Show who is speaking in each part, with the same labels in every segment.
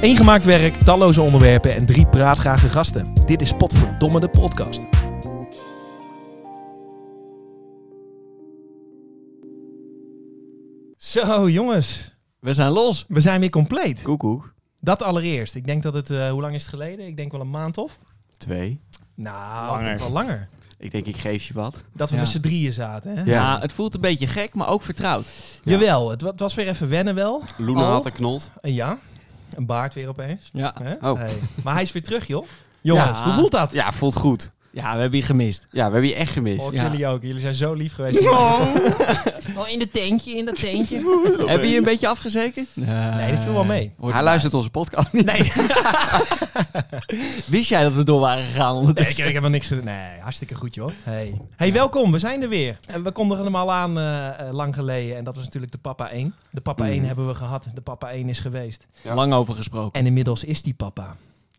Speaker 1: Eén gemaakt werk, talloze onderwerpen en drie praatgrage gasten. Dit is Potverdomme de podcast. Zo jongens,
Speaker 2: We zijn los.
Speaker 1: we zijn weer compleet.
Speaker 2: Koekoek.
Speaker 1: Dat allereerst. Ik denk dat het, eh, hoe lang is het geleden? Ik denk wel een maand of?
Speaker 2: Twee.
Speaker 1: Nou,
Speaker 3: Langer.
Speaker 1: ik denk wel langer.
Speaker 2: Ik denk, ik geef je wat.
Speaker 1: Dat we
Speaker 3: Ja.
Speaker 1: met z'n drieën zaten. Hè?
Speaker 2: Ja.
Speaker 3: Ja. het voelt een beetje gek, maar ook vertrouwd.
Speaker 2: Ja.
Speaker 1: Jawel, het, wa- het was weer even wennen wel.
Speaker 2: Loenen
Speaker 1: Oh.
Speaker 2: had een knot.
Speaker 1: Een ja, een baard weer opeens.
Speaker 3: Ja.
Speaker 1: Hè?
Speaker 2: Oh.
Speaker 1: Hey. Maar hij is weer terug joh. Jongens,
Speaker 3: Ja.
Speaker 1: hoe voelt dat?
Speaker 2: Ja, voelt goed.
Speaker 3: ja, we hebben je gemist.
Speaker 2: Ja, we hebben je echt
Speaker 1: Oh,
Speaker 2: gemist.
Speaker 3: Ja.
Speaker 1: jullie ook. Jullie zijn zo lief geweest. Oh, in dat tentje, in dat tentje.
Speaker 3: Heb je je een beetje afgezekerd?
Speaker 1: Nee, dat viel wel mee.
Speaker 3: Hoort
Speaker 2: Hij
Speaker 3: erbij.
Speaker 2: luistert onze podcast niet.
Speaker 1: Nee,
Speaker 3: Wist jij dat we door waren gegaan?
Speaker 1: nee,
Speaker 3: ondertussen?
Speaker 1: ik, ik heb er niks voor. Nee, hartstikke goed joh. Hey, hey welkom, we zijn er weer. En we kondigen hem al aan eh, eh, lang geleden. En dat was natuurlijk de Papa 1. De Papa 1
Speaker 2: Mhm.
Speaker 1: hebben we gehad. De Papa 1 is geweest.
Speaker 2: Ja.
Speaker 3: Lang over gesproken.
Speaker 1: En inmiddels is die papa.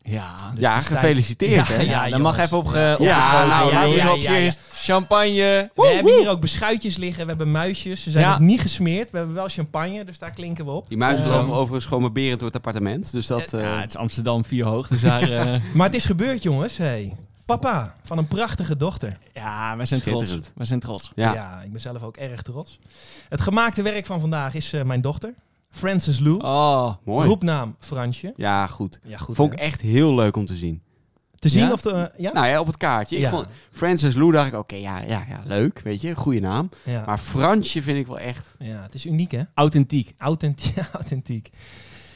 Speaker 3: Ja.
Speaker 2: ja,
Speaker 1: dus tijd-
Speaker 2: gefeliciteerd. hè?
Speaker 1: Ja,
Speaker 3: Ja,
Speaker 1: jongens.
Speaker 3: dan mag even op, ge- op
Speaker 2: Ja,
Speaker 3: gegooid
Speaker 2: nou,
Speaker 3: worden.
Speaker 2: ja,
Speaker 3: Doe
Speaker 2: ja,
Speaker 3: nog
Speaker 1: ja, ja.
Speaker 3: eerst. Champagne.
Speaker 1: We hebben hier ook beschuitjes liggen. We hebben muisjes. Ze zijn
Speaker 3: Ja.
Speaker 1: nog niet gesmeerd. We hebben wel champagne, dus daar klinken we op.
Speaker 2: Die muizen
Speaker 1: Eh,
Speaker 2: lopen overigens gewoon maar berend door het appartement. Dus dat... eh,
Speaker 3: Ja, het is Amsterdam vier hoog, dus daar... eh,
Speaker 1: Maar het is gebeurd jongens. Hey. Papa van een prachtige dochter.
Speaker 3: ja, wij zijn trots.
Speaker 2: Schitterend.
Speaker 3: Wij zijn trots.
Speaker 2: ja.
Speaker 1: ik ben zelf ook erg trots. Het gemaakte werk van vandaag is eh, mijn dochter, Frances Lou.
Speaker 3: Oh,
Speaker 2: mooi.
Speaker 1: Roepnaam Fransje.
Speaker 2: Ja, goed.
Speaker 1: Ja, goed.
Speaker 2: Vond
Speaker 1: hè?
Speaker 2: ik echt heel leuk om te zien.
Speaker 1: te zien
Speaker 3: Ja?
Speaker 1: of de. eh, ja?
Speaker 2: Nou ja, op het kaartje. Ik
Speaker 1: Ja.
Speaker 2: vond Francis Lou dacht ik, oké, ja, ja, ja, leuk, weet je, goede naam.
Speaker 1: ja.
Speaker 2: Maar Fransje vind ik wel echt...
Speaker 1: ja, het is uniek, hè?
Speaker 3: authentiek.
Speaker 1: Authentiek. authentiek.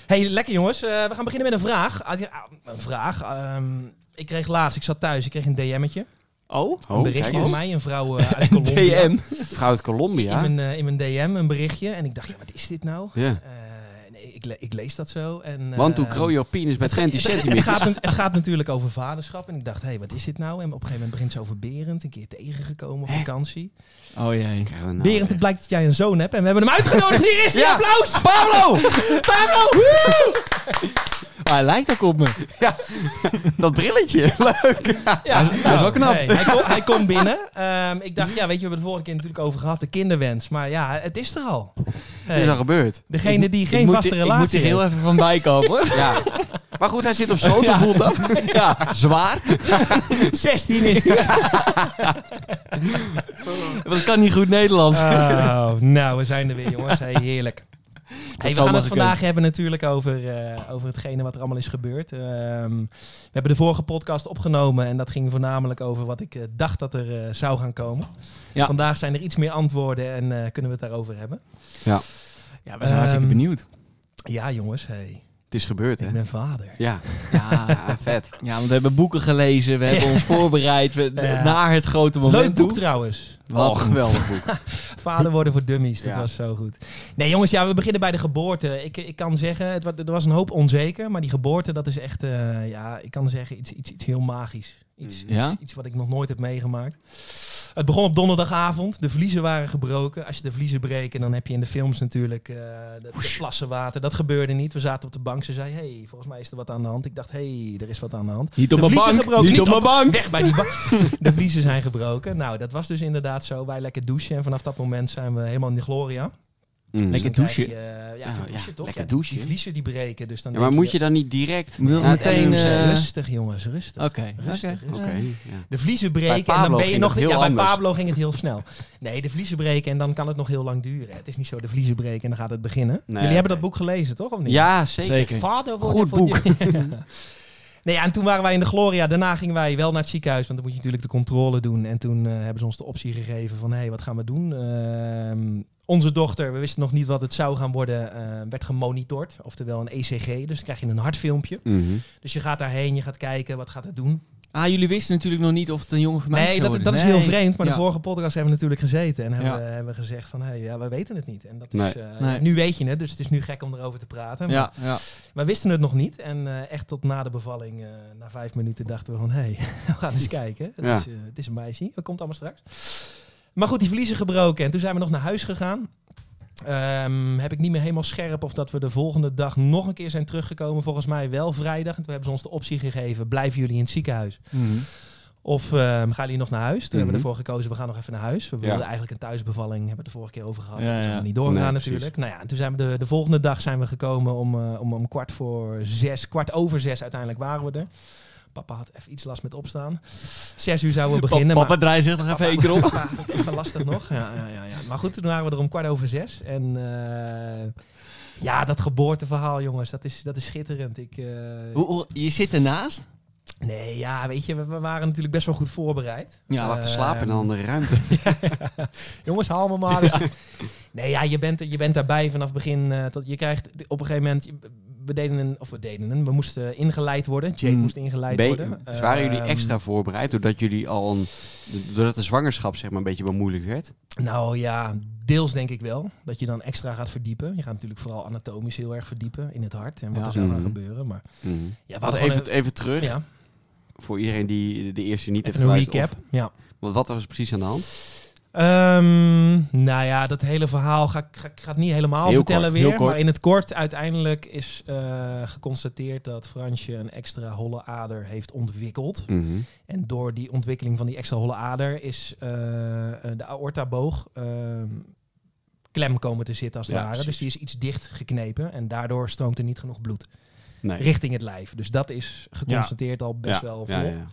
Speaker 1: hey, lekker jongens. Eh, we gaan beginnen met een vraag. Ah, ja, ah, een vraag. Ehm, ik kreeg laatst, ik zat thuis, ik kreeg een DM'tje.
Speaker 3: Oh?
Speaker 1: een
Speaker 2: Oh,
Speaker 1: berichtje
Speaker 2: kijk eens.
Speaker 1: van mij, een vrouw eh, uit Colombia.
Speaker 3: DM.
Speaker 2: Vrouw uit Colombia.
Speaker 1: In, mijn, eh, in mijn DM, een berichtje. En ik dacht, ja, wat is dit nou?
Speaker 2: Ja.
Speaker 1: Eh, nee, ik, le- ik lees dat zo. En,
Speaker 2: Want hoe
Speaker 1: eh,
Speaker 2: grow your penis met 20
Speaker 1: Het
Speaker 2: centimeter.
Speaker 1: gaat, het gaat natuurlijk over vaderschap. En ik dacht, hé, hey, wat is dit nou? En op een gegeven moment begint ze over Berend. Een keer tegengekomen op
Speaker 2: Hè?
Speaker 1: vakantie.
Speaker 3: Oh jee.
Speaker 2: Krijgen we nou
Speaker 1: Berend, het blijkt dat jij een zoon hebt. En we hebben hem uitgenodigd. Hier is hij.
Speaker 2: Ja.
Speaker 1: Applaus!
Speaker 2: Pablo!
Speaker 3: Oh,
Speaker 2: Pablo!
Speaker 3: Ah, hij lijkt ook op me.
Speaker 2: Dat brilletje. Leuk.
Speaker 3: Ja, dat is
Speaker 1: Nou,
Speaker 3: wel knap.
Speaker 1: nee, hij, komt hij komt binnen. Ehm, ik dacht, ja, weet je, we hebben het vorige keer natuurlijk over gehad. De kinderwens. Maar ja, het is er al.
Speaker 2: Het
Speaker 1: Hey,
Speaker 2: is al gebeurd.
Speaker 1: degene die
Speaker 3: Ik
Speaker 1: geen
Speaker 3: moet
Speaker 1: vaste
Speaker 3: er-
Speaker 1: relatie
Speaker 3: Ik moet er heel even van bij komen. hoor.
Speaker 2: Ja. Maar goed, hij zit op schoot.
Speaker 3: Ja.
Speaker 2: Hoe voelt dat?
Speaker 3: Ja, zwaar.
Speaker 1: heeft. 16 is die.
Speaker 3: Dat kan niet goed Nederlands.
Speaker 1: Oh, nou, we zijn er weer, jongens. Hey, heerlijk. Hey, we gaan
Speaker 3: zou maar
Speaker 1: het
Speaker 3: gekund.
Speaker 1: vandaag hebben natuurlijk over, eh, over hetgene wat er allemaal is gebeurd. Ehm, we hebben de vorige podcast opgenomen en dat ging voornamelijk over wat ik eh, dacht dat er eh, zou gaan komen.
Speaker 3: Ja.
Speaker 1: Vandaag zijn er iets meer antwoorden en eh, kunnen we het daarover hebben.
Speaker 3: ja,
Speaker 1: we zijn hartstikke
Speaker 3: benieuwd.
Speaker 1: Ja, jongens, hey,
Speaker 2: Het is gebeurd, hè?
Speaker 1: ik ben vader.
Speaker 2: Ja.
Speaker 3: Ja,
Speaker 2: Ja, vet.
Speaker 3: ja, want we hebben boeken gelezen, we hebben ons voorbereid we-
Speaker 1: Ja.
Speaker 3: naar het grote moment.
Speaker 1: Leuk boek trouwens.
Speaker 3: Wat
Speaker 2: Oh,
Speaker 3: een-
Speaker 2: geweldig boek.
Speaker 1: Vader worden voor dummies, dat
Speaker 2: Ja.
Speaker 1: was zo goed. Nee jongens, ja, we beginnen bij de geboorte. Ik, ik kan zeggen, het, wa- er was een hoop onzeker, maar die geboorte dat is echt, eh, ja, ik kan zeggen iets, iets, iets heel magisch. Iets,
Speaker 3: Mhm. Ja?
Speaker 1: iets, iets wat ik nog nooit heb meegemaakt. Het begon op donderdagavond, de vliezen waren gebroken. Als je de vliezen breekt, dan heb je in de films natuurlijk eh de, de plassen water. Dat gebeurde niet, we zaten op de bank, ze zei, hey, volgens mij is er wat aan de hand. Ik dacht, hey, er is wat aan de hand.
Speaker 3: Niet
Speaker 1: De
Speaker 3: op mijn
Speaker 1: vliezen
Speaker 3: bank,
Speaker 1: gebroken,
Speaker 3: niet,
Speaker 1: niet
Speaker 3: op mijn bank.
Speaker 1: Weg bij die bank. De vliezen zijn gebroken. Nou, dat was dus inderdaad zo. Wij lekker douchen. En vanaf dat moment zijn we helemaal in de gloria.
Speaker 2: Mm.
Speaker 3: Lekker
Speaker 1: Dus dan krijg
Speaker 3: douchen.
Speaker 1: je, eh, ja,
Speaker 2: Ah,
Speaker 1: even
Speaker 2: ja,
Speaker 1: douchen toch?
Speaker 2: lekker
Speaker 1: Ja,
Speaker 2: douchen.
Speaker 1: Die vliezen die breken. Dus dan
Speaker 2: Ja, maar
Speaker 1: denk
Speaker 2: moet je dan niet direct...
Speaker 3: Wil
Speaker 2: na het
Speaker 3: meteen,
Speaker 2: NMC?
Speaker 3: eh,
Speaker 1: Rustig jongens, rustig.
Speaker 3: Oké,
Speaker 1: Rustig,
Speaker 3: oké.
Speaker 2: Oké.
Speaker 1: rustig.
Speaker 2: ja.
Speaker 1: De vliezen breken en
Speaker 2: Pablo
Speaker 1: dan ben je
Speaker 2: ging
Speaker 1: nog
Speaker 2: dat
Speaker 1: niet.
Speaker 2: heel
Speaker 1: Ja, bij
Speaker 2: anders.
Speaker 1: Pablo ging het heel snel. Nee, de vliezen breken en dan kan het nog heel lang duren. Het is niet zo de vliezen breken en dan gaat het beginnen. Jullie hebben dat
Speaker 2: oké.
Speaker 1: boek gelezen, toch? Of niet?
Speaker 2: Ja, zeker.
Speaker 3: Zeker.
Speaker 1: Vader worden
Speaker 2: Goed
Speaker 1: voor
Speaker 2: boek.
Speaker 1: die- Ja. Nee, ja, en toen waren wij in de Gloria. Daarna gingen wij wel naar het ziekenhuis, want dan moet je natuurlijk de controle doen. En toen eh, hebben ze ons de optie gegeven van, hé, hey, wat gaan we doen? Ehm, onze dochter, we wisten nog niet wat het zou gaan worden, eh, werd gemonitord. Oftewel een ECG, dus dan krijg je een hartfilmpje.
Speaker 2: Mhm.
Speaker 1: Dus je gaat daarheen, je gaat kijken, wat gaat het doen?
Speaker 3: Ah, jullie wisten natuurlijk nog niet of het een jongen van mij
Speaker 1: nee,
Speaker 3: zou
Speaker 1: dat,
Speaker 3: worden.
Speaker 1: dat is
Speaker 3: Nee.
Speaker 1: heel vreemd, maar de
Speaker 3: Ja.
Speaker 1: vorige podcast hebben we natuurlijk gezeten. En hebben,
Speaker 3: Ja.
Speaker 1: we, hebben we gezegd van, hé, hey, ja, we weten het niet. En dat
Speaker 2: Nee.
Speaker 1: is, eh,
Speaker 3: Nee.
Speaker 1: nu weet je het, dus het is nu gek om erover te praten. maar-
Speaker 3: Ja, ja.
Speaker 1: Wij wisten het nog niet. En eh, echt tot na de bevalling, eh, na vijf minuten, dachten we van... hé, hey, we gaan eens kijken. Het,
Speaker 2: Ja.
Speaker 1: is, eh, het is een meisje. Dat komt allemaal straks. Maar goed, die verliezen gebroken. En toen zijn we nog naar huis gegaan. Ehm, heb ik niet meer helemaal scherp of dat we de volgende dag nog een keer zijn teruggekomen. Volgens mij wel vrijdag. En toen hebben ze ons de optie gegeven: blijven jullie in het ziekenhuis? Of ehm, gaan jullie nog naar huis? Toen hebben we
Speaker 2: Mhm.
Speaker 1: ervoor gekozen: we gaan nog even naar huis. We
Speaker 2: Ja.
Speaker 1: wilden eigenlijk een thuisbevalling, hebben we het de vorige keer over gehad.
Speaker 3: Ja,
Speaker 1: dat is
Speaker 3: ja.
Speaker 1: allemaal niet doorgegaan
Speaker 2: Nee, precies.
Speaker 1: natuurlijk. Nou ja, en toen zijn we de, de volgende dag zijn we gekomen om, eh, om om kwart voor zes, kwart over zes uiteindelijk waren we er. Papa had even iets last met opstaan. Zes uur zouden we beginnen. maar-
Speaker 3: Papa draait zich nog even één keer op.
Speaker 1: ja, dat is even lastig nog. Ja, ja, ja, ja. Maar goed, toen waren we er om kwart over zes. En eh, ja, dat geboorteverhaal, jongens, dat is, dat is schitterend. Ik, eh,
Speaker 3: Hoe- hoe- je zit ernaast.
Speaker 1: nee, ja, weet je, we, we waren natuurlijk best wel goed voorbereid.
Speaker 2: Hij
Speaker 3: Ja, Oh,
Speaker 2: lag te slapen in een
Speaker 1: Ehm,
Speaker 2: andere ruimte.
Speaker 1: Jongens, haal me maar eens. Nee, ja, je bent, er- je bent daarbij vanaf begin eh, tot je krijgt op een gegeven moment. je- We deden een, of we deden een, we moesten ingeleid worden. Jade
Speaker 3: Hmm.
Speaker 1: moest ingeleid
Speaker 2: Be-
Speaker 1: worden.
Speaker 2: dus waren jullie
Speaker 1: Ehm,
Speaker 2: extra voorbereid doordat jullie al een, doordat de zwangerschap zeg maar een beetje bemoeilijkt werd?
Speaker 1: Nou ja, deels denk ik wel. Dat je dan extra gaat verdiepen. Je gaat natuurlijk vooral anatomisch heel erg verdiepen in het hart en wat
Speaker 3: Ja.
Speaker 1: er zou gaan
Speaker 2: Mhm.
Speaker 1: gebeuren. Maar ja, we
Speaker 2: Wat
Speaker 1: hadden
Speaker 2: even,
Speaker 1: gewoon
Speaker 2: even terug
Speaker 1: een, ja,
Speaker 2: voor iedereen die de- de eerste niet
Speaker 1: even
Speaker 2: heeft
Speaker 1: een
Speaker 2: geluisterd.
Speaker 1: recap. Ja.
Speaker 2: Of- want wat was er precies aan de hand?
Speaker 1: Ehm, nou ja, dat hele verhaal ga ik ga, ik- ga het niet helemaal
Speaker 2: Heel
Speaker 1: vertellen
Speaker 2: kort,
Speaker 1: weer.
Speaker 2: heel kort.
Speaker 1: Maar in het kort, uiteindelijk is eh, geconstateerd dat Fransje een extra holle ader heeft ontwikkeld.
Speaker 2: Mhm.
Speaker 1: En door die ontwikkeling van die extra holle ader is eh, de aortaboog ehm, klem komen te zitten als het
Speaker 2: Ja,
Speaker 1: ware. Dus
Speaker 2: precies.
Speaker 1: die is iets dicht geknepen en daardoor stroomt er niet genoeg bloed
Speaker 2: Nee.
Speaker 1: richting het lijf. Dus dat is geconstateerd al best
Speaker 2: Ja,
Speaker 1: wel vlot.
Speaker 2: ja, ja.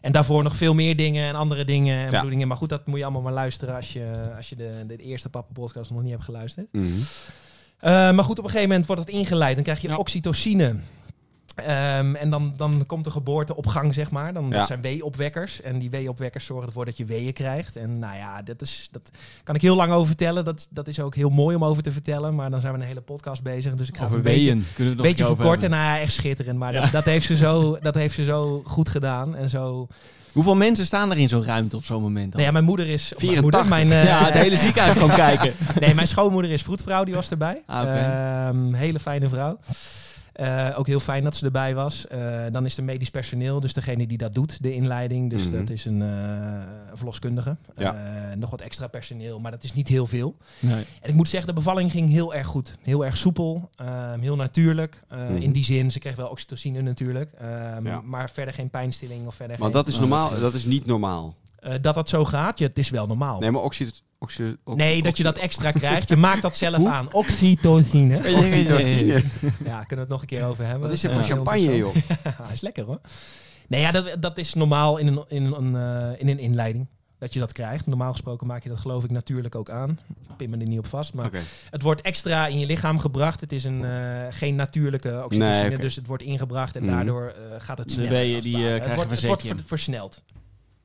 Speaker 1: En daarvoor nog veel meer dingen en andere dingen en
Speaker 2: Ja.
Speaker 1: bloedingen. Maar goed, dat moet je allemaal maar luisteren als je, als je de, de eerste Papa Podcast nog niet hebt geluisterd.
Speaker 2: Mhm.
Speaker 1: Eh, maar goed, op een gegeven moment wordt dat ingeleid. Dan krijg je
Speaker 3: Ja.
Speaker 1: oxytocine. Ehm, en dan, dan komt de geboorte op gang, zeg maar. Dan,
Speaker 2: Ja.
Speaker 1: Dat zijn weeopwekkers. En die weeopwekkers zorgen ervoor dat je weeën krijgt. En nou ja, dat, is, dat kan ik heel lang over vertellen. Dat, dat is ook heel mooi om over te vertellen. Maar dan zijn we een hele podcast bezig. Dus ik ga het
Speaker 3: Over
Speaker 1: een beetje,
Speaker 3: weeën. Kunnen we het nog
Speaker 1: beetje
Speaker 3: een keer over
Speaker 1: verkorten.
Speaker 3: hebben.
Speaker 1: Nou, ja, echt schitterend. Maar
Speaker 3: Ja.
Speaker 1: dat, dat, heeft ze zo, dat heeft ze zo goed gedaan. En zo...
Speaker 3: Hoeveel mensen staan er in zo'n ruimte op zo'n moment dan?
Speaker 1: Nou ja, mijn moeder is... of Mijn moeder,
Speaker 2: 84.
Speaker 1: mijn, eh,
Speaker 3: ja, het hele ziekenhuis gewoon kijken.
Speaker 1: Nee, mijn schoonmoeder is vroedvrouw, die was erbij.
Speaker 3: Ah, oké.
Speaker 1: Ehm, hele fijne vrouw. Eh, ook heel fijn dat ze erbij was. Eh, dan is er medisch personeel, dus degene die dat doet, de inleiding. Dus
Speaker 2: Mhm.
Speaker 1: dat is een eh, verloskundige.
Speaker 2: Ja.
Speaker 1: Eh, nog wat extra personeel, maar dat is niet heel veel. En ik moet zeggen, de bevalling ging heel erg goed. Heel erg soepel, ehm, heel natuurlijk. Eh,
Speaker 2: Mhm.
Speaker 1: In die zin, ze kreeg wel oxytocine natuurlijk. ehm,
Speaker 2: Ja.
Speaker 1: Maar verder geen pijnstilling of verder
Speaker 2: Want
Speaker 1: geen-
Speaker 2: dat is
Speaker 3: Oh, dat
Speaker 2: normaal, dat is niet normaal.
Speaker 1: Eh, dat dat zo gaat, ja, het is wel normaal.
Speaker 2: Nee, maar oxy, oxy, oxy-
Speaker 1: Nee, dat je dat extra krijgt. Je maakt dat zelf
Speaker 3: Hoe?
Speaker 1: aan. Oxytocine.
Speaker 2: oxytocine.
Speaker 1: Ja, kunnen we het nog een keer over hebben.
Speaker 2: Wat
Speaker 1: Dat
Speaker 2: is er
Speaker 1: eh,
Speaker 2: voor
Speaker 1: heel
Speaker 2: champagne, joh?
Speaker 1: interessant. Ja, is lekker hoor. Nee, ja, dat, dat is normaal in een, in, een, eh, in een inleiding. Dat je dat krijgt. Normaal gesproken maak je dat geloof ik natuurlijk ook aan. Ik Pin me er niet op vast. Maar
Speaker 2: Oké.
Speaker 1: het wordt extra in je lichaam gebracht. Het is een, eh, geen natuurlijke oxytocine.
Speaker 2: Nee, oké.
Speaker 1: Dus het wordt ingebracht en
Speaker 2: Mhm.
Speaker 1: daardoor eh, gaat het
Speaker 3: De
Speaker 1: sneller.
Speaker 3: weeën
Speaker 1: als het
Speaker 3: die,
Speaker 1: ware.
Speaker 3: eh,
Speaker 1: het
Speaker 3: krijgen
Speaker 1: wordt, het
Speaker 3: een
Speaker 1: wordt
Speaker 3: zetje.
Speaker 1: ver- versneld.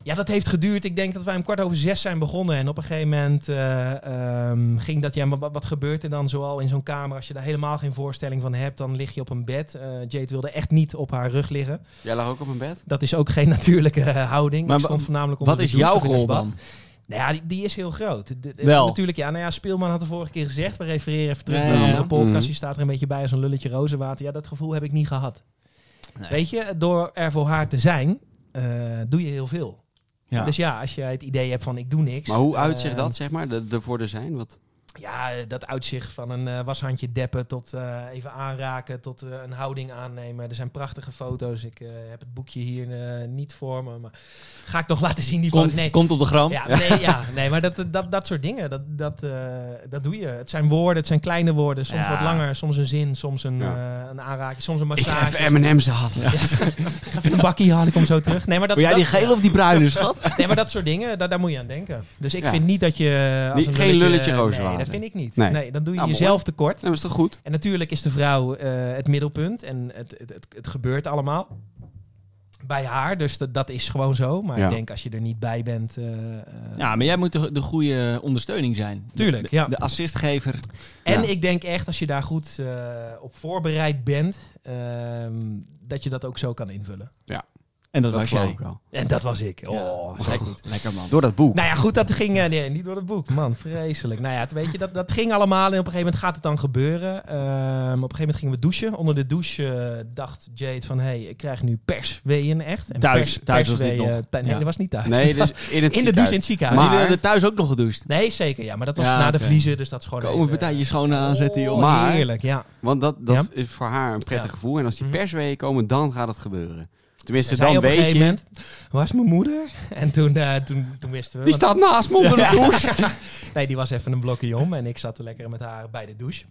Speaker 1: Ja, dat heeft geduurd. Ik denk dat wij om kwart over zes zijn begonnen. En op een gegeven moment eh, ehm, ging dat... Ja, maar wat, wat gebeurt er dan zoal in zo'n kamer? Als je daar helemaal geen voorstelling van hebt, dan lig je op een bed. Eh, Jade wilde echt niet op haar rug liggen.
Speaker 2: Jij lag ook op mijn bed?
Speaker 1: Dat is ook geen natuurlijke eh, houding.
Speaker 3: Maar
Speaker 1: Ik
Speaker 3: wa-
Speaker 1: stond voornamelijk onder
Speaker 3: Wat
Speaker 1: de
Speaker 3: is
Speaker 1: douche
Speaker 3: jouw
Speaker 1: of in het
Speaker 3: rol
Speaker 1: bad.
Speaker 3: dan?
Speaker 1: Nou ja, die, die is heel groot. De- de-
Speaker 3: Wel.
Speaker 1: Natuurlijk, ja. Nou ja, Speelman had de vorige keer gezegd. We refereren even terug
Speaker 3: Ja,
Speaker 1: naar een
Speaker 3: ja, ja.
Speaker 1: andere podcast.
Speaker 2: Mhm.
Speaker 1: Die staat er een beetje bij als een lulletje rozenwater. Ja, dat gevoel heb ik niet gehad. Weet je, door er voor haar te zijn, eh, doe je heel veel.
Speaker 3: Ja.
Speaker 1: Dus ja, als je het idee hebt van ik doe niks.
Speaker 2: Maar hoe
Speaker 1: eh,
Speaker 2: uitzicht dat, zeg maar? De, de voor de zijn? Wat?
Speaker 1: Ja, dat uitzicht van een eh, washandje deppen tot eh, even aanraken, tot eh, een houding aannemen. Er zijn prachtige foto's. Ik eh, heb het boekje hier eh, niet voor me, maar ga ik nog laten zien die
Speaker 3: komt,
Speaker 1: foto's? Nee,
Speaker 3: komt op de gram.
Speaker 1: Ja, nee, ja, nee maar dat, dat, dat soort dingen, dat, dat, eh, dat doe je. Het zijn woorden, het zijn kleine woorden, soms
Speaker 3: Ja.
Speaker 1: wat langer, soms een zin, soms een,
Speaker 2: Ja.
Speaker 1: eh, een aanraking, soms een
Speaker 2: Ik ga
Speaker 1: massage.
Speaker 2: even M&M's halen.
Speaker 1: Een bakkie haal ik om zo terug. Nee, maar dat,
Speaker 3: Wil jij die
Speaker 1: dat,
Speaker 3: gele of die bruine, schat?
Speaker 1: nee, maar dat soort dingen, daar, daar moet je aan denken. Dus ik
Speaker 2: Ja.
Speaker 1: vind niet dat je... Als
Speaker 2: Niet-
Speaker 1: een
Speaker 2: geen lulletje
Speaker 1: Nee,
Speaker 2: rozenwater.
Speaker 1: dat vind ik niet. Nee,
Speaker 2: Nee.
Speaker 1: dan doe je
Speaker 2: Nou, mooi.
Speaker 1: jezelf tekort.
Speaker 2: Dat is toch goed?
Speaker 1: En natuurlijk is de vrouw eh, het middelpunt en het, het, het, het gebeurt allemaal bij haar. Dus dat, dat is gewoon zo. Maar
Speaker 2: Ja.
Speaker 1: ik denk als je er niet bij bent... eh, eh,
Speaker 3: Ja, maar jij moet de, de goede ondersteuning zijn.
Speaker 1: Tuurlijk,
Speaker 3: De-
Speaker 1: ja.
Speaker 3: De assistgever.
Speaker 1: En
Speaker 2: Ja.
Speaker 1: ik denk echt, als je daar goed eh, op voorbereid bent, ehm, dat je dat ook zo kan invullen.
Speaker 2: Ja.
Speaker 3: En dat,
Speaker 2: Dat
Speaker 3: was
Speaker 2: geloof
Speaker 3: jij.
Speaker 2: ik wel.
Speaker 1: En dat was ik. Oh,
Speaker 3: Ja.
Speaker 1: zei ik niet.
Speaker 3: Lekker man.
Speaker 2: Door dat boek.
Speaker 1: Nou ja, goed, dat ging eh, nee, niet door het boek. Man, vreselijk. Nou ja, het, weet je, dat, dat ging allemaal en op een gegeven moment gaat het dan gebeuren. Ehm, op een gegeven moment gingen we douchen. Onder de douche eh, dacht Jade van, hé, hey, ik krijg nu persweeën echt. En
Speaker 3: Thuis.
Speaker 1: pers-
Speaker 3: Thuis was dit
Speaker 1: persweeën-
Speaker 3: nog.
Speaker 1: Nee,
Speaker 3: Ja.
Speaker 1: dat was niet thuis.
Speaker 2: nee,
Speaker 1: Dat was
Speaker 2: dus in, het
Speaker 1: in de douche in het
Speaker 2: ziekenhuis.
Speaker 1: ziekenhuis.
Speaker 3: Maar
Speaker 2: Maar-
Speaker 3: jullie hadden thuis ook nog gedoucht.
Speaker 1: Nee, zeker. Ja, maar dat was
Speaker 3: Ja,
Speaker 1: na de
Speaker 3: oké.
Speaker 1: vliezen, dus dat is gewoon
Speaker 3: Komen
Speaker 1: even-
Speaker 3: met je schoon aanzetten, joh.
Speaker 1: Oh,
Speaker 2: Maar-
Speaker 1: Heerlijk, ja.
Speaker 2: Want dat, dat
Speaker 1: Ja.
Speaker 2: is voor haar een prettig
Speaker 1: Ja.
Speaker 2: gevoel. En als die
Speaker 1: Mhm.
Speaker 2: persweeën komen, dan gaat het gebeuren. Tenminste,
Speaker 1: Ze zei
Speaker 2: dan
Speaker 1: op een
Speaker 2: weet
Speaker 1: gegeven
Speaker 2: je...
Speaker 1: moment, was mijn moeder? En toen, eh, toen, toen wisten we...
Speaker 2: Die
Speaker 1: want-
Speaker 2: staat naast me onder de douche.
Speaker 1: Nee, die was even een blokje om en ik zat er lekker met haar bij de douche.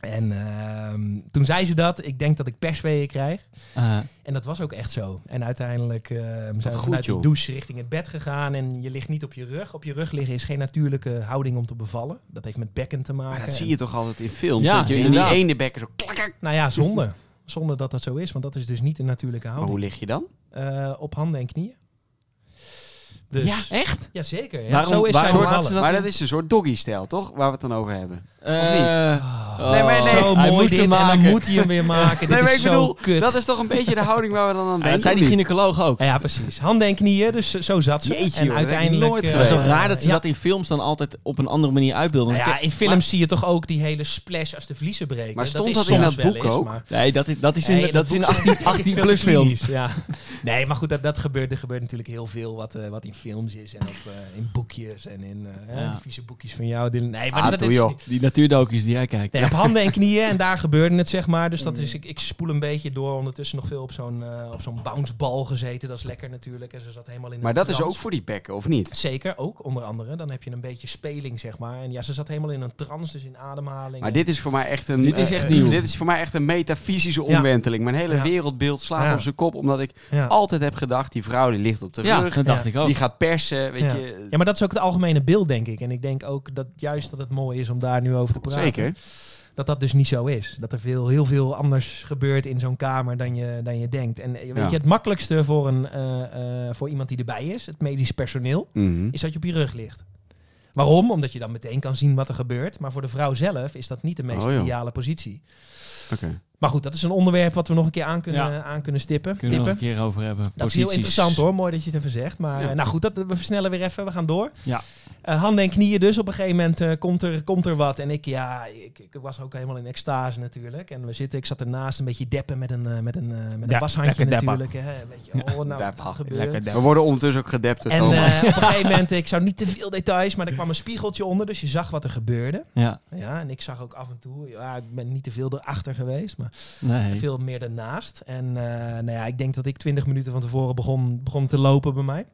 Speaker 1: En ehm, toen zei ze dat, ik denk dat ik persweeën krijg.
Speaker 3: Eh,
Speaker 1: En dat was ook echt zo. En uiteindelijk ehm, zijn we
Speaker 2: goed,
Speaker 1: vanuit
Speaker 2: joh.
Speaker 1: die douche richting het bed gegaan. En je ligt niet op je rug. Op je rug liggen is geen natuurlijke houding om te bevallen. Dat heeft met bekken te maken.
Speaker 2: Maar dat
Speaker 1: En-
Speaker 2: zie je toch altijd in films.
Speaker 3: Ja,
Speaker 2: dat je in die
Speaker 3: inderdaad.
Speaker 2: ene bekken zo klakker.
Speaker 1: Nou ja, zonde. Zonde dat dat zo is, want dat is dus niet een natuurlijke
Speaker 2: Maar
Speaker 1: houding.
Speaker 2: hoe lig je dan?
Speaker 1: Eh, op handen en knieën. Dus, ja.
Speaker 3: Ja, echt?
Speaker 1: zeker. Ja,
Speaker 3: Waarom-
Speaker 1: zo is
Speaker 3: waarom
Speaker 1: zij
Speaker 3: laat ze
Speaker 1: bevallen.
Speaker 3: Dat
Speaker 2: maar
Speaker 3: in-
Speaker 2: dat is een soort doggy-stijl, toch? Waar we het dan over hebben.
Speaker 3: Eh,
Speaker 1: Oh,
Speaker 2: Nee, maar nee.
Speaker 1: Zo
Speaker 3: Hij
Speaker 1: mooi
Speaker 3: moest
Speaker 1: dit.
Speaker 3: hem
Speaker 1: En dan
Speaker 3: maken.
Speaker 1: moet hij hem weer maken.
Speaker 2: nee,
Speaker 1: dit
Speaker 2: maar
Speaker 1: is
Speaker 2: ik
Speaker 1: zo
Speaker 2: bedoel,
Speaker 1: kut.
Speaker 2: dat is toch een beetje de houding waar we dan aan
Speaker 3: Ja,
Speaker 2: denken?
Speaker 3: dat zei die
Speaker 2: of niet?
Speaker 3: gynaecoloog ook.
Speaker 1: Ja, ja, precies. Handen en knieën, dus zo- zo zat ze.
Speaker 2: Jeetje,
Speaker 1: en
Speaker 2: joh, dat heb ik
Speaker 1: uiteindelijk...
Speaker 2: nooit
Speaker 1: eh,
Speaker 3: Het is
Speaker 2: geweten.
Speaker 3: toch raar dat ze
Speaker 1: ja.
Speaker 3: dat in films dan altijd op een andere manier uitbeelden.
Speaker 1: Nou
Speaker 3: Want
Speaker 1: ja,
Speaker 3: ik-
Speaker 1: in films zie je toch ook die hele splash als de vliezen breken.
Speaker 2: Maar stond
Speaker 1: is
Speaker 2: dat in
Speaker 1: soms
Speaker 2: dat
Speaker 1: wel
Speaker 2: boek
Speaker 1: eens,
Speaker 2: ook?
Speaker 1: maar-
Speaker 3: nee, dat is, dat is in,
Speaker 1: Nee,
Speaker 3: dat is in
Speaker 1: boek
Speaker 3: een 18,
Speaker 1: staat niet.
Speaker 3: 18
Speaker 1: Veel te
Speaker 3: plus film.
Speaker 1: klinisch, Ja. Nee, maar goed, dat, dat gebeurt. Er gebeurt natuurlijk heel veel wat, eh, wat in films is en op, eh, in boekjes en in eh, hè,
Speaker 3: Ja.
Speaker 1: die vieze boekjes van jou. Dylan. Nee, maar
Speaker 2: Ah,
Speaker 1: dat
Speaker 2: doe
Speaker 1: is,
Speaker 2: joh.
Speaker 3: Die natuurdokies die jij kijkt.
Speaker 1: Nee, op handen en knieën en daar gebeurde het, zeg maar. Dus dat is,
Speaker 2: Mm.
Speaker 1: ik, ik spoel een beetje door. Ondertussen nog veel op zo'n eh, op zo'n bouncebal gezeten. Dat is lekker natuurlijk. En ze zat helemaal in
Speaker 2: Maar
Speaker 1: een
Speaker 2: dat is
Speaker 1: trance.
Speaker 2: ook voor die bekken, of niet?
Speaker 1: Zeker, ook onder andere. Dan heb je een beetje speling, zeg maar. En ja, ze zat helemaal in een trance, dus in ademhaling.
Speaker 2: Maar
Speaker 1: En-
Speaker 2: dit is voor mij echt een.
Speaker 3: Dit is
Speaker 2: eh,
Speaker 3: echt nieuw.
Speaker 2: Dit is voor mij echt een metafysische
Speaker 1: Ja.
Speaker 2: omwenteling. Mijn hele
Speaker 1: Ja.
Speaker 2: wereldbeeld slaat
Speaker 1: Ja.
Speaker 2: op zijn kop. Omdat ik
Speaker 1: ja.
Speaker 2: altijd heb gedacht: die vrouw die ligt op de
Speaker 3: Ja,
Speaker 2: rug.
Speaker 3: dat dacht ik ook.
Speaker 2: Die gaat persen. Weet
Speaker 1: Ja.
Speaker 2: je.
Speaker 1: ja, maar dat is ook het algemene beeld, denk ik. En ik denk ook dat juist dat het mooi is om daar nu over te praten.
Speaker 2: Zeker.
Speaker 1: Dat dat dus niet zo is. Dat er veel, heel veel anders gebeurt in zo'n kamer dan je, dan je denkt. En eh, weet
Speaker 2: Ja.
Speaker 1: je, het makkelijkste voor, een, eh, eh, voor iemand die erbij is, het medisch personeel,
Speaker 2: Mhm.
Speaker 1: is dat je op je rug ligt. Waarom? Omdat je dan meteen kan zien wat er gebeurt. Maar voor de vrouw zelf is dat niet de meest
Speaker 2: Oh, joh.
Speaker 1: ideale positie.
Speaker 2: Oké.
Speaker 1: Maar goed, dat is een onderwerp wat we nog een keer aan kunnen,
Speaker 3: Ja.
Speaker 1: aan kunnen stippen.
Speaker 3: Kunnen we nog
Speaker 1: tippen.
Speaker 3: een keer over hebben.
Speaker 1: Dat is heel interessant hoor, mooi dat je het even zegt. Maar
Speaker 2: Ja.
Speaker 1: eh, nou goed, dat, we versnellen weer even, we gaan door.
Speaker 3: Ja.
Speaker 1: Eh, handen en knieën dus, op een gegeven moment eh, komt, er, komt er wat. En ik, ja, ik, ik was ook helemaal in extase natuurlijk. En we zitten, ik zat ernaast een beetje deppen met een, eh, met een, eh, met een
Speaker 3: Ja,
Speaker 1: washandje
Speaker 3: lekker deppen.
Speaker 1: natuurlijk. Hè. Een beetje, oh, nou, wat
Speaker 2: Deppen.
Speaker 1: gaat er gebeuren?
Speaker 3: Lekker
Speaker 2: We worden ondertussen ook gedept. door
Speaker 1: En
Speaker 2: Thomas.
Speaker 1: eh, op een gegeven moment, ik zou niet te veel details, maar er kwam een spiegeltje onder, dus je zag wat er gebeurde.
Speaker 3: Ja,
Speaker 1: Ja, en ik zag ook af en toe, ja, ik ben niet te veel erachter geweest, maar
Speaker 3: nee.
Speaker 1: veel meer daarnaast. En eh, nou ja, ik denk dat ik twintig minuten van tevoren begon, begon te lopen bij mij.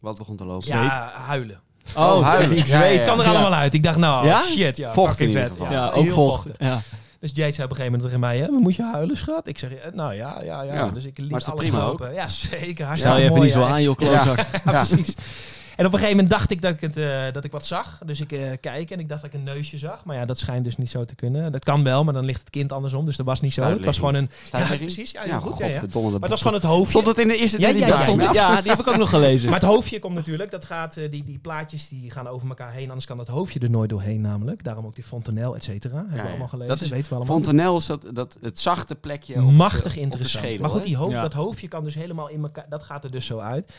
Speaker 2: Wat begon te lopen?
Speaker 1: Ja, huilen.
Speaker 2: Oh, huilen.
Speaker 3: ik
Speaker 2: Ja,
Speaker 3: zweet.
Speaker 2: ja,
Speaker 1: Het kan er allemaal uit. Ik dacht, nou,
Speaker 3: Ja?
Speaker 1: shit. Ja,
Speaker 2: Vocht
Speaker 1: fucking
Speaker 2: in ieder
Speaker 1: vet.
Speaker 2: geval.
Speaker 3: Ja, ook
Speaker 1: heel
Speaker 3: vochtig. Ja.
Speaker 1: Dus Jade zei op een gegeven moment tegen mij, hè, maar moet je huilen, schat? Ik zeg, eh, nou ja, ja, ja.
Speaker 2: Ja.
Speaker 1: Dus ik liet
Speaker 2: Maar is
Speaker 1: alles
Speaker 2: dat prima ook?
Speaker 1: lopen. Ja, zeker. Hartstikke
Speaker 3: Stel je even
Speaker 1: mooi,
Speaker 3: niet zo
Speaker 1: hè.
Speaker 3: aan, joh, klootzak.
Speaker 1: Ja, precies. En op een gegeven moment dacht ik dat ik, het, eh, dat ik wat zag. Dus ik eh kijk en ik dacht dat ik een neusje zag. Maar ja, dat schijnt dus niet zo te kunnen. Dat kan wel, maar dan ligt het kind andersom. Dus dat was niet zo. Het was gewoon een... Ja,
Speaker 2: Stuitlegging?
Speaker 1: precies. Ja, heel goed. Ja, ja. Maar
Speaker 2: godverdomme, dat
Speaker 1: het was gewoon het hoofdje.
Speaker 2: Stond het in de eerste
Speaker 1: Ja,
Speaker 2: drie
Speaker 1: ja, ja,
Speaker 2: dagen?
Speaker 1: stond het-
Speaker 3: Ja, die heb ik ook nog gelezen.
Speaker 1: nou. Maar het hoofdje komt natuurlijk, dat gaat, eh, die, die plaatjes die gaan over elkaar heen, anders kan dat hoofdje er nooit doorheen namelijk. Daarom ook die fontanel, et cetera. Hebben
Speaker 2: ja.
Speaker 1: we allemaal gelezen,
Speaker 2: Dat
Speaker 1: dat
Speaker 2: is
Speaker 1: weten we allemaal.
Speaker 2: Fontanel is dat, dat het zachte plekje. op de- op
Speaker 1: Machtig
Speaker 2: de
Speaker 1: interessant.
Speaker 2: schedel,
Speaker 1: maar goed,
Speaker 2: hè?
Speaker 1: die hoofd,
Speaker 3: Ja.
Speaker 1: dat hoofdje kan dus helemaal in elkaar, dat gaat er dus zo uit.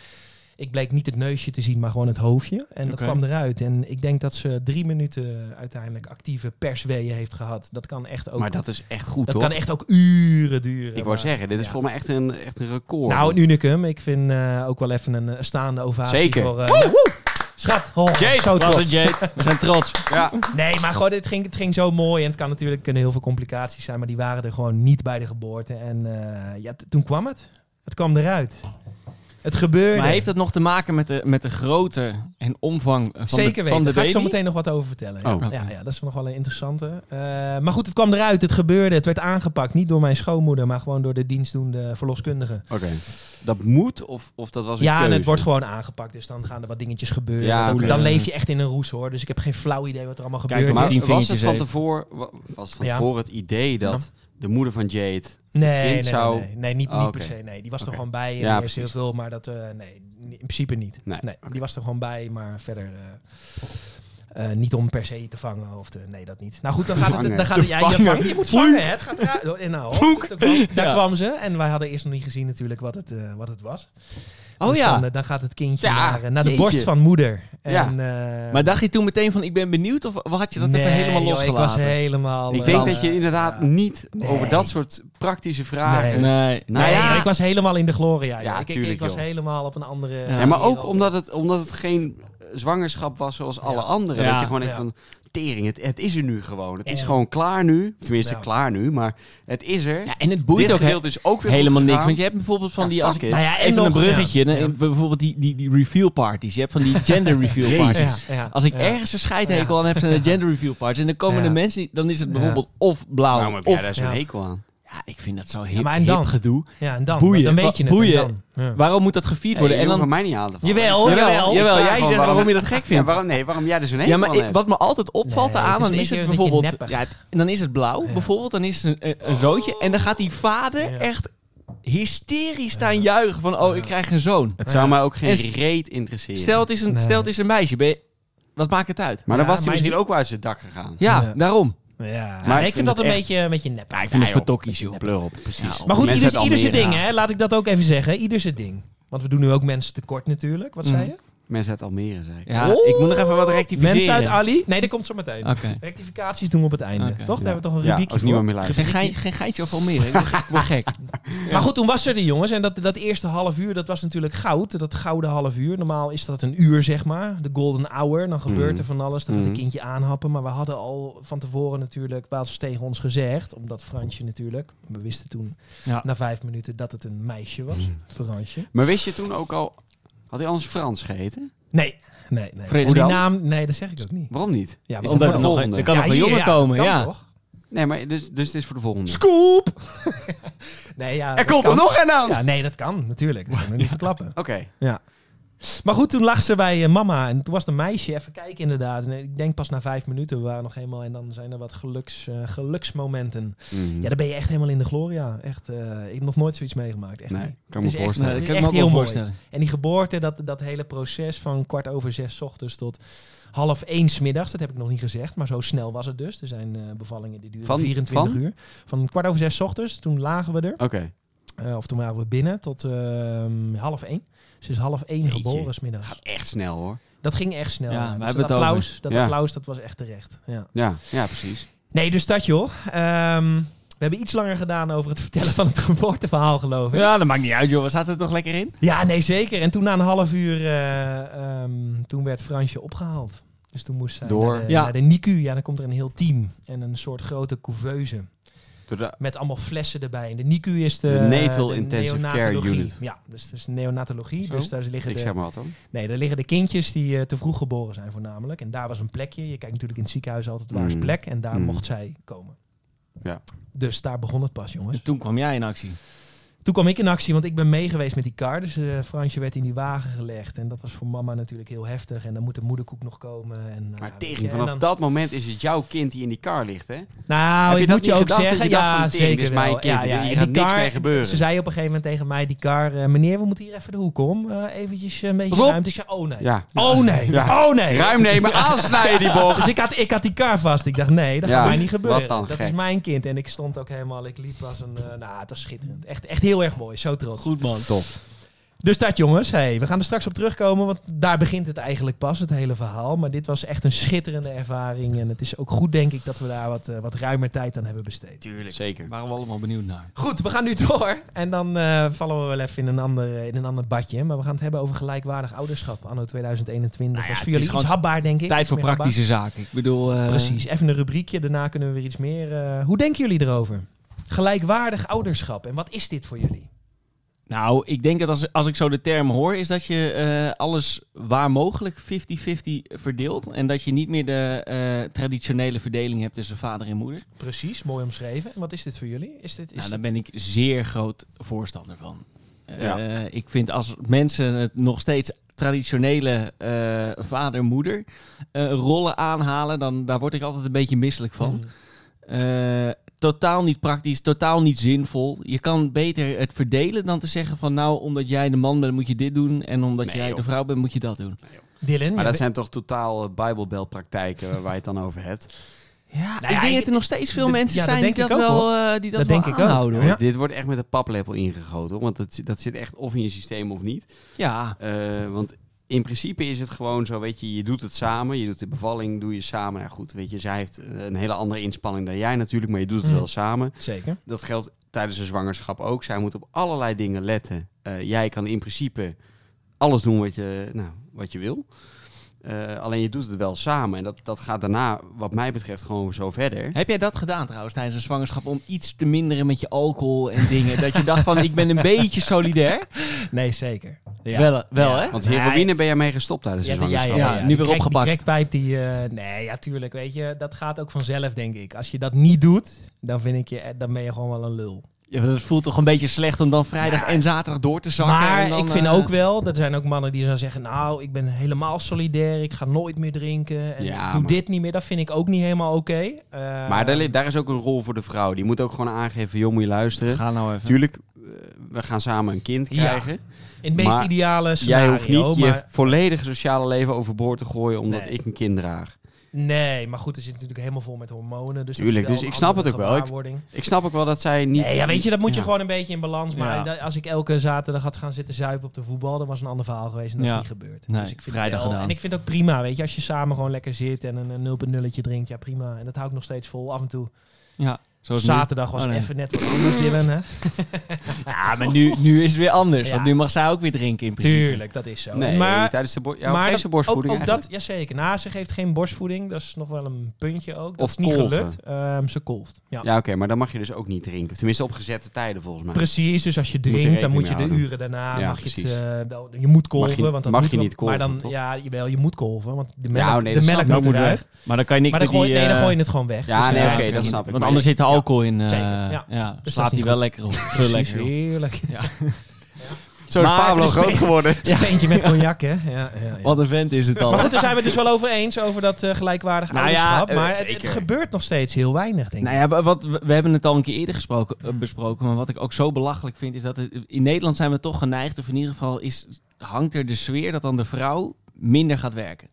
Speaker 1: Ik bleek niet het neusje te zien, maar gewoon het hoofdje. En dat
Speaker 3: Oké.
Speaker 1: kwam eruit. En ik denk dat ze drie minuten uiteindelijk actieve persweeën heeft gehad. Dat kan echt ook,
Speaker 2: Maar dat is echt goed,
Speaker 1: dat
Speaker 2: toch?
Speaker 1: kan echt ook uren duren.
Speaker 2: Ik wou
Speaker 1: maar-
Speaker 2: zeggen, dit is
Speaker 1: ja.
Speaker 2: voor mij echt een, echt een record.
Speaker 1: Nou, een unicum. Ik vind eh, ook wel even een eh, staande ovatie
Speaker 2: Zeker.
Speaker 1: voor... eh, Schat, oh, zo trots.
Speaker 3: Jade. We zijn trots.
Speaker 2: ja.
Speaker 1: Nee, maar gewoon, het ging, het ging zo mooi. En het kan natuurlijk kunnen heel veel complicaties zijn, maar die waren er gewoon niet bij de geboorte. En eh, ja, t- toen kwam het. Het kwam eruit. Het gebeurde.
Speaker 3: Maar heeft dat nog te maken met de, met de grootte en omvang van
Speaker 1: Zeker
Speaker 3: de,
Speaker 1: weten.
Speaker 3: van de
Speaker 1: Daar ga ik zo
Speaker 3: baby?
Speaker 1: meteen nog wat over vertellen. Ja.
Speaker 2: Oh,
Speaker 3: oké.
Speaker 1: ja, ja, dat is nog wel een interessante. Eh, maar goed, het kwam eruit. Het gebeurde. Het werd aangepakt. Niet door mijn schoonmoeder, maar gewoon door de dienstdoende verloskundige.
Speaker 2: Oké. Dat moet of, of dat was een
Speaker 1: Ja, en
Speaker 2: keuze?
Speaker 1: het wordt gewoon aangepakt. Dus dan gaan er wat dingetjes gebeuren.
Speaker 2: Ja,
Speaker 1: Dan-
Speaker 3: oké.
Speaker 1: dan leef je echt in een roes hoor. Dus ik heb geen flauw idee wat er allemaal
Speaker 3: Kijken
Speaker 1: gebeurt.
Speaker 3: maar-
Speaker 2: Maar
Speaker 3: Tien
Speaker 2: was het
Speaker 3: vingertjes
Speaker 2: van
Speaker 3: even.
Speaker 2: tevoren, wa- was van
Speaker 1: Ja.
Speaker 2: tevoren het idee dat de moeder van Jade...
Speaker 1: Nee,
Speaker 2: kind
Speaker 1: nee,
Speaker 2: zou-
Speaker 1: nee, nee, nee, niet,
Speaker 2: Oh,
Speaker 1: niet
Speaker 2: oké.
Speaker 1: per se. Nee, die was er
Speaker 2: Oké.
Speaker 1: gewoon bij. En
Speaker 2: Ja,
Speaker 1: die heeft heel
Speaker 2: precies.
Speaker 1: veel, maar dat eh, nee, in principe niet.
Speaker 2: Nee,
Speaker 1: die was er gewoon bij, maar verder. eh. Eh, niet om per se te vangen of te... Nee, dat niet. Nou goed, dan gaat het...
Speaker 2: Vangen.
Speaker 1: Dan gaat
Speaker 2: Te
Speaker 1: het ja, je,
Speaker 2: vangen.
Speaker 1: vangt- je moet vangen, hè. Het gaat eruit. En nou,
Speaker 3: Vloek.
Speaker 1: daar kwam, daar
Speaker 3: Ja.
Speaker 1: kwam ze. En wij hadden eerst nog niet gezien natuurlijk wat het, eh, wat het was.
Speaker 3: Oh
Speaker 1: Dus
Speaker 3: ja.
Speaker 1: Dan, eh, dan gaat het kindje
Speaker 3: Ja,
Speaker 1: naar, eh, naar de
Speaker 2: jeetje.
Speaker 1: borst van moeder. En,
Speaker 2: Ja.
Speaker 1: eh,
Speaker 3: Maar dacht je toen meteen van ik ben benieuwd of had je dat
Speaker 1: nee,
Speaker 3: even helemaal
Speaker 1: joh,
Speaker 3: losgelaten?
Speaker 1: ik was helemaal...
Speaker 2: Ik
Speaker 1: eh,
Speaker 2: denk
Speaker 3: dan,
Speaker 2: dat je inderdaad
Speaker 1: ja.
Speaker 2: niet
Speaker 1: Nee.
Speaker 2: over dat soort praktische vragen...
Speaker 1: Nee.
Speaker 3: Nee.
Speaker 2: Nou
Speaker 1: nee,
Speaker 2: ja.
Speaker 1: ik was helemaal in de gloria.
Speaker 2: Ja,
Speaker 1: joh. ik, ik, ik
Speaker 2: tuurlijk,
Speaker 1: was
Speaker 2: joh.
Speaker 1: helemaal op een andere...
Speaker 3: Ja,
Speaker 2: Ja, maar
Speaker 1: wereld.
Speaker 2: ook omdat het, omdat het geen eh, zwangerschap was zoals alle
Speaker 1: Ja.
Speaker 2: anderen.
Speaker 3: Ja.
Speaker 2: Dat je gewoon denkt
Speaker 1: Ja.
Speaker 2: van, tering, het, het is er nu gewoon. Het is
Speaker 1: Ja.
Speaker 2: gewoon klaar nu. Tenminste,
Speaker 1: Ja.
Speaker 2: klaar nu, maar het is er.
Speaker 3: Ja, en het
Speaker 2: Dit
Speaker 3: boeit ook
Speaker 2: gedeelte is
Speaker 3: he-
Speaker 2: ook weer
Speaker 3: helemaal
Speaker 2: goed
Speaker 3: niks.
Speaker 2: gegaan.
Speaker 3: Want je hebt bijvoorbeeld van
Speaker 2: Ja,
Speaker 3: die...
Speaker 2: fuck
Speaker 3: Als,
Speaker 2: it.
Speaker 1: Nou ja, en
Speaker 3: even
Speaker 1: nog,
Speaker 3: een bruggetje.
Speaker 1: ja.
Speaker 3: eh,
Speaker 1: Ja.
Speaker 3: Bijvoorbeeld die, die, die reveal parties. Je hebt van die gender reveal
Speaker 2: Jezus.
Speaker 3: parties.
Speaker 1: Ja, ja,
Speaker 3: Als ik
Speaker 1: ja.
Speaker 3: ergens een scheidhekel aan heb, zijn de gender reveal parties. En dan komen
Speaker 1: Ja.
Speaker 3: de mensen, die- dan is het
Speaker 1: Ja.
Speaker 3: bijvoorbeeld of blauw
Speaker 2: Waarom Nou, heb jij
Speaker 3: of...
Speaker 2: daar zo'n
Speaker 1: ja.
Speaker 2: hekel aan?
Speaker 3: Ja, ik vind dat zo hip,
Speaker 1: maar en
Speaker 3: hip
Speaker 1: dan?
Speaker 3: gedoe.
Speaker 1: Ja, en dan,
Speaker 3: Boeien.
Speaker 1: dan
Speaker 3: Wa-
Speaker 1: weet je het.
Speaker 3: boeien.
Speaker 1: en dan, ja.
Speaker 3: Waarom moet dat gevierd worden?
Speaker 2: en
Speaker 3: en dan, Oh,
Speaker 2: mij niet aan te vallen.
Speaker 1: Jawel,
Speaker 3: Jawel,
Speaker 1: jawel.
Speaker 3: jawel.
Speaker 2: Ik vraag
Speaker 3: jij
Speaker 2: gewoon
Speaker 3: zegt
Speaker 2: waarom-
Speaker 3: waarom je dat gek
Speaker 2: Ja,
Speaker 3: vindt.
Speaker 2: waarom, nee, waarom jij er zo'n hekel
Speaker 3: Ja, maar
Speaker 2: aan
Speaker 3: ik-
Speaker 2: hebt?
Speaker 3: wat me altijd opvalt
Speaker 1: Nee, het is
Speaker 3: aan,
Speaker 1: een
Speaker 3: dan is
Speaker 1: beetje-
Speaker 3: het
Speaker 1: een beetje
Speaker 3: bijvoorbeeld...
Speaker 1: neppig.
Speaker 3: Ja, het- en dan is het blauw
Speaker 1: Ja.
Speaker 3: bijvoorbeeld, dan is het een, een, een zootje. En dan gaat die vader
Speaker 1: Ja.
Speaker 3: echt hysterisch
Speaker 1: Ja.
Speaker 3: staan juichen van... Oh, ik
Speaker 1: Ja.
Speaker 3: krijg een zoon.
Speaker 2: Het zou mij ook geen
Speaker 3: En-
Speaker 2: reet interesseren.
Speaker 3: Stel het is een,
Speaker 1: Nee.
Speaker 3: stel het is een meisje, ben je- wat maakt het uit?
Speaker 2: maar dan
Speaker 1: Ja,
Speaker 2: was hij
Speaker 1: mij
Speaker 2: misschien
Speaker 1: niet.
Speaker 2: ook wel uit zijn dak gegaan.
Speaker 3: Ja,
Speaker 1: Ja.
Speaker 3: daarom.
Speaker 1: Ja,
Speaker 2: Maar
Speaker 1: nee,
Speaker 2: ik
Speaker 1: ik
Speaker 2: vind
Speaker 1: vind dat
Speaker 3: het
Speaker 1: een
Speaker 3: echt-
Speaker 1: beetje, een beetje nep.
Speaker 3: ik vind het
Speaker 2: joh,
Speaker 3: vertokkies, joh.
Speaker 2: Pleur op, precies.
Speaker 1: Maar goed,
Speaker 2: Mensen
Speaker 1: ieder,
Speaker 2: uit
Speaker 1: ieder zijn
Speaker 2: Almere.
Speaker 1: ding, hè. Laat ik dat ook even zeggen. Ieder zijn ding. Want we doen nu ook mensen tekort natuurlijk. Wat zei
Speaker 3: Mm.
Speaker 1: je?
Speaker 2: Mensen uit Almere, zei ik.
Speaker 3: Ja, ik moet nog even wat rectificeren.
Speaker 1: Mensen uit Ali? Nee, dat komt zo meteen.
Speaker 3: Oké.
Speaker 1: Rectificaties doen we op het einde.
Speaker 3: Oké.
Speaker 1: toch? Daar
Speaker 2: Ja.
Speaker 1: hebben we toch een
Speaker 2: Ja,
Speaker 1: rubriekje
Speaker 2: als
Speaker 1: voor.
Speaker 2: niemand meer luistert.
Speaker 3: Geen, gei- geen geitje of Almere. Ik word gek- ik word gek.
Speaker 1: Maar goed, toen was er die jongens. En dat, dat eerste half uur, dat was natuurlijk goud. Dat gouden half uur. Normaal is dat een uur, zeg maar. De golden hour. Dan gebeurt
Speaker 2: Mhm.
Speaker 1: er van alles. Dan gaat
Speaker 2: Mhm.
Speaker 1: een kindje aanhappen. Maar we hadden al van tevoren natuurlijk... was tegen ons gezegd. Omdat Fransje natuurlijk... We wisten toen
Speaker 3: Ja.
Speaker 1: na vijf minuten dat het een meisje was.
Speaker 2: Mhm.
Speaker 1: Fransje.
Speaker 2: Maar wist je toen ook al... Had hij anders Frans geheten?
Speaker 1: Nee, nee, nee.
Speaker 3: Frits.
Speaker 1: Hoe die
Speaker 2: Hoe dan?
Speaker 1: naam... Nee, dat zeg ik ook niet.
Speaker 2: Waarom niet?
Speaker 1: Ja,
Speaker 2: Is
Speaker 1: want-
Speaker 2: dat
Speaker 3: Omdat
Speaker 2: voor
Speaker 3: er
Speaker 2: de
Speaker 3: nog
Speaker 2: volgende?
Speaker 3: er kan nog
Speaker 1: Ja,
Speaker 3: een
Speaker 1: hier,
Speaker 3: jongen
Speaker 1: ja,
Speaker 3: komen,
Speaker 1: kan
Speaker 3: ja.
Speaker 1: toch?
Speaker 2: Nee, maar dus, dus dit is voor de volgende.
Speaker 1: Scoop! nee, ja, dat kan.
Speaker 2: een aan!
Speaker 1: Ja, nee, dat kan, natuurlijk. Dat kan ik nog niet verklappen.
Speaker 2: Oké.
Speaker 1: Maar goed, toen lag ze bij eh, mama en toen was het een meisje. Even kijken inderdaad. En ik denk pas na vijf minuten, we waren nog helemaal... En dan zijn er wat geluks, eh, geluksmomenten.
Speaker 2: Hm. Mhm.
Speaker 1: Ja, dan ben je echt helemaal in de gloria. Echt, eh, ik heb nog nooit zoiets meegemaakt. Echt
Speaker 2: nee,
Speaker 1: niet. Het
Speaker 2: kan me
Speaker 1: is echt-
Speaker 2: voorstellen.
Speaker 1: dat
Speaker 3: dat
Speaker 1: is
Speaker 3: kan ik
Speaker 1: echt
Speaker 3: me ook
Speaker 1: heel mooi.
Speaker 3: wel voorstellen.
Speaker 1: En die geboorte, dat, dat hele proces van kwart over zes 's ochtends tot half één 's middags, dat heb ik nog niet gezegd, maar zo snel was het dus. Er zijn eh, bevallingen die duren
Speaker 2: Van-
Speaker 1: 24
Speaker 2: van?
Speaker 1: uur. Van kwart over zes 's ochtends, toen lagen we er,
Speaker 2: Oké.
Speaker 1: eh, of toen waren we binnen, tot ehm, half één. Ze is half één
Speaker 2: Jeetje.
Speaker 1: geboren 's middags.
Speaker 2: Gaat echt snel hoor.
Speaker 1: Dat ging echt snel.
Speaker 3: Ja,
Speaker 1: ja.
Speaker 3: we
Speaker 1: Dus
Speaker 3: hebben
Speaker 1: dat
Speaker 3: het
Speaker 1: applaus, dat
Speaker 2: Ja.
Speaker 1: applaus, dat was echt terecht. Ja.
Speaker 2: Ja, ja precies.
Speaker 1: Nee, dus dat joh. Ehm, we hebben iets langer gedaan over het vertellen van het geboorteverhaal, geloof ik.
Speaker 3: Ja, dat maakt niet uit, joh. We zaten er toch lekker in?
Speaker 1: Ja, nee, zeker. En toen na een half uur, eh, ehm, toen werd Fransje opgehaald. Dus toen moest zij
Speaker 2: Door.
Speaker 1: naar, de,
Speaker 3: Ja.
Speaker 1: naar de NICU. Ja, dan komt er een heel team en een soort grote couveuse
Speaker 2: Door de-
Speaker 1: met allemaal flessen erbij. En de NICU is de,
Speaker 2: De Natal
Speaker 1: de
Speaker 2: Intensive Care
Speaker 1: neonatologie.
Speaker 2: Unit.
Speaker 1: Ja, dus het is neonatologie.
Speaker 3: Zo.
Speaker 1: Dus daar liggen,
Speaker 2: ik
Speaker 1: de,
Speaker 2: zeg maar wat dan.
Speaker 1: nee, daar liggen de kindjes die eh, te vroeg geboren zijn voornamelijk. En daar was een plekje. Je kijkt natuurlijk in het ziekenhuis altijd waar is
Speaker 2: Mm.
Speaker 1: plek. En daar
Speaker 2: Mm.
Speaker 1: mocht zij komen.
Speaker 2: Ja.
Speaker 1: Dus daar begon het pas, jongens.
Speaker 3: En toen kwam jij in actie.
Speaker 1: Toen kwam ik in actie, want ik ben meegeweest met die kar. Dus eh, Fransje werd in die wagen gelegd. En dat was voor mama natuurlijk heel heftig. En dan moet de moederkoek nog komen. En, nou ja,
Speaker 2: Maar
Speaker 1: weet
Speaker 2: tering,
Speaker 1: je, en
Speaker 2: vanaf
Speaker 1: dan-
Speaker 2: dat moment is het jouw kind die in die car ligt, hè?
Speaker 1: Nou,
Speaker 2: Heb je
Speaker 1: ik
Speaker 2: dat
Speaker 1: moet je
Speaker 2: niet
Speaker 1: ook
Speaker 2: gedacht, dat je
Speaker 1: zeggen.
Speaker 2: dacht
Speaker 1: Ja,
Speaker 2: van, tering,
Speaker 1: zeker
Speaker 2: dit is
Speaker 1: wel.
Speaker 2: mijn kind,
Speaker 1: ja, ja.
Speaker 2: hier
Speaker 1: En
Speaker 2: gaat
Speaker 1: die
Speaker 2: niks
Speaker 1: kar-
Speaker 2: mee gebeuren.
Speaker 1: Ze zei op een gegeven moment tegen mij, die kar... eh, meneer, we moeten hier even de hoek om. Eh, eventjes een beetje
Speaker 3: Pas op.
Speaker 1: ruimte. Ik zei, oh nee.
Speaker 2: Ja.
Speaker 1: Oh nee.
Speaker 2: Ja.
Speaker 1: Oh nee.
Speaker 2: Ruim nemen, aansnijden die bocht.
Speaker 1: Dus ik had, ik had die kar vast. Ik dacht, nee, dat
Speaker 2: Ja,
Speaker 1: gaat mij niet
Speaker 2: wat
Speaker 1: gebeuren.
Speaker 2: dan,
Speaker 1: dat
Speaker 2: gek.
Speaker 1: is mijn kind. En ik stond ook helemaal... Ik liep als een... eh, nou, het was schitterend. Echt, echt heel erg mooi. Zo trots.
Speaker 3: Goed, man.
Speaker 2: Top.
Speaker 1: Dus dat jongens, hey, we gaan er straks op terugkomen, want daar begint het eigenlijk pas, het hele verhaal. Maar dit was echt een schitterende ervaring en het is ook goed denk ik dat we daar wat, eh, wat ruimer tijd aan hebben besteed.
Speaker 3: Tuurlijk.
Speaker 2: Zeker.
Speaker 3: Waren we allemaal benieuwd naar.
Speaker 1: Goed, we gaan nu door en dan eh, vallen we wel even in een, ander, in een ander badje. Maar we gaan het hebben over gelijkwaardig ouderschap anno 2021.
Speaker 3: Nou ja,
Speaker 1: dat is
Speaker 3: het
Speaker 1: voor
Speaker 3: is
Speaker 1: jullie iets
Speaker 3: gewoon
Speaker 1: hapbaar denk ik.
Speaker 3: Tijd voor
Speaker 1: Iets meer
Speaker 3: praktische zaken. Ik bedoel... eh,
Speaker 1: hapbaar. Precies, even een rubriekje, daarna kunnen we weer iets meer. eh, hoe denken jullie erover? Gelijkwaardig ouderschap en wat is dit voor jullie?
Speaker 3: Nou, ik denk dat als, als ik zo de term hoor, is dat je eh, alles waar mogelijk 50-50 verdeelt. En dat je niet meer de eh, traditionele verdeling hebt tussen vader en moeder.
Speaker 1: Precies, mooi omschreven. En wat is dit voor jullie? Is dit, is
Speaker 3: nou,
Speaker 1: dit-
Speaker 3: daar ben ik zeer groot voorstander van. Eh,
Speaker 2: Ja.
Speaker 3: ik vind als mensen het nog steeds traditionele eh, vader-moeder eh, rollen aanhalen, dan daar word ik altijd een beetje misselijk van.
Speaker 1: Mm.
Speaker 3: Eh, totaal niet praktisch, totaal niet zinvol. Je kan beter het verdelen dan te zeggen van nou, omdat jij de man bent moet je dit doen en omdat
Speaker 2: Nee,
Speaker 3: jij
Speaker 2: joh.
Speaker 3: de vrouw bent moet je dat doen.
Speaker 2: joh.
Speaker 1: Dylan.
Speaker 2: Maar
Speaker 1: ja,
Speaker 2: dat
Speaker 1: we-
Speaker 2: zijn toch totaal eh, bijbelbelpraktijken waar je het dan over hebt.
Speaker 1: ja,
Speaker 3: Nou ik
Speaker 1: Nou ja,
Speaker 3: denk
Speaker 1: ik-
Speaker 3: dat er nog steeds veel
Speaker 1: dat-
Speaker 3: mensen
Speaker 1: ja, dat
Speaker 3: zijn die dat
Speaker 1: denk ik ook,
Speaker 3: wel, eh, die dat
Speaker 1: Dat
Speaker 3: wel
Speaker 1: denk ik ook.
Speaker 3: aanhouden.
Speaker 1: Ja.
Speaker 3: hoor.
Speaker 2: Dit wordt echt met een paplepel ingegoten, hoor, want dat, zi- dat zit echt of in je systeem of niet.
Speaker 3: Ja.
Speaker 2: Eh, want in principe is het gewoon zo, weet je, je doet het samen. Je doet de bevalling, doe je samen. Nou goed, weet je, zij heeft eh, een hele andere inspanning dan jij natuurlijk, maar je doet het
Speaker 1: Mm.
Speaker 2: wel samen.
Speaker 1: Zeker.
Speaker 2: Dat geldt tijdens een zwangerschap ook. Zij moet op allerlei dingen letten. Eh, jij kan in principe alles doen wat je, nou, wat je wil. Eh, alleen je doet het wel samen. En dat, dat gaat daarna, wat mij betreft, gewoon zo verder.
Speaker 3: Heb jij dat gedaan trouwens tijdens een zwangerschap om iets te minderen met je alcohol en dingen? dat je dacht van ik ben een beetje solidair.
Speaker 1: Nee, zeker. Ja.
Speaker 3: Wel, wel
Speaker 1: Ja.
Speaker 3: hè?
Speaker 2: Want
Speaker 1: Nee.
Speaker 2: heroïne ben jij mee gestopt tijdens een
Speaker 1: Ja, ja, ja,
Speaker 2: zwangerschap.
Speaker 3: Ja, nu
Speaker 1: Die
Speaker 3: weer
Speaker 1: crack-
Speaker 3: opgepakt.
Speaker 1: Die crackpijp, die... eh, nee, ja, tuurlijk, weet je. Dat gaat ook vanzelf, denk ik. Als je dat niet doet, dan, vind ik je, eh, dan ben je gewoon wel een lul.
Speaker 3: Ja, dat voelt toch een beetje slecht om dan vrijdag
Speaker 1: Ja.
Speaker 3: en zaterdag door te zakken.
Speaker 1: maar
Speaker 3: en dan,
Speaker 1: ik vind
Speaker 3: eh,
Speaker 1: ook wel, er zijn ook mannen die dan zeggen... Nou, ik ben helemaal solidair, ik ga nooit meer drinken. En
Speaker 2: Ja,
Speaker 1: ik doe
Speaker 2: maar-
Speaker 1: dit niet meer. Dat vind ik ook niet helemaal oké. Eh,
Speaker 2: Maar daar, li- daar is ook een rol voor de vrouw. Die moet ook gewoon aangeven, joh, moet je luisteren.
Speaker 3: Ga nou even.
Speaker 2: Tuurlijk, eh, we gaan samen een kind
Speaker 1: Ja.
Speaker 2: krijgen.
Speaker 1: In het meest
Speaker 2: maar
Speaker 1: ideale
Speaker 2: Jij
Speaker 1: scenario.
Speaker 2: hoeft niet je
Speaker 1: maar,
Speaker 2: volledige sociale leven overboord te gooien omdat
Speaker 1: Nee.
Speaker 2: ik een kind draag.
Speaker 1: Nee, maar goed, er zit natuurlijk helemaal vol met hormonen. Dus dat
Speaker 2: Tuurlijk,
Speaker 1: is wel
Speaker 2: dus
Speaker 1: een
Speaker 2: ik snap het
Speaker 1: andere
Speaker 2: ook wel. Ik-
Speaker 1: gewaarwording.
Speaker 2: Ik snap ook wel dat zij niet...
Speaker 1: Nee, ja, weet je, dat moet je
Speaker 2: Ja.
Speaker 1: gewoon een beetje in balans. Maar
Speaker 3: Ja.
Speaker 1: dat- als ik elke zaterdag had gaan zitten zuipen op de voetbal, dan was een ander verhaal geweest. En dat
Speaker 3: Ja.
Speaker 1: is niet gebeurd.
Speaker 3: Nee,
Speaker 1: dus ik vind
Speaker 3: vrijdag
Speaker 1: wel-
Speaker 3: gedaan.
Speaker 1: En ik vind het ook prima, weet je. Als je samen gewoon lekker zit en een, een 0.0 drinkt, ja prima. En dat hou ik nog steeds vol af en toe.
Speaker 3: Ja, zoals
Speaker 2: Hm.
Speaker 3: nu.
Speaker 1: zaterdag was
Speaker 3: Oh, nee.
Speaker 1: even net wat anders, Dylan, hè?
Speaker 3: Ja, Ah, maar nu, nu is het weer anders.
Speaker 1: Ja.
Speaker 3: Want nu mag zij ook weer drinken in principe.
Speaker 1: Tuurlijk, dat is zo.
Speaker 2: Nee,
Speaker 1: maar
Speaker 2: tijdens de, bo ja,
Speaker 1: maar
Speaker 2: maar
Speaker 1: dat-
Speaker 2: de borstvoeding
Speaker 1: ook, ook dat,
Speaker 2: eigenlijk.
Speaker 1: jazeker. Na, ze geeft geen borstvoeding. Dat is nog wel een puntje ook. Dat
Speaker 2: Of
Speaker 1: is niet
Speaker 2: kolven.
Speaker 1: gelukt. Ehm, ze kolft. Ja.
Speaker 2: Ja, oké, maar dan mag je dus ook niet drinken. Tenminste, op gezette tijden volgens mij.
Speaker 1: Precies, dus als je
Speaker 2: je
Speaker 1: drinkt, dan
Speaker 2: rekening
Speaker 1: moet je de
Speaker 2: mee houden.
Speaker 1: uren daarna.
Speaker 2: Ja,
Speaker 1: mag je, het,
Speaker 2: precies.
Speaker 1: eh, wel, je moet kolven.
Speaker 2: Mag je-
Speaker 1: want dat
Speaker 2: mag
Speaker 1: moet
Speaker 2: je
Speaker 1: wel-
Speaker 2: niet
Speaker 1: Maar dan,
Speaker 2: kolven, toch?
Speaker 1: ja, jawel, je moet kolven. Want de melk,
Speaker 2: Ja, oh nee,
Speaker 1: de
Speaker 2: dat
Speaker 1: melk
Speaker 2: snap ik.
Speaker 1: moet
Speaker 3: Dat moet
Speaker 1: eruit.
Speaker 3: Maar dan kan je niks
Speaker 1: Maar dan
Speaker 3: met
Speaker 1: gooi,
Speaker 3: die...
Speaker 1: nee, dan
Speaker 3: eh,
Speaker 1: gooi je het gewoon weg.
Speaker 2: Ja,
Speaker 1: Dus
Speaker 2: nee,
Speaker 1: dan-
Speaker 2: oké,
Speaker 1: ja,
Speaker 2: dat snap ik.
Speaker 3: Want
Speaker 2: Maar
Speaker 3: anders zit er
Speaker 1: ja,
Speaker 3: alcohol in. eh
Speaker 1: Zeker,
Speaker 3: ja.
Speaker 1: ja.
Speaker 3: Dus
Speaker 1: is
Speaker 3: slaapt hij
Speaker 1: niet
Speaker 3: wel
Speaker 1: goed.
Speaker 3: lekker op. Zo
Speaker 1: precies,
Speaker 3: lekker. joh.
Speaker 1: Heerlijk.
Speaker 2: Zo is
Speaker 3: Maar
Speaker 2: Pablo
Speaker 3: het is
Speaker 2: groot
Speaker 3: twee-
Speaker 2: geworden.
Speaker 1: Steentje met cognac, hè? Ja, ja, ja.
Speaker 3: Wat een vent is het
Speaker 1: Maar
Speaker 3: dan.
Speaker 1: goed, daar zijn we het dus wel over eens, over dat eh, gelijkwaardig
Speaker 3: Nou ja,
Speaker 1: ouderschap.
Speaker 3: eh,
Speaker 1: maar het, het
Speaker 2: zeker.
Speaker 1: gebeurt nog steeds heel weinig, denk ik.
Speaker 3: Nou ja, wa- wat, we we hebben het al een keer eerder gesproken, eh, besproken. Maar wat ik ook zo belachelijk vind, is dat het- in Nederland zijn we toch geneigd, of in ieder geval is, hangt er de sfeer dat dan de vrouw minder gaat werken.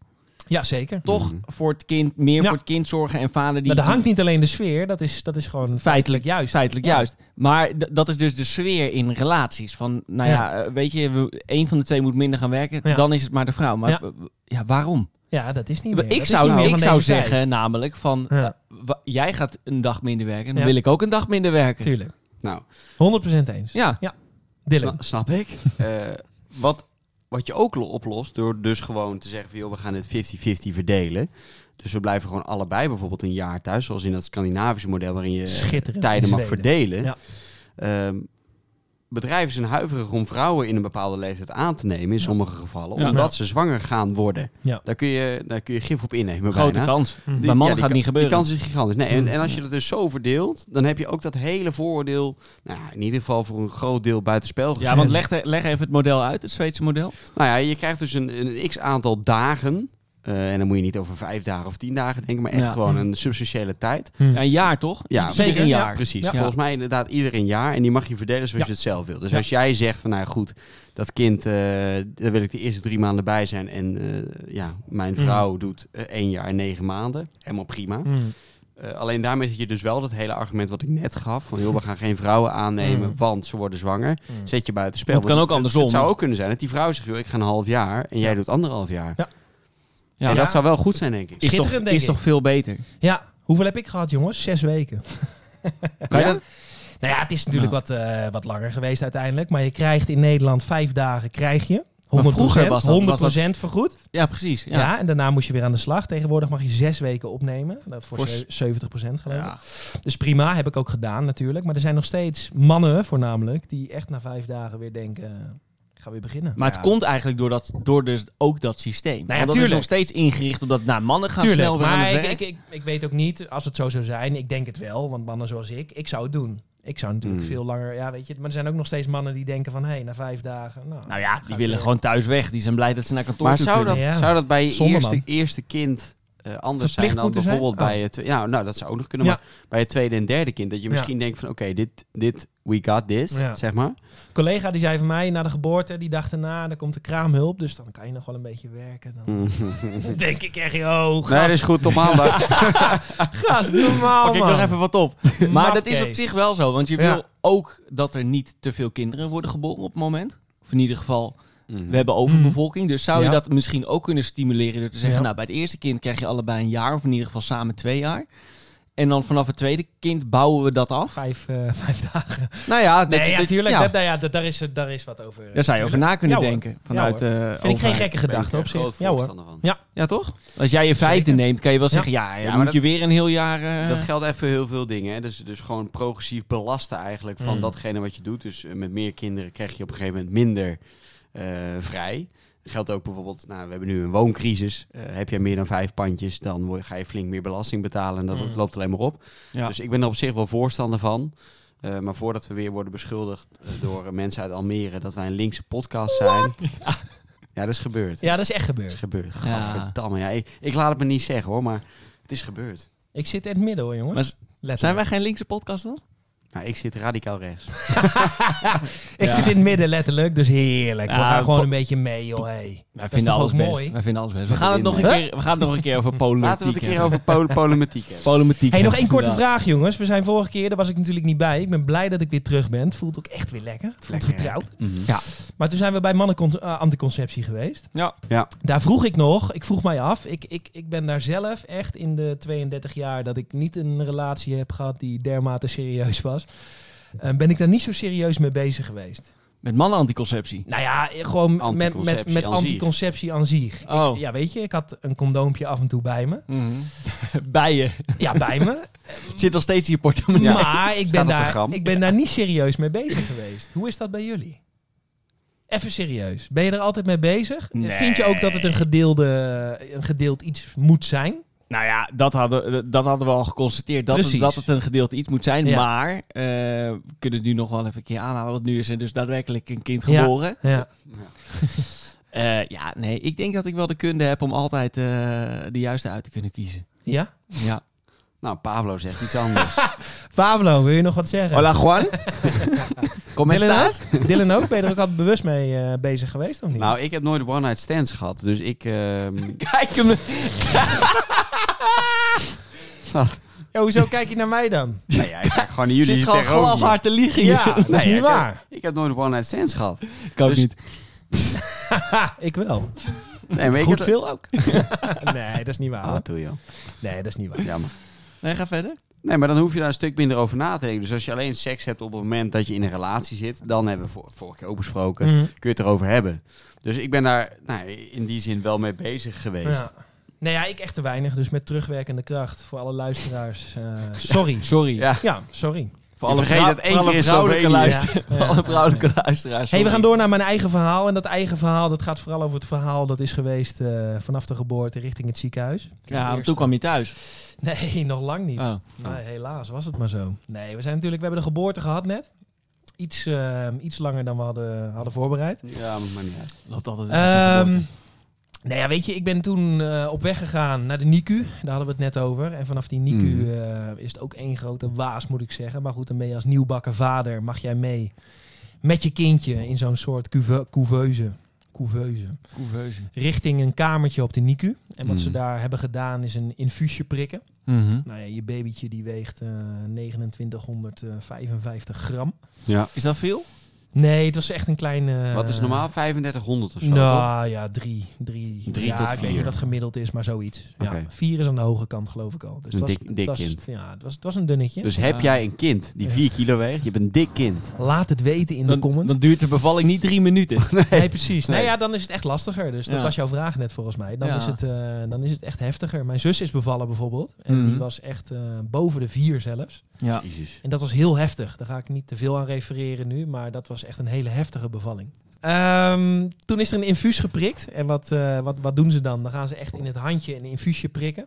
Speaker 1: Ja, zeker.
Speaker 3: Toch
Speaker 2: Mhm.
Speaker 3: voor het kind, meer
Speaker 1: Ja.
Speaker 3: voor het kind zorgen en vader die...
Speaker 1: Maar er hangt niet alleen de sfeer, dat is, dat is gewoon feitelijk juist.
Speaker 3: Feitelijk
Speaker 1: Ja.
Speaker 3: juist. Maar d- dat is dus de sfeer in relaties. Van, nou ja, eh, weet je, we- één van de twee moet minder gaan werken,
Speaker 1: Ja.
Speaker 3: dan is het maar de vrouw. Maar
Speaker 1: Ja.
Speaker 3: eh, ja, waarom?
Speaker 1: Ja, dat is niet meer. Dat
Speaker 3: ik
Speaker 1: is niet
Speaker 3: zou, nou-
Speaker 1: meer van
Speaker 3: ik zou
Speaker 1: deze tijd.
Speaker 3: zeggen namelijk van,
Speaker 1: Ja,
Speaker 3: wa- jij gaat een dag minder werken, dan
Speaker 1: Ja.
Speaker 3: wil ik ook een dag minder werken.
Speaker 1: tuurlijk.
Speaker 2: Nou,
Speaker 1: 100% eens.
Speaker 3: Ja,
Speaker 1: Dylan.
Speaker 2: sna- snap ik. Eh, wat, wat je ook lo- oplost door dus gewoon te zeggen van... joh, we gaan het 50-50 verdelen. Dus we blijven gewoon allebei bijvoorbeeld een jaar thuis. Zoals in dat Scandinavische model waarin je
Speaker 1: Schitterend.
Speaker 2: tijden mag
Speaker 1: Zweden.
Speaker 2: verdelen.
Speaker 1: Ja.
Speaker 2: Ehm, bedrijven zijn huiverig om vrouwen in een bepaalde leeftijd aan te nemen in sommige gevallen,
Speaker 3: Ja.
Speaker 2: omdat ze zwanger gaan worden.
Speaker 1: Ja.
Speaker 2: Daar, kun je, daar kun je gif op innemen.
Speaker 3: grote
Speaker 2: bijna.
Speaker 3: kans.
Speaker 1: Mhm.
Speaker 3: Bij
Speaker 2: Ja,
Speaker 3: mannen
Speaker 2: die
Speaker 3: gaat
Speaker 2: ka-
Speaker 3: het niet gebeuren.
Speaker 2: Die kans is gigantisch. Nee, en,
Speaker 1: Mm.
Speaker 2: en als je dat dus zo verdeelt, dan heb je ook dat hele vooroordeel, nou, ja, in ieder geval voor een groot deel buitenspel gezet.
Speaker 3: ja, want leg, de- leg even het model uit, het Zweedse model.
Speaker 2: Nou ja, je krijgt dus een, een x aantal dagen. eh, en dan moet je niet over vijf dagen of tien dagen denken, maar echt
Speaker 3: Ja.
Speaker 2: gewoon
Speaker 1: Mm.
Speaker 2: een substantiële tijd.
Speaker 3: Ja, een jaar toch?
Speaker 2: Ja,
Speaker 3: Ieder
Speaker 1: zeker,
Speaker 3: Een
Speaker 1: ja,
Speaker 3: jaar.
Speaker 2: Precies.
Speaker 3: Ja.
Speaker 2: Volgens mij inderdaad ieder een jaar. En die mag je verdelen zoals
Speaker 1: Ja.
Speaker 2: je het zelf wil. Dus
Speaker 1: Ja.
Speaker 2: als jij zegt van nou goed, dat kind, eh, daar wil ik de eerste drie maanden bij zijn. En eh, ja, mijn
Speaker 3: Mm.
Speaker 1: Mhm.
Speaker 2: vrouw doet eh, één jaar en negen maanden. Helemaal prima.
Speaker 3: Hm.
Speaker 1: Mm.
Speaker 2: Eh, alleen daarmee zit je dus wel dat hele argument wat ik net gaf. Van joh, we gaan geen vrouwen aannemen,
Speaker 1: Mhm.
Speaker 2: want ze worden zwanger.
Speaker 1: Mm.
Speaker 2: Zet je buiten spel.
Speaker 3: Maar het kan ook andersom.
Speaker 2: Het zou ook kunnen zijn dat die vrouw zegt, joh, ik ga een half jaar en jij doet anderhalf jaar.
Speaker 3: Ja.
Speaker 2: En
Speaker 1: Ja.
Speaker 2: dat zou wel goed zijn, denk ik.
Speaker 3: Is, toch,
Speaker 1: Schitterend, denk
Speaker 3: is
Speaker 1: ik.
Speaker 3: toch veel beter?
Speaker 1: Ja, hoeveel heb ik gehad, jongens? Zes weken.
Speaker 3: Kan je
Speaker 2: Ja?
Speaker 3: dat?
Speaker 1: Nou ja, het is natuurlijk
Speaker 3: Ja.
Speaker 1: wat, eh, wat langer geweest uiteindelijk. Maar je krijgt in Nederland vijf dagen, krijg je. 100%,
Speaker 3: Maar vroeger was dat-
Speaker 1: 100
Speaker 3: was
Speaker 1: vergoed.
Speaker 3: Ja, precies.
Speaker 1: Ja.
Speaker 3: Ja. Ja.
Speaker 1: en daarna moest je weer aan de slag. Tegenwoordig mag je zes weken opnemen. Dat voor,
Speaker 3: Voor
Speaker 1: ze- 70 geloof ik. Dus prima, heb ik ook gedaan natuurlijk. Maar er zijn nog steeds mannen voornamelijk... die echt na vijf dagen weer denken... eh, ik ga weer beginnen.
Speaker 3: Maar het
Speaker 2: Ja.
Speaker 3: komt eigenlijk door, dat, door dus ook dat systeem. Want dat is
Speaker 1: Nou tuurlijk.
Speaker 3: nog steeds ingericht op dat nou, mannen gaan
Speaker 1: Tuurlijk,
Speaker 3: snel weer aan
Speaker 1: maar
Speaker 3: het
Speaker 1: ik,
Speaker 3: werk.
Speaker 1: ik, ik, ik weet ook niet, als het zo zou zijn, ik denk het wel, want mannen zoals ik, ik zou het doen. Ik zou natuurlijk
Speaker 2: Mm.
Speaker 1: veel langer, ja weet je, maar er zijn ook nog steeds mannen die denken van, hé, hey, na vijf dagen, nou...
Speaker 3: nou ja,
Speaker 1: ga
Speaker 3: die
Speaker 1: ik
Speaker 3: willen
Speaker 1: weer.
Speaker 3: gewoon thuis weg. Die zijn blij dat ze naar kantoor
Speaker 2: Maar
Speaker 3: toe
Speaker 2: zou
Speaker 3: kunnen.
Speaker 2: dat,
Speaker 1: Ja.
Speaker 2: zou dat bij je
Speaker 1: Zonde,
Speaker 2: eerste,
Speaker 1: man.
Speaker 2: eerste kind eh, anders zijn
Speaker 1: Verplicht
Speaker 2: dan
Speaker 1: moeten zijn?
Speaker 2: bijvoorbeeld
Speaker 1: Oh.
Speaker 2: bij het twe- ja, nou, dat zou ook nog kunnen,
Speaker 1: Ja.
Speaker 2: maar bij het tweede en derde kind. Dat je
Speaker 1: Ja.
Speaker 2: misschien denkt van, oké, dit, dit, we got this,
Speaker 1: Ja.
Speaker 2: zeg maar.
Speaker 1: collega die zei van mij na de geboorte, die dacht erna, dan komt de kraamhulp, dus dan kan je nog wel een beetje werken. Dan denk ik echt, oh,
Speaker 2: Nee,
Speaker 1: gast,
Speaker 2: dat is goed, tot maandag.
Speaker 1: gast normaal
Speaker 3: Pak ik
Speaker 1: Oh, man.
Speaker 3: nog even wat op. Maar dat is op
Speaker 1: Mafkees.
Speaker 3: zich wel zo, want je
Speaker 1: Ja.
Speaker 3: wil ook dat er niet te veel kinderen worden geboren op het moment. Of in ieder geval, we
Speaker 2: Mhm.
Speaker 3: hebben overbevolking. Dus zou je
Speaker 1: Mm. Ja.
Speaker 3: dat misschien ook kunnen stimuleren door te zeggen,
Speaker 1: Ja.
Speaker 3: nou bij het eerste kind krijg je allebei een jaar, of in ieder geval samen twee jaar. En dan vanaf het tweede kind bouwen we dat af.
Speaker 1: Vijf, eh, vijf dagen.
Speaker 3: Nou ja, dat je-
Speaker 1: nee,
Speaker 3: dat-
Speaker 1: natuurlijk.
Speaker 3: ja,
Speaker 1: Dat, nou ja, dat, daar, is, daar is wat over. eh,
Speaker 3: daar zou je over na kunnen
Speaker 1: Ja, hoor.
Speaker 3: denken. Vanuit,
Speaker 1: hoor.
Speaker 3: eh,
Speaker 1: Vind ik geen
Speaker 3: overheid.
Speaker 1: gekke
Speaker 2: Ben ik
Speaker 1: gedachte
Speaker 2: er
Speaker 1: op
Speaker 2: groot
Speaker 1: zich. Ja hoor.
Speaker 2: voorstander van.
Speaker 3: Ja, toch? Als jij je vijfde
Speaker 1: Zeker.
Speaker 3: neemt, kan je wel
Speaker 1: Ja.
Speaker 3: zeggen, ja,
Speaker 2: Ja,
Speaker 3: dan
Speaker 2: maar
Speaker 3: moet
Speaker 2: dat-
Speaker 3: je weer een heel jaar... eh,
Speaker 2: Dat geldt even heel veel dingen. Hè? Dus, dus gewoon progressief belasten eigenlijk van
Speaker 1: Mm.
Speaker 2: datgene wat je doet. Dus eh, met meer kinderen krijg je op een gegeven moment minder eh, vrij. Geldt ook bijvoorbeeld, nou, we hebben nu een wooncrisis. Eh, heb jij meer dan vijf pandjes, dan word- ga je flink meer belasting betalen. En dat
Speaker 1: Mm.
Speaker 2: loopt alleen maar op.
Speaker 3: Ja.
Speaker 2: Dus ik ben er op zich wel voorstander van. Eh, maar voordat we weer worden beschuldigd eh, door eh, mensen uit Almere dat wij een linkse podcast zijn. Ja, dat is gebeurd.
Speaker 1: Ja, dat is echt
Speaker 2: Dat is
Speaker 1: gebeurd.
Speaker 2: gebeurd.
Speaker 3: Ja.
Speaker 2: Gadverdamme. Ja, ik, ik laat het me niet zeggen hoor, maar het is gebeurd.
Speaker 1: Ik zit in het midden hoor, jongens.
Speaker 3: Maar z-
Speaker 1: Letterlijk.
Speaker 3: Zijn wij geen linkse podcast dan?
Speaker 2: Nou, ik zit radicaal rechts.
Speaker 1: Ik
Speaker 3: Ja.
Speaker 1: zit in het midden letterlijk, dus heerlijk. We
Speaker 3: Ja,
Speaker 1: gaan gewoon
Speaker 3: po-
Speaker 1: een beetje mee, joh. Hey.
Speaker 3: Wij
Speaker 1: is
Speaker 3: vinden
Speaker 1: toch
Speaker 3: alles
Speaker 1: ook
Speaker 3: best.
Speaker 1: mooi?
Speaker 3: Wij vinden alles best. We
Speaker 2: Met
Speaker 3: gaan het
Speaker 2: de
Speaker 3: nog een
Speaker 1: wind.
Speaker 3: keer, we gaan het nog een keer over politiek
Speaker 2: Laten we het een keer
Speaker 3: hebben.
Speaker 2: over pol polemiek hebben.
Speaker 3: Politiek
Speaker 1: Hey, nog
Speaker 3: hebben,
Speaker 1: één korte
Speaker 3: inderdaad.
Speaker 1: vraag, jongens. We zijn vorige keer, daar was ik natuurlijk niet bij. Ik ben blij dat ik weer terug ben. Het voelt ook echt weer lekker. Het voelt
Speaker 2: Lekker, hè?
Speaker 1: vertrouwd.
Speaker 2: Mhm.
Speaker 1: Maar toen zijn we bij mannen anticonceptie geweest.
Speaker 3: Ja.
Speaker 2: Ja.
Speaker 1: Daar vroeg ik nog, ik vroeg mij af, ik, ik, ik ben daar zelf echt in de 32 jaar dat ik niet een relatie heb gehad die dermate serieus was. eh, ben ik daar niet zo serieus mee bezig geweest?
Speaker 3: Met mannen anticonceptie.
Speaker 1: Nou ja, gewoon met- met, met,
Speaker 2: Anticonceptie
Speaker 1: met
Speaker 2: aan zich.
Speaker 1: anticonceptie aan zich.
Speaker 3: Oh.
Speaker 1: Ja, weet je, ik had een condoompje af en toe bij me.
Speaker 3: Mhm. Bijen.
Speaker 1: Ja, bij me.
Speaker 3: Het zit nog steeds in je portemonnee.
Speaker 1: Maar ik
Speaker 2: Staat
Speaker 1: ben,
Speaker 2: op de
Speaker 1: daar,
Speaker 2: gram.
Speaker 1: ik ben daar niet serieus mee bezig geweest. Hoe is dat bij jullie? Even serieus. Ben je er altijd mee bezig?
Speaker 3: Nee.
Speaker 1: Vind je ook dat het een, gedeelde, een gedeeld iets moet zijn?
Speaker 3: Nou ja, dat hadden, dat hadden we al geconstateerd. Dat het,
Speaker 1: Precies.
Speaker 3: dat het een gedeelte iets moet zijn.
Speaker 1: Ja.
Speaker 3: Maar eh, we kunnen het nu nog wel even een keer aanhalen. Want nu is er dus daadwerkelijk een kind
Speaker 1: Ja.
Speaker 3: geboren.
Speaker 1: Ja.
Speaker 3: Eh, ja, nee. Ik denk dat ik wel de kunde heb om altijd eh, de juiste uit te kunnen kiezen.
Speaker 1: ja?
Speaker 3: Ja.
Speaker 2: Nou, Pablo zegt iets anders.
Speaker 1: Pablo, wil je nog wat zeggen?
Speaker 3: Hola, Juan. Kom eens
Speaker 1: Dylan,
Speaker 3: daar.
Speaker 1: ook? Dylan ook? Ben je er ook altijd bewust mee eh, bezig geweest of niet?
Speaker 2: nou, ik heb nooit one-night stands gehad. Dus ik... ehm,
Speaker 3: Kijk hem.
Speaker 1: Ja, hoezo kijk je naar mij dan?
Speaker 2: nou ja, ik kijk gewoon naar jullie
Speaker 3: Zit
Speaker 2: hier
Speaker 3: gewoon
Speaker 2: tegenover me.
Speaker 3: glashard te liegen hier.
Speaker 1: Ja, dat is
Speaker 2: Nee,
Speaker 1: niet
Speaker 2: ik-
Speaker 1: waar.
Speaker 2: Ik heb nooit one-night stands gehad.
Speaker 3: Ik ook
Speaker 2: Dus-
Speaker 3: niet.
Speaker 1: Haha, ik wel.
Speaker 2: Nee, maar ik
Speaker 1: Goed
Speaker 2: heb...
Speaker 1: veel ook. nee, dat is niet waar.
Speaker 2: Ah,
Speaker 1: hoor.
Speaker 2: doe je.
Speaker 1: Nee, dat is niet waar.
Speaker 2: Jammer.
Speaker 3: Nee, ga verder.
Speaker 2: Nee, maar dan hoef je daar een stuk minder over na te denken. Dus als je alleen seks hebt op het moment dat je in een relatie zit... dan hebben we vor- vorige keer ook besproken...
Speaker 1: Mhm.
Speaker 2: kun je het erover hebben. Dus ik ben daar nou, in die zin wel mee bezig geweest.
Speaker 1: Ja. Nee, ja, ik echt te weinig. Dus met terugwerkende kracht voor alle luisteraars. eh, sorry.
Speaker 3: Sorry.
Speaker 2: Ja.
Speaker 1: Ja, sorry.
Speaker 3: Voor
Speaker 2: Je
Speaker 3: alle,
Speaker 2: vergeet
Speaker 3: vrou-
Speaker 2: dat één
Speaker 3: voor alle
Speaker 2: keer in
Speaker 3: vrouwelijke
Speaker 2: Slovenië.
Speaker 3: luister-
Speaker 1: Ja.
Speaker 3: voor alle vrouwelijke luisteraars.
Speaker 1: Hey, we gaan
Speaker 3: sorry.
Speaker 1: door naar mijn eigen verhaal. En dat eigen verhaal dat gaat vooral over het verhaal dat is geweest eh, vanaf de geboorte richting het ziekenhuis.
Speaker 3: Ja, want
Speaker 1: Eerst-
Speaker 3: toen kwam je thuis.
Speaker 1: Nee, nog lang niet.
Speaker 3: Oh.
Speaker 1: Nee, helaas was het maar zo. Nee, we zijn natuurlijk, we hebben de geboorte gehad net. Iets, eh, iets langer dan we hadden, hadden voorbereid.
Speaker 2: Ja, maar niet uit.
Speaker 3: Loopt altijd
Speaker 1: Ehm nou ja, weet je, ik ben toen eh, op weg gegaan naar de NICU. Daar hadden we het net over. En vanaf die NICU
Speaker 2: Mhm.
Speaker 1: eh, is het ook één grote waas, moet ik zeggen. Maar goed, dan ben je als nieuwbakken vader, mag jij mee met je kindje in zo'n soort cuve- couveuse. Couveuse.
Speaker 3: Couveuse.
Speaker 1: Richting een kamertje op de NICU. En wat ze
Speaker 2: Mhm.
Speaker 1: daar hebben gedaan is een infuusje prikken.
Speaker 3: Mhm.
Speaker 1: Nou ja, je babytje die weegt eh 2955 gram.
Speaker 2: Ja.
Speaker 3: Is dat veel?
Speaker 1: Nee, het was echt een kleine...
Speaker 2: Wat is normaal? 3500 of zo, toch?
Speaker 1: Eh. Nou ja, drie. Drie,
Speaker 2: Drie
Speaker 1: ja,
Speaker 2: tot
Speaker 1: ik weet
Speaker 2: vier.
Speaker 1: niet wat gemiddeld is, maar zoiets. Ja,
Speaker 2: Oké.
Speaker 1: vier is aan de hoge kant, geloof ik al. Dus
Speaker 2: Een
Speaker 1: het was,
Speaker 2: dik-
Speaker 1: het
Speaker 2: dik
Speaker 1: was-
Speaker 2: kind.
Speaker 1: Ja, het was, het was een dunnetje.
Speaker 2: Dus heb
Speaker 3: Ja.
Speaker 2: jij een kind die
Speaker 1: Ja.
Speaker 2: 4 kilo weegt? Je bent een dik kind.
Speaker 1: Laat het weten in
Speaker 3: Dan,
Speaker 1: de comments.
Speaker 3: dan duurt de bevalling niet drie minuten.
Speaker 1: nee, precies. Nou
Speaker 2: Nee.
Speaker 1: ja, dan is het echt lastiger. Dus dat
Speaker 3: Ja.
Speaker 1: was jouw vraag net volgens mij. Dan,
Speaker 3: Ja.
Speaker 1: is het, eh, dan is het echt heftiger. Mijn zus is bevallen bijvoorbeeld. En die
Speaker 3: Mhm.
Speaker 1: was echt eh, boven de vier zelfs.
Speaker 3: ja.
Speaker 2: Jezus.
Speaker 1: En dat was heel heftig. Daar ga ik niet te veel aan refereren nu, maar dat was echt een hele heftige bevalling. Ehm, toen is er een infuus geprikt. En wat, eh, wat, wat doen ze dan? Dan gaan ze echt in het handje een infuusje prikken.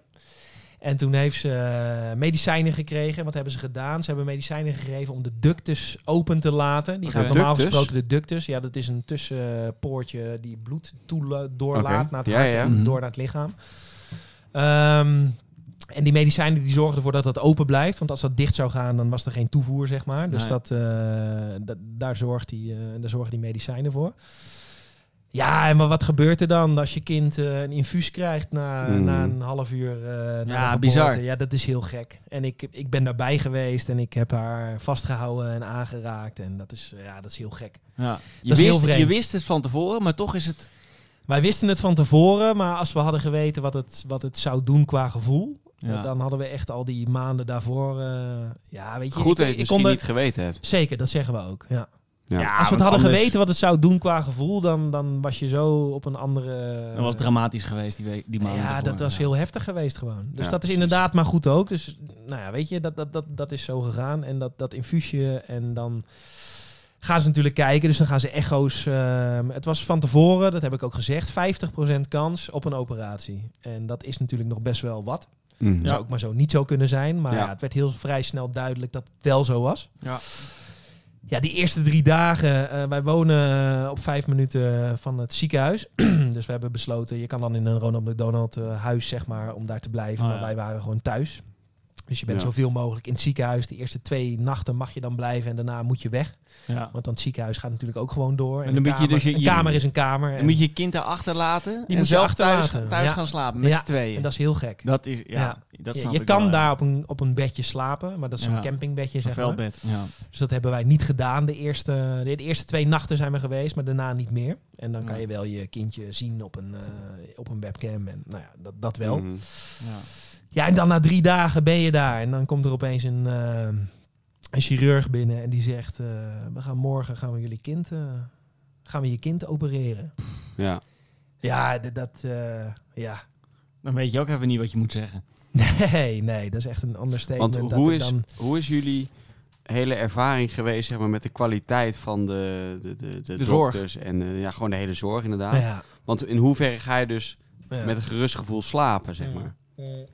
Speaker 1: En toen heeft ze eh, medicijnen gekregen. Wat hebben ze gedaan? Ze hebben medicijnen gegeven om de ductus open te laten. Die
Speaker 2: Oké.
Speaker 1: gaat normaal
Speaker 2: Ductus?
Speaker 1: gesproken de ductus. Ja, dat is een tussenpoortje die bloed toela- doorlaat
Speaker 2: Oké.
Speaker 1: naar het
Speaker 2: Ja,
Speaker 1: hart
Speaker 2: ja.
Speaker 1: en
Speaker 3: Mhm.
Speaker 1: door naar het lichaam. Ehm, en die medicijnen die zorgen ervoor dat dat open blijft. Want als dat dicht zou gaan, dan was er geen toevoer, zeg maar. Dus
Speaker 3: Nee.
Speaker 1: dat, eh, dat- daar, zorgt die, eh, daar zorgen die medicijnen voor. Ja, en wa- wat gebeurt er dan als je kind eh, een infuus krijgt na,
Speaker 2: Mm.
Speaker 1: na een half uur? eh, na de geboorte?
Speaker 3: Hmm. bizar.
Speaker 1: Ja, dat is heel gek. En ik, ik ben daarbij geweest en ik heb haar vastgehouden en aangeraakt. En dat is, ja, dat is heel gek.
Speaker 3: Ja. Je,
Speaker 1: Dat is heel
Speaker 3: wist,
Speaker 1: vreemd.
Speaker 3: je wist het van tevoren, maar toch is het...
Speaker 1: Wij wisten het van tevoren, maar als we hadden geweten wat het, wat het zou doen qua gevoel, eh,
Speaker 3: Ja.
Speaker 1: dan hadden we echt al die maanden daarvoor. eh, ja, weet je,
Speaker 2: Goed dat je
Speaker 1: ik,
Speaker 2: het
Speaker 1: ik kon
Speaker 2: misschien
Speaker 1: dat-
Speaker 2: niet geweten hebt.
Speaker 1: Zeker, dat zeggen we ook. Ja.
Speaker 2: Ja.
Speaker 3: Ja,
Speaker 1: als we het
Speaker 3: want
Speaker 1: hadden
Speaker 3: anders-
Speaker 1: geweten wat het zou doen qua gevoel, dan, dan was je zo op een andere.
Speaker 3: Dat was dramatisch geweest die, week, die maand.
Speaker 1: Ja, dat was heel heftig geweest gewoon. Dus dat
Speaker 2: Ja,
Speaker 1: is
Speaker 2: precies.
Speaker 1: inderdaad maar goed ook. Dus nou ja, weet je, dat, dat, dat, dat is zo gegaan. En dat, dat infuusje en dan gaan ze natuurlijk kijken. Dus dan gaan ze echo's. ehm, het was van tevoren, dat heb ik ook gezegd, 50% kans op een operatie. En dat is natuurlijk nog best wel wat.
Speaker 2: Mhm.
Speaker 1: Zou ook maar zo niet zo kunnen zijn. Maar
Speaker 2: Ja.
Speaker 1: ja, het werd heel vrij snel duidelijk dat het wel zo was.
Speaker 3: Ja.
Speaker 1: Ja, die eerste drie dagen. eh, wij wonen eh, op vijf minuten van het ziekenhuis. dus we hebben besloten, je kan dan in een Ronald McDonald eh, huis, zeg maar, om daar te blijven.
Speaker 3: Oh,
Speaker 1: maar
Speaker 3: ja.
Speaker 1: wij waren gewoon thuis. Dus je bent
Speaker 2: Ja.
Speaker 1: zoveel mogelijk in het ziekenhuis. De eerste twee nachten mag je dan blijven en daarna moet je weg.
Speaker 3: Ja.
Speaker 1: Want dan het ziekenhuis gaat natuurlijk ook gewoon door.
Speaker 3: En dan
Speaker 1: een
Speaker 3: moet je
Speaker 1: kamer,
Speaker 3: dus je-
Speaker 1: een
Speaker 3: je-
Speaker 1: kamer is een kamer. En,
Speaker 3: Dan moet je je kind daar achterlaten
Speaker 1: moet
Speaker 3: en
Speaker 1: je
Speaker 3: zelf
Speaker 1: achterlaten,
Speaker 3: thuis, thuis
Speaker 1: ja.
Speaker 3: gaan slapen met
Speaker 1: Ja,
Speaker 3: z'n tweeën.
Speaker 1: en dat is heel gek.
Speaker 3: Dat is, ja,
Speaker 1: Ja.
Speaker 3: dat
Speaker 1: Ja,
Speaker 3: snap
Speaker 1: je
Speaker 3: ik
Speaker 1: kan
Speaker 3: wel, ja.
Speaker 1: daar op een, op een bedje slapen, maar dat is zo'n
Speaker 3: Ja.
Speaker 1: campingbedje,
Speaker 3: Een
Speaker 1: zeg maar.
Speaker 3: veldbed. Ja.
Speaker 1: Dus dat hebben wij niet gedaan. De eerste, de, de eerste twee nachten zijn we geweest, maar daarna niet meer. En dan kan
Speaker 3: Ja.
Speaker 1: je wel je kindje zien op een, eh, op een webcam. En, nou ja, dat, dat wel.
Speaker 2: Mhm.
Speaker 3: Ja.
Speaker 1: Ja, en dan na drie dagen ben je daar. En dan komt er opeens een, eh, een chirurg binnen en die zegt... eh, we gaan morgen gaan we jullie kind, eh, gaan we je kind opereren.
Speaker 2: Ja.
Speaker 1: Ja, d- dat... eh, ja.
Speaker 3: Dan weet je ook even niet wat je moet zeggen.
Speaker 1: Nee, nee, dat is echt een ander statement.
Speaker 2: Want
Speaker 1: dat
Speaker 2: hoe
Speaker 1: ik
Speaker 2: is,
Speaker 1: dan...
Speaker 2: hoe is jullie hele ervaring geweest zeg maar, met de kwaliteit van de, de, de, de,
Speaker 3: De zorg.
Speaker 2: dokters en eh, ja, gewoon de hele zorg inderdaad?
Speaker 1: Nou ja,
Speaker 2: Want in hoeverre ga je dus
Speaker 1: ja.
Speaker 2: met een gerust gevoel slapen, zeg maar?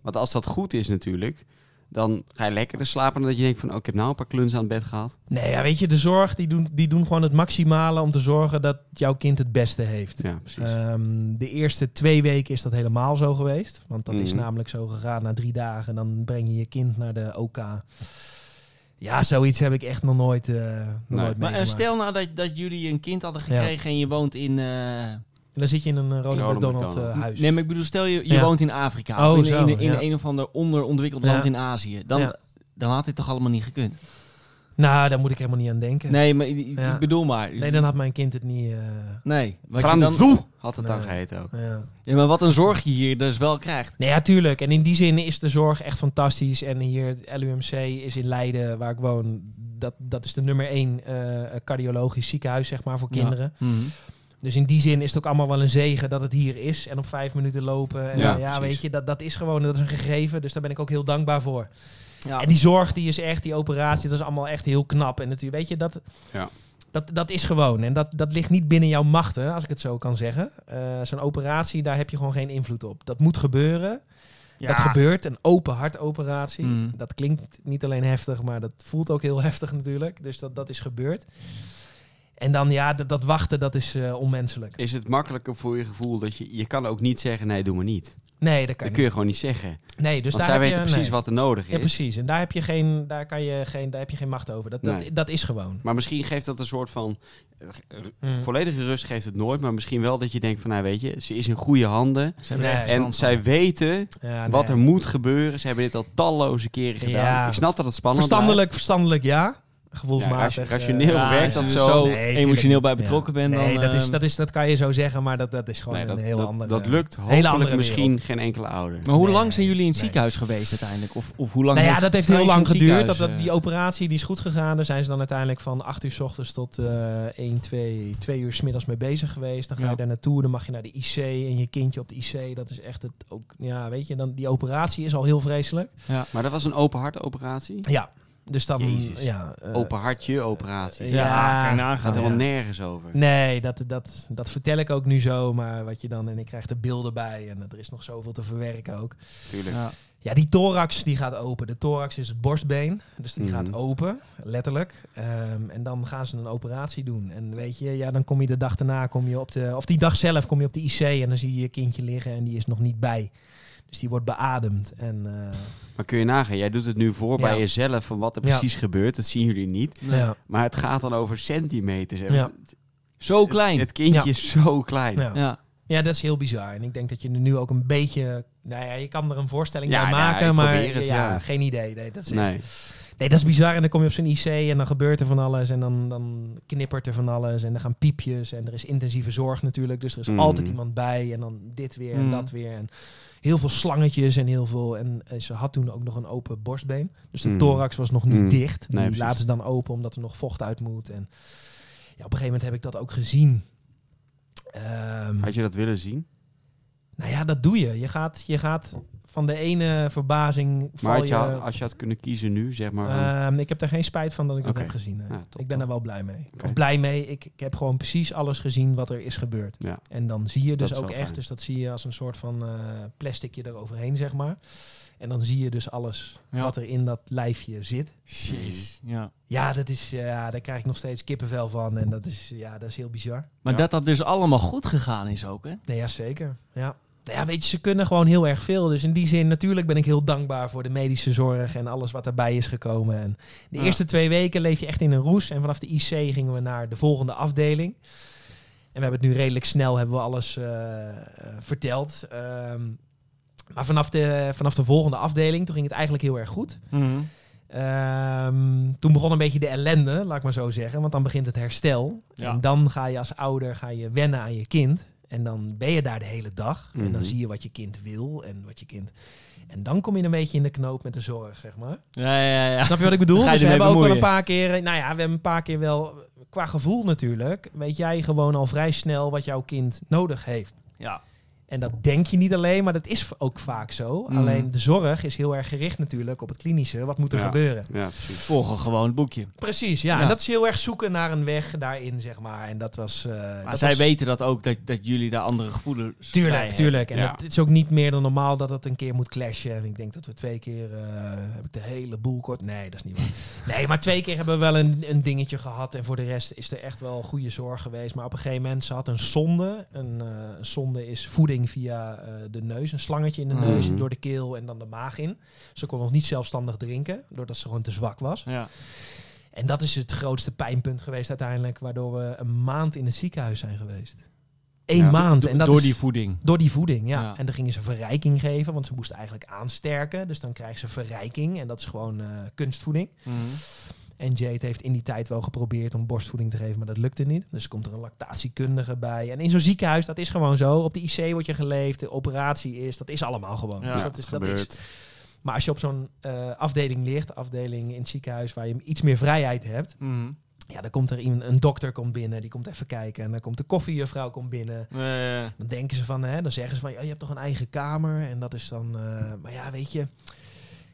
Speaker 2: Want als dat goed is natuurlijk, dan ga je lekkerder slapen dan dat je denkt van... oh, ik heb nou een paar kluns aan het bed gehad.
Speaker 1: Nee, ja, weet je, de zorg die doen, die doen gewoon het maximale om te zorgen dat jouw kind het beste heeft.
Speaker 2: Ja, precies.
Speaker 1: Ehm, de eerste twee weken is dat helemaal zo geweest. Want dat is
Speaker 2: Mhm.
Speaker 1: namelijk zo gegaan na drie dagen. Dan breng je je kind naar de OK. Ja, zoiets heb ik echt nog nooit, eh nog nooit
Speaker 3: Maar eh,
Speaker 1: meegemaakt.
Speaker 3: stel nou dat, dat jullie een kind hadden
Speaker 1: Ja.
Speaker 3: gekregen en je woont in... eh,
Speaker 1: En dan zit je in een eh, Ronald
Speaker 2: Ronald
Speaker 1: McDonald
Speaker 2: McDonald.
Speaker 1: eh, huis.
Speaker 3: Nee, maar ik bedoel, stel je, je
Speaker 1: Ja.
Speaker 3: woont in Afrika.
Speaker 1: Oh,
Speaker 3: of in,
Speaker 1: zo,
Speaker 3: in, in
Speaker 1: ja.
Speaker 3: een of ander onderontwikkeld
Speaker 1: Ja.
Speaker 3: land in Azië. Dan,
Speaker 1: Ja.
Speaker 3: dan had dit toch allemaal niet gekund?
Speaker 1: Nou, daar moet ik helemaal niet aan denken. Nee,
Speaker 3: Nee, maar ik, ik
Speaker 1: Ja.
Speaker 3: bedoel maar.
Speaker 1: dan had mijn kind het niet... eh,
Speaker 3: Nee. Wat je dan,
Speaker 2: Franzoe had het dan
Speaker 1: Nee.
Speaker 2: geheten ook.
Speaker 1: ja.
Speaker 3: ja, maar wat een zorg je hier dus wel krijgt.
Speaker 1: Nee, ja, tuurlijk. En in die zin is de zorg echt fantastisch. En hier, het LUMC is in Leiden, waar ik woon. Dat, dat is de nummer één eh, cardiologisch ziekenhuis, zeg maar, voor
Speaker 3: Ja.
Speaker 1: kinderen.
Speaker 3: Mhm.
Speaker 1: Dus in die zin is het ook allemaal wel een zegen dat het hier is. En op vijf minuten lopen. En eh,
Speaker 2: Ja,
Speaker 1: ja,
Speaker 2: precies.
Speaker 1: weet je, dat, dat is gewoon, dat is een gegeven. Dus daar ben ik ook heel dankbaar voor.
Speaker 3: Ja.
Speaker 1: En die zorg, die is echt, die operatie, dat is allemaal echt heel knap. En natuurlijk, weet je, dat,
Speaker 2: Ja.
Speaker 1: dat, dat is gewoon. En dat, dat ligt niet binnen jouw machten, als ik het zo kan zeggen. Eh, Zo'n operatie, daar heb je gewoon geen invloed op. Dat moet gebeuren.
Speaker 3: Ja.
Speaker 1: Dat gebeurt, een open hartoperatie.
Speaker 3: Mm.
Speaker 1: Dat klinkt niet alleen heftig, maar dat voelt ook heel heftig natuurlijk. Dus dat, dat is gebeurd. En dan ja, dat, dat wachten, dat is eh, onmenselijk.
Speaker 2: Is het makkelijker voor je gevoel dat je... Je kan ook niet zeggen, nee, doe maar niet.
Speaker 1: Nee, dat kan
Speaker 2: Dat
Speaker 1: niet.
Speaker 2: kun je gewoon niet zeggen.
Speaker 1: Nee, dus
Speaker 2: Want
Speaker 1: daar
Speaker 2: zij
Speaker 1: heb
Speaker 2: weten
Speaker 1: je,
Speaker 2: precies
Speaker 1: nee.
Speaker 2: wat er nodig is.
Speaker 1: Ja, precies. En daar heb je geen, daar kan je geen, daar heb je geen macht over. Dat,
Speaker 2: Nee.
Speaker 1: dat, dat is gewoon.
Speaker 2: Maar misschien geeft dat een soort van... eh, r-
Speaker 1: Mm.
Speaker 2: Volledige rust geeft het nooit, maar misschien wel dat je denkt van, nou weet je, ze is in goede handen.
Speaker 3: Ze hebben er
Speaker 1: Nee.
Speaker 3: echt
Speaker 2: En
Speaker 3: verstand van.
Speaker 2: zij weten
Speaker 1: Ja, Ah, nee.
Speaker 2: wat er moet gebeuren. Ze hebben dit al talloze keren gedaan.
Speaker 1: Ja.
Speaker 2: Ik snap dat het spannend
Speaker 1: verstandelijk, verstandelijk ja.
Speaker 2: blijft. Ja,
Speaker 1: Gevoelsmatig.
Speaker 2: ration-
Speaker 1: eh,
Speaker 2: rationeel
Speaker 3: Ja,
Speaker 2: werkt
Speaker 3: als
Speaker 2: dat
Speaker 3: je
Speaker 2: zo.
Speaker 3: zo-
Speaker 1: Nee, tuurlijk
Speaker 3: emotioneel
Speaker 1: niet.
Speaker 3: bij betrokken bent,
Speaker 1: Nee,
Speaker 3: dan,
Speaker 1: dat, is,
Speaker 3: ehm,
Speaker 1: dat, is, dat kan je zo zeggen, maar dat, dat is gewoon
Speaker 2: eh, Nee, dat,
Speaker 1: een heel
Speaker 2: dat,
Speaker 1: andere...
Speaker 2: dat lukt
Speaker 1: andere
Speaker 2: hopelijk
Speaker 1: wereld.
Speaker 2: misschien geen enkele ouder.
Speaker 3: Maar hoe
Speaker 1: Nee,
Speaker 3: lang zijn jullie in het
Speaker 1: nee.
Speaker 3: ziekenhuis geweest uiteindelijk? Of, of hoe lang
Speaker 1: Nou ja, dat heeft heel
Speaker 3: tijdens
Speaker 1: lang
Speaker 3: het
Speaker 1: geduurd. Dat,
Speaker 3: ziekenhuis,
Speaker 1: dat,
Speaker 3: eh,
Speaker 1: die operatie die is goed gegaan. Daar zijn ze dan uiteindelijk van 8 uur s ochtends tot eh 1, 2, 2 uur s middags mee bezig geweest. Dan ga
Speaker 3: Ja.
Speaker 1: je daar naartoe, dan mag je naar de IC en je kindje op de IC. Dat is echt het ook, ja, weet je, dan, die operatie is al heel vreselijk.
Speaker 2: Maar dat was een open hart operatie?
Speaker 1: Ja, dus dan.
Speaker 2: Jezus.
Speaker 1: Ja, eh,
Speaker 2: open hartje operatie.
Speaker 1: Ja,
Speaker 3: Ja, kan je
Speaker 2: Gaat
Speaker 3: nagaan.
Speaker 1: ja.
Speaker 2: helemaal nergens over.
Speaker 1: Nee, dat, dat, dat vertel ik ook nu zo, maar wat je dan, en ik krijg de beelden bij en er is nog zoveel te verwerken ook.
Speaker 2: Tuurlijk.
Speaker 3: Ja.
Speaker 1: Ja, die thorax die gaat open. De thorax is het borstbeen. Dus die
Speaker 2: Mhm.
Speaker 1: gaat open, letterlijk. Ehm, en dan gaan ze een operatie doen. En weet je, ja, dan kom je de dag daarna, kom je op de, of die dag zelf kom je op de IC en dan zie je je kindje liggen en die is nog niet bij. Dus die wordt beademd. En, eh,
Speaker 2: Maar kun je nagaan, jij doet het nu voor
Speaker 1: Ja.
Speaker 2: bij jezelf van wat er
Speaker 1: Ja.
Speaker 2: precies gebeurt. Dat zien jullie niet.
Speaker 1: ja,
Speaker 2: Maar het gaat dan over centimeters. hè.
Speaker 1: Ja.
Speaker 3: Zo klein.
Speaker 2: Het kindje
Speaker 1: Ja.
Speaker 2: is zo klein.
Speaker 1: ja.
Speaker 3: ja.
Speaker 1: Ja, dat is heel bizar. En ik denk dat je er nu ook een beetje... Nou ja, je kan er een voorstelling
Speaker 2: Ja,
Speaker 1: bij
Speaker 2: nou,
Speaker 1: maken,
Speaker 2: ik
Speaker 1: maar
Speaker 2: probeer het,
Speaker 1: ja,
Speaker 2: ja.
Speaker 1: geen idee. Nee dat, is echt-
Speaker 2: Nee.
Speaker 1: nee, dat is bizar. En dan kom je op zo'n IC en dan gebeurt er van alles. En dan, dan knippert er van alles. En dan gaan piepjes. En er is intensieve zorg natuurlijk. Dus er is
Speaker 2: Mm.
Speaker 1: altijd iemand bij. En dan dit weer en
Speaker 3: Mm.
Speaker 1: dat weer. En heel veel slangetjes en heel veel... En eh, ze had toen ook nog een open borstbeen. Dus de
Speaker 2: Mm.
Speaker 1: thorax was nog niet
Speaker 2: Mm.
Speaker 1: dicht. Die
Speaker 2: Nee, precies.
Speaker 1: laten ze dan open omdat er nog vocht uit moet. En ja, op een gegeven moment heb ik dat ook gezien. Ehm,
Speaker 2: Had je dat willen zien?
Speaker 1: nou ja, dat doe je. Je gaat, je gaat van de ene verbazing
Speaker 2: Maar
Speaker 1: val
Speaker 2: had je,
Speaker 1: je...
Speaker 2: al- als je had kunnen kiezen nu, zeg maar. van-
Speaker 1: Ehm, ik heb daar geen spijt van dat ik
Speaker 2: Oké.
Speaker 1: dat heb gezien. nee.
Speaker 2: Ja, top,
Speaker 1: ik ben
Speaker 2: top.
Speaker 1: er wel blij mee.
Speaker 2: Oké.
Speaker 1: Of blij mee. Ik, ik heb gewoon precies alles gezien wat er is gebeurd.
Speaker 2: Ja.
Speaker 1: En dan zie je
Speaker 2: Dat
Speaker 1: dus
Speaker 2: is
Speaker 1: ook
Speaker 2: wel
Speaker 1: echt.
Speaker 2: fijn.
Speaker 1: Dus dat zie je als een soort van eh, plasticje eroverheen, zeg maar. En dan zie je dus alles
Speaker 3: Ja.
Speaker 1: wat er in dat lijfje zit.
Speaker 3: Jeez. Ja.
Speaker 1: Ja, dat is, ja, daar krijg ik nog steeds kippenvel van. En dat is, ja, dat is heel bizar.
Speaker 3: Maar
Speaker 2: Ja.
Speaker 3: dat dat dus allemaal goed gegaan is ook, hè?
Speaker 1: Nee, ja, zeker. Ja. Nou ja, weet je, ze kunnen gewoon heel erg veel. Dus in die zin, natuurlijk ben ik heel dankbaar voor de medische zorg en alles wat daarbij is gekomen. En de
Speaker 3: Ja.
Speaker 1: eerste twee weken leef je echt in een roes. En vanaf de IC gingen we naar de volgende afdeling. En we hebben het nu redelijk snel, hebben we alles eh, eh, verteld. Ehm, maar vanaf de, vanaf de volgende afdeling, toen ging het eigenlijk heel erg goed. Ehm, toen begon een beetje de ellende, laat ik maar zo zeggen. Want dan begint het herstel.
Speaker 3: Ja.
Speaker 1: En dan ga je als ouder ga je wennen aan je kind. En dan ben je daar de hele dag. En
Speaker 2: Mhm.
Speaker 1: dan zie je wat je kind wil en wat je kind... En dan kom je een beetje in de knoop met de zorg, zeg maar.
Speaker 3: Ja, ja, ja.
Speaker 1: Snap je wat ik bedoel?
Speaker 3: Ga je
Speaker 1: Dus we
Speaker 3: ermee
Speaker 1: hebben ook wel
Speaker 3: bemoeien?
Speaker 1: een paar keer... Nou ja, we hebben een paar keer wel... Qua gevoel natuurlijk, weet jij gewoon al vrij snel wat jouw kind nodig heeft.
Speaker 3: Ja.
Speaker 1: En dat denk je niet alleen, maar dat is ook vaak zo.
Speaker 3: Mhm.
Speaker 1: Alleen de zorg is heel erg gericht natuurlijk op het klinische. Wat moet er
Speaker 2: Ja.
Speaker 1: gebeuren?
Speaker 2: ja, precies.
Speaker 3: Volgen gewoon het boekje.
Speaker 1: Precies, ja.
Speaker 3: Ja.
Speaker 1: En dat is heel erg zoeken naar een weg daarin, zeg maar. En dat was... eh,
Speaker 3: Maar
Speaker 1: dat
Speaker 3: zij
Speaker 1: was-
Speaker 3: weten dat ook, dat, dat jullie daar andere gevoelens
Speaker 1: Tuurlijk, tuurlijk. En
Speaker 2: Ja.
Speaker 1: het is ook niet meer dan normaal dat het een keer moet clashen. En ik denk dat we twee keer... eh, heb ik de hele boel kort... Nee, dat is niet waar. Nee, maar twee keer hebben we wel een, een dingetje gehad. En voor de rest is er echt wel goede zorg geweest. Maar op een gegeven moment, ze had een zonde. Een eh, een zonde is voeding via eh, de neus. Een slangetje in de
Speaker 3: Mhm.
Speaker 1: neus, door de keel en dan de maag in. Ze kon nog niet zelfstandig drinken, doordat ze gewoon te zwak was.
Speaker 3: Ja.
Speaker 1: En dat is het grootste pijnpunt geweest uiteindelijk, waardoor we een maand in het ziekenhuis zijn geweest. Eén
Speaker 2: Ja,
Speaker 1: maand. En dat
Speaker 3: Door
Speaker 1: is-
Speaker 3: die voeding.
Speaker 1: door die voeding, ja.
Speaker 3: Ja.
Speaker 1: En dan gingen ze verrijking geven, want ze moest eigenlijk aansterken. Dus dan krijgt ze verrijking en dat is gewoon eh, kunstvoeding. En Jade heeft in die tijd wel geprobeerd om borstvoeding te geven, maar dat lukte niet. Dus komt er een lactatiekundige bij. En in zo'n ziekenhuis, dat is gewoon zo. Op de IC word je geleefd, de operatie is, dat is allemaal gewoon.
Speaker 3: Ja.
Speaker 1: Dus
Speaker 2: Ja,
Speaker 1: dat is, dat is
Speaker 2: gebeurt.
Speaker 1: maar als je op zo'n eh, afdeling ligt, afdeling in het ziekenhuis waar je iets meer vrijheid hebt, ja, dan komt er iemand, een dokter komt binnen, die komt even kijken. En dan komt de koffiejuffrouw komt binnen.
Speaker 3: Eh,
Speaker 1: Dan denken ze van, hè, dan zeggen ze van, ja, je hebt toch een eigen kamer? En dat is dan, eh, maar ja, weet je,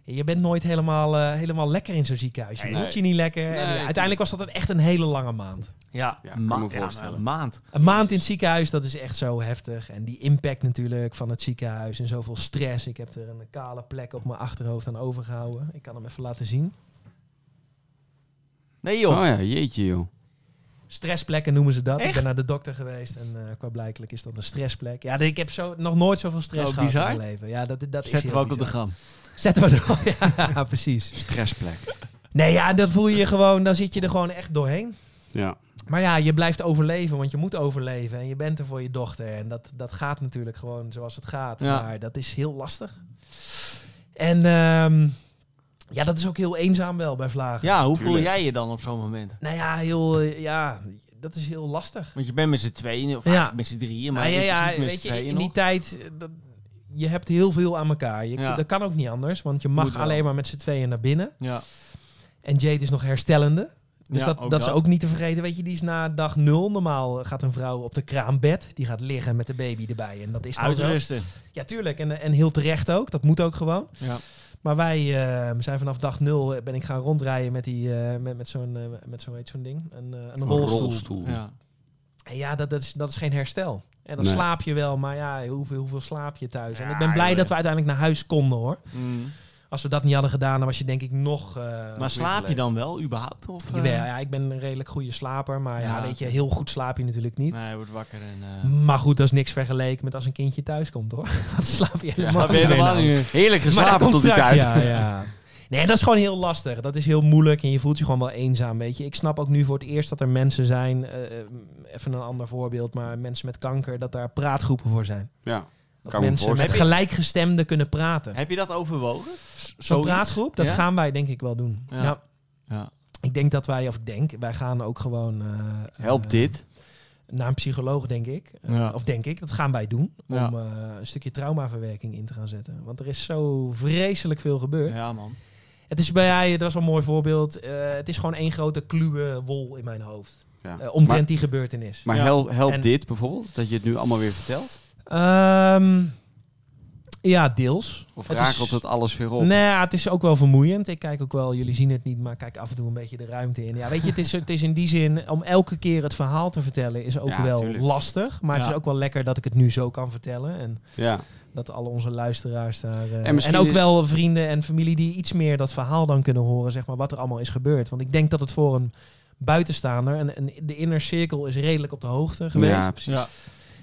Speaker 1: je bent nooit helemaal, eh, helemaal lekker in zo'n ziekenhuis. Je
Speaker 2: Nee.
Speaker 1: voelt je niet lekker. en, ja,
Speaker 2: tuurlijk.
Speaker 1: uiteindelijk was dat een- echt een hele lange maand.
Speaker 3: ja,
Speaker 2: Ja, kan
Speaker 3: ma-
Speaker 2: me
Speaker 3: ja,
Speaker 2: voorstellen.
Speaker 3: een maand.
Speaker 1: Een maand in het ziekenhuis, dat is echt zo heftig. En die impact natuurlijk van het ziekenhuis en zoveel stress. Ik heb er een kale plek op mijn achterhoofd aan overgehouden. Ik kan hem even laten zien.
Speaker 3: Nee
Speaker 2: Oh
Speaker 3: joh.
Speaker 2: ja, jeetje joh.
Speaker 1: Stressplekken noemen ze dat. Ik
Speaker 3: Echt?
Speaker 1: ben naar de dokter geweest en eh qua blijkelijk is dat een stressplek. Ja, ik heb zo, nog nooit zoveel stress
Speaker 3: Oh,
Speaker 1: gehad
Speaker 3: bizar.
Speaker 1: in mijn leven. Ja, dat, dat is
Speaker 3: Zetten we
Speaker 1: heel
Speaker 3: ook op de
Speaker 1: bizar.
Speaker 3: gram.
Speaker 1: Zetten we erop, ja, precies.
Speaker 2: Stressplek.
Speaker 1: Nee, ja, dat voel je gewoon, dan zit je er gewoon echt doorheen.
Speaker 2: Ja.
Speaker 1: Maar ja, je blijft overleven, want je moet overleven en je bent er voor je dochter. En dat, dat gaat natuurlijk gewoon zoals het gaat,
Speaker 3: Ja.
Speaker 1: maar dat is heel lastig. En ehm, ja, dat is ook heel eenzaam wel bij Vlagen.
Speaker 3: Ja, hoe voel
Speaker 2: Tuurlijk.
Speaker 3: jij je dan op zo'n moment?
Speaker 1: Nou ja, heel, eh, ja, dat is heel lastig.
Speaker 3: Want je bent met z'n tweeën, of
Speaker 1: Ja.
Speaker 3: eigenlijk met z'n drieën, maar
Speaker 1: Nou ja,
Speaker 3: in
Speaker 1: ja,
Speaker 3: principe met
Speaker 1: weet
Speaker 3: z'n
Speaker 1: je, in
Speaker 3: tweeën
Speaker 1: die
Speaker 3: nog.
Speaker 1: tijd, eh, dat, je hebt heel veel aan elkaar. Je,
Speaker 3: Ja.
Speaker 1: Dat kan ook niet anders, want je
Speaker 3: Moet
Speaker 1: mag
Speaker 3: wel.
Speaker 1: alleen maar met z'n tweeën naar binnen.
Speaker 3: Ja.
Speaker 1: En Jade is nog herstellende. Dus
Speaker 3: Ja,
Speaker 1: dat,
Speaker 3: ook
Speaker 1: dat, is ook niet te vergeten. Weet je, die is na dag nul. Normaal gaat een vrouw op de kraambed. Die gaat liggen met de baby erbij. En dat is nou zo.
Speaker 3: Uitrusten.
Speaker 1: Ja, tuurlijk. En, en heel terecht ook. Dat moet ook gewoon.
Speaker 3: Ja.
Speaker 1: Maar wij eh, zijn vanaf dag nul eh, ben ik gaan rondrijden met, die, eh, met, met zo'n eh, met zo'n- hoe heet zo'n ding. Een, eh, een rolstoel.
Speaker 3: Ja.
Speaker 1: En ja, dat, dat, is, dat is geen herstel. En dan
Speaker 2: Nee.
Speaker 1: slaap je wel, maar ja, hoeveel, hoeveel slaap je thuis? en
Speaker 3: Ja,
Speaker 1: ik ben blij
Speaker 3: joh,
Speaker 1: dat
Speaker 3: ja.
Speaker 1: we uiteindelijk naar huis konden hoor.
Speaker 3: Mm.
Speaker 1: Als we dat niet hadden gedaan, dan was je denk ik nog... eh,
Speaker 3: Maar slaap je
Speaker 2: geleefd.
Speaker 3: dan wel überhaupt? Of, eh?
Speaker 1: jawel, ja, ik ben een redelijk goede slaper, maar ja,
Speaker 3: Ja.
Speaker 1: weet je, heel goed slaap je natuurlijk niet.
Speaker 3: Nee, je wordt wakker en... eh,
Speaker 1: Maar goed, dat is niks vergeleken met als een kindje thuis komt, hoor. Dan slaap je helemaal
Speaker 3: daar ben je
Speaker 1: niet meer
Speaker 3: helemaal
Speaker 1: aan.
Speaker 3: niet meer.
Speaker 2: Heerlijk
Speaker 1: Maar dat
Speaker 2: geslapen
Speaker 1: komt
Speaker 2: tot die
Speaker 1: straks,
Speaker 2: tijd.
Speaker 1: Ja, ja. Nee, dat is gewoon heel lastig. Dat is heel moeilijk en je voelt je gewoon wel eenzaam, weet je. Ik snap ook nu voor het eerst dat er mensen zijn, eh, eh, even een ander voorbeeld, maar mensen met kanker, dat daar praatgroepen voor zijn.
Speaker 2: Ja.
Speaker 1: Dat
Speaker 2: Kan me
Speaker 1: mensen met
Speaker 2: voorstellen.
Speaker 1: gelijkgestemden kunnen praten.
Speaker 3: Heb je dat overwogen? S-
Speaker 1: Zo'n
Speaker 3: zoiets?
Speaker 1: praatgroep, dat
Speaker 3: Ja?
Speaker 1: gaan wij denk ik wel doen.
Speaker 3: Ja.
Speaker 1: Ja.
Speaker 3: Ja.
Speaker 1: Ik denk dat wij, of ik denk, wij gaan ook gewoon... eh,
Speaker 2: Help
Speaker 1: eh,
Speaker 2: dit.
Speaker 1: Naar een psycholoog, denk ik. Eh,
Speaker 3: Ja.
Speaker 1: Of denk ik, dat gaan wij doen. Om
Speaker 3: Ja.
Speaker 1: eh, een stukje traumaverwerking in te gaan zetten. Want er is zo vreselijk veel gebeurd.
Speaker 3: Ja, man.
Speaker 1: Het is bij jij, dat was wel een mooi voorbeeld. eh, het is gewoon één grote kluwe wol in mijn hoofd.
Speaker 2: Ja.
Speaker 1: Eh, omtrent
Speaker 2: Maar-
Speaker 1: die gebeurtenis.
Speaker 2: Maar
Speaker 3: Ja.
Speaker 2: help, help
Speaker 1: En-
Speaker 2: dit bijvoorbeeld, dat je het nu allemaal weer vertelt?
Speaker 1: Ehm, ja, deels.
Speaker 2: Of
Speaker 1: Het
Speaker 2: rakelt
Speaker 1: is-
Speaker 2: het alles weer op?
Speaker 1: Nou, ja, het is ook wel vermoeiend. Ik kijk ook wel, jullie zien het niet, maar ik kijk af en toe een beetje de ruimte in. Ja, weet je, het is, het is in die zin, om elke keer het verhaal te vertellen, is ook
Speaker 2: Ja,
Speaker 1: wel
Speaker 2: tuurlijk.
Speaker 1: lastig. Maar het
Speaker 3: Ja.
Speaker 1: is ook wel lekker dat ik het nu zo kan vertellen. En
Speaker 2: Ja.
Speaker 1: dat alle onze luisteraars daar. eh,
Speaker 2: En
Speaker 1: en,
Speaker 2: misschien
Speaker 1: ook
Speaker 2: is-
Speaker 1: wel vrienden en familie die iets meer dat verhaal dan kunnen horen, zeg maar, wat er allemaal is gebeurd. Want ik denk dat het voor een buitenstaander, en, en de inner cirkel is redelijk op de hoogte geweest.
Speaker 2: ja, precies.
Speaker 3: Ja.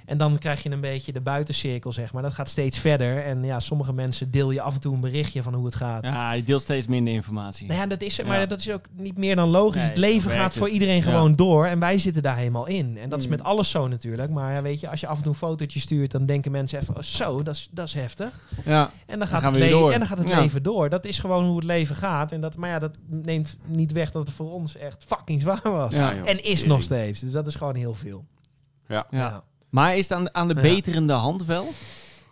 Speaker 1: En dan krijg je een beetje de buitencirkel, zeg maar. Dat gaat steeds verder. En ja, sommige mensen deel je af en toe een berichtje van hoe het gaat.
Speaker 3: ja, je deelt steeds minder informatie.
Speaker 1: Nou ja, dat is, maar
Speaker 3: Ja.
Speaker 1: dat is ook niet meer dan logisch.
Speaker 3: Nee,
Speaker 1: het
Speaker 3: zo
Speaker 1: leven
Speaker 3: werkt
Speaker 1: gaat
Speaker 3: het.
Speaker 1: voor iedereen gewoon door. En wij zitten daar helemaal in. En dat is
Speaker 3: Mm.
Speaker 1: met alles zo natuurlijk. Maar ja, weet je, als je af en toe een fotootje stuurt, dan denken mensen even... Oh, zo, dat is- dat is heftig.
Speaker 3: Ja.
Speaker 1: En dan gaat
Speaker 3: gaan
Speaker 1: het,
Speaker 3: we weer
Speaker 1: le-
Speaker 3: door.
Speaker 1: en dan gaat het
Speaker 3: Ja.
Speaker 1: leven door. Dat is gewoon hoe het leven gaat. En dat, maar ja, dat neemt niet weg dat het voor ons echt fucking zwaar was.
Speaker 3: Ja.
Speaker 2: joh.
Speaker 1: En is nog steeds. Dus dat is gewoon heel veel.
Speaker 3: Ja. Maar is het aan, de- aan de
Speaker 1: Ja.
Speaker 3: beterende hand wel?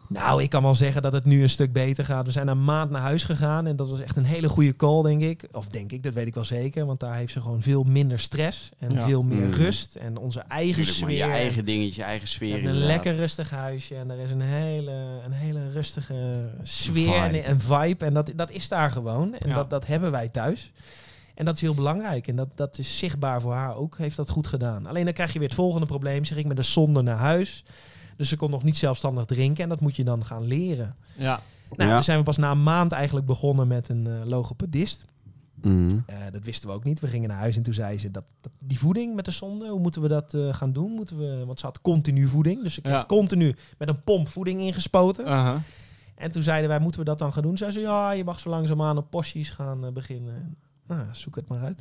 Speaker 1: Nou, ik kan wel zeggen dat het nu een stuk beter gaat. We zijn een maand naar huis gegaan en dat was echt een hele goede call, denk ik. Of denk ik, dat weet ik wel zeker. Want daar heeft ze gewoon veel minder stress en
Speaker 3: Ja.
Speaker 1: veel meer
Speaker 2: Mm.
Speaker 1: rust. En onze eigen
Speaker 2: Tuurlijk, maar
Speaker 1: sfeer.
Speaker 2: je eigen dingetje, je eigen sfeer.
Speaker 1: We hebben een
Speaker 2: inderdaad.
Speaker 1: lekker rustig huisje en er is een hele, een hele rustige sfeer
Speaker 2: Vibe.
Speaker 1: en, en vibe. En dat, dat is daar gewoon. En
Speaker 3: Ja.
Speaker 1: dat, dat hebben wij thuis. En dat is heel belangrijk. En dat, dat is zichtbaar voor haar ook. Heeft dat goed gedaan. Alleen dan krijg je weer het volgende probleem. Ze ging met een zonde naar huis. Dus ze kon nog niet zelfstandig drinken. En dat moet je dan gaan leren.
Speaker 3: Ja.
Speaker 1: Nou,
Speaker 2: Ja.
Speaker 1: toen zijn we pas na een maand eigenlijk begonnen met een eh, logopedist.
Speaker 2: Mhm.
Speaker 1: Eh, dat wisten we ook niet. We gingen naar huis en toen zei ze dat, dat die voeding met de zonde, hoe moeten we dat eh, gaan doen? Moeten we, want ze had continu voeding. Dus ze kreeg
Speaker 3: Ja.
Speaker 1: continu met een pomp voeding ingespoten.
Speaker 3: Aha.
Speaker 1: En toen zeiden wij, moeten we dat dan gaan doen? Zei ze, ja, je mag zo langzaamaan op porties gaan eh, beginnen. Nou, zoek het maar uit.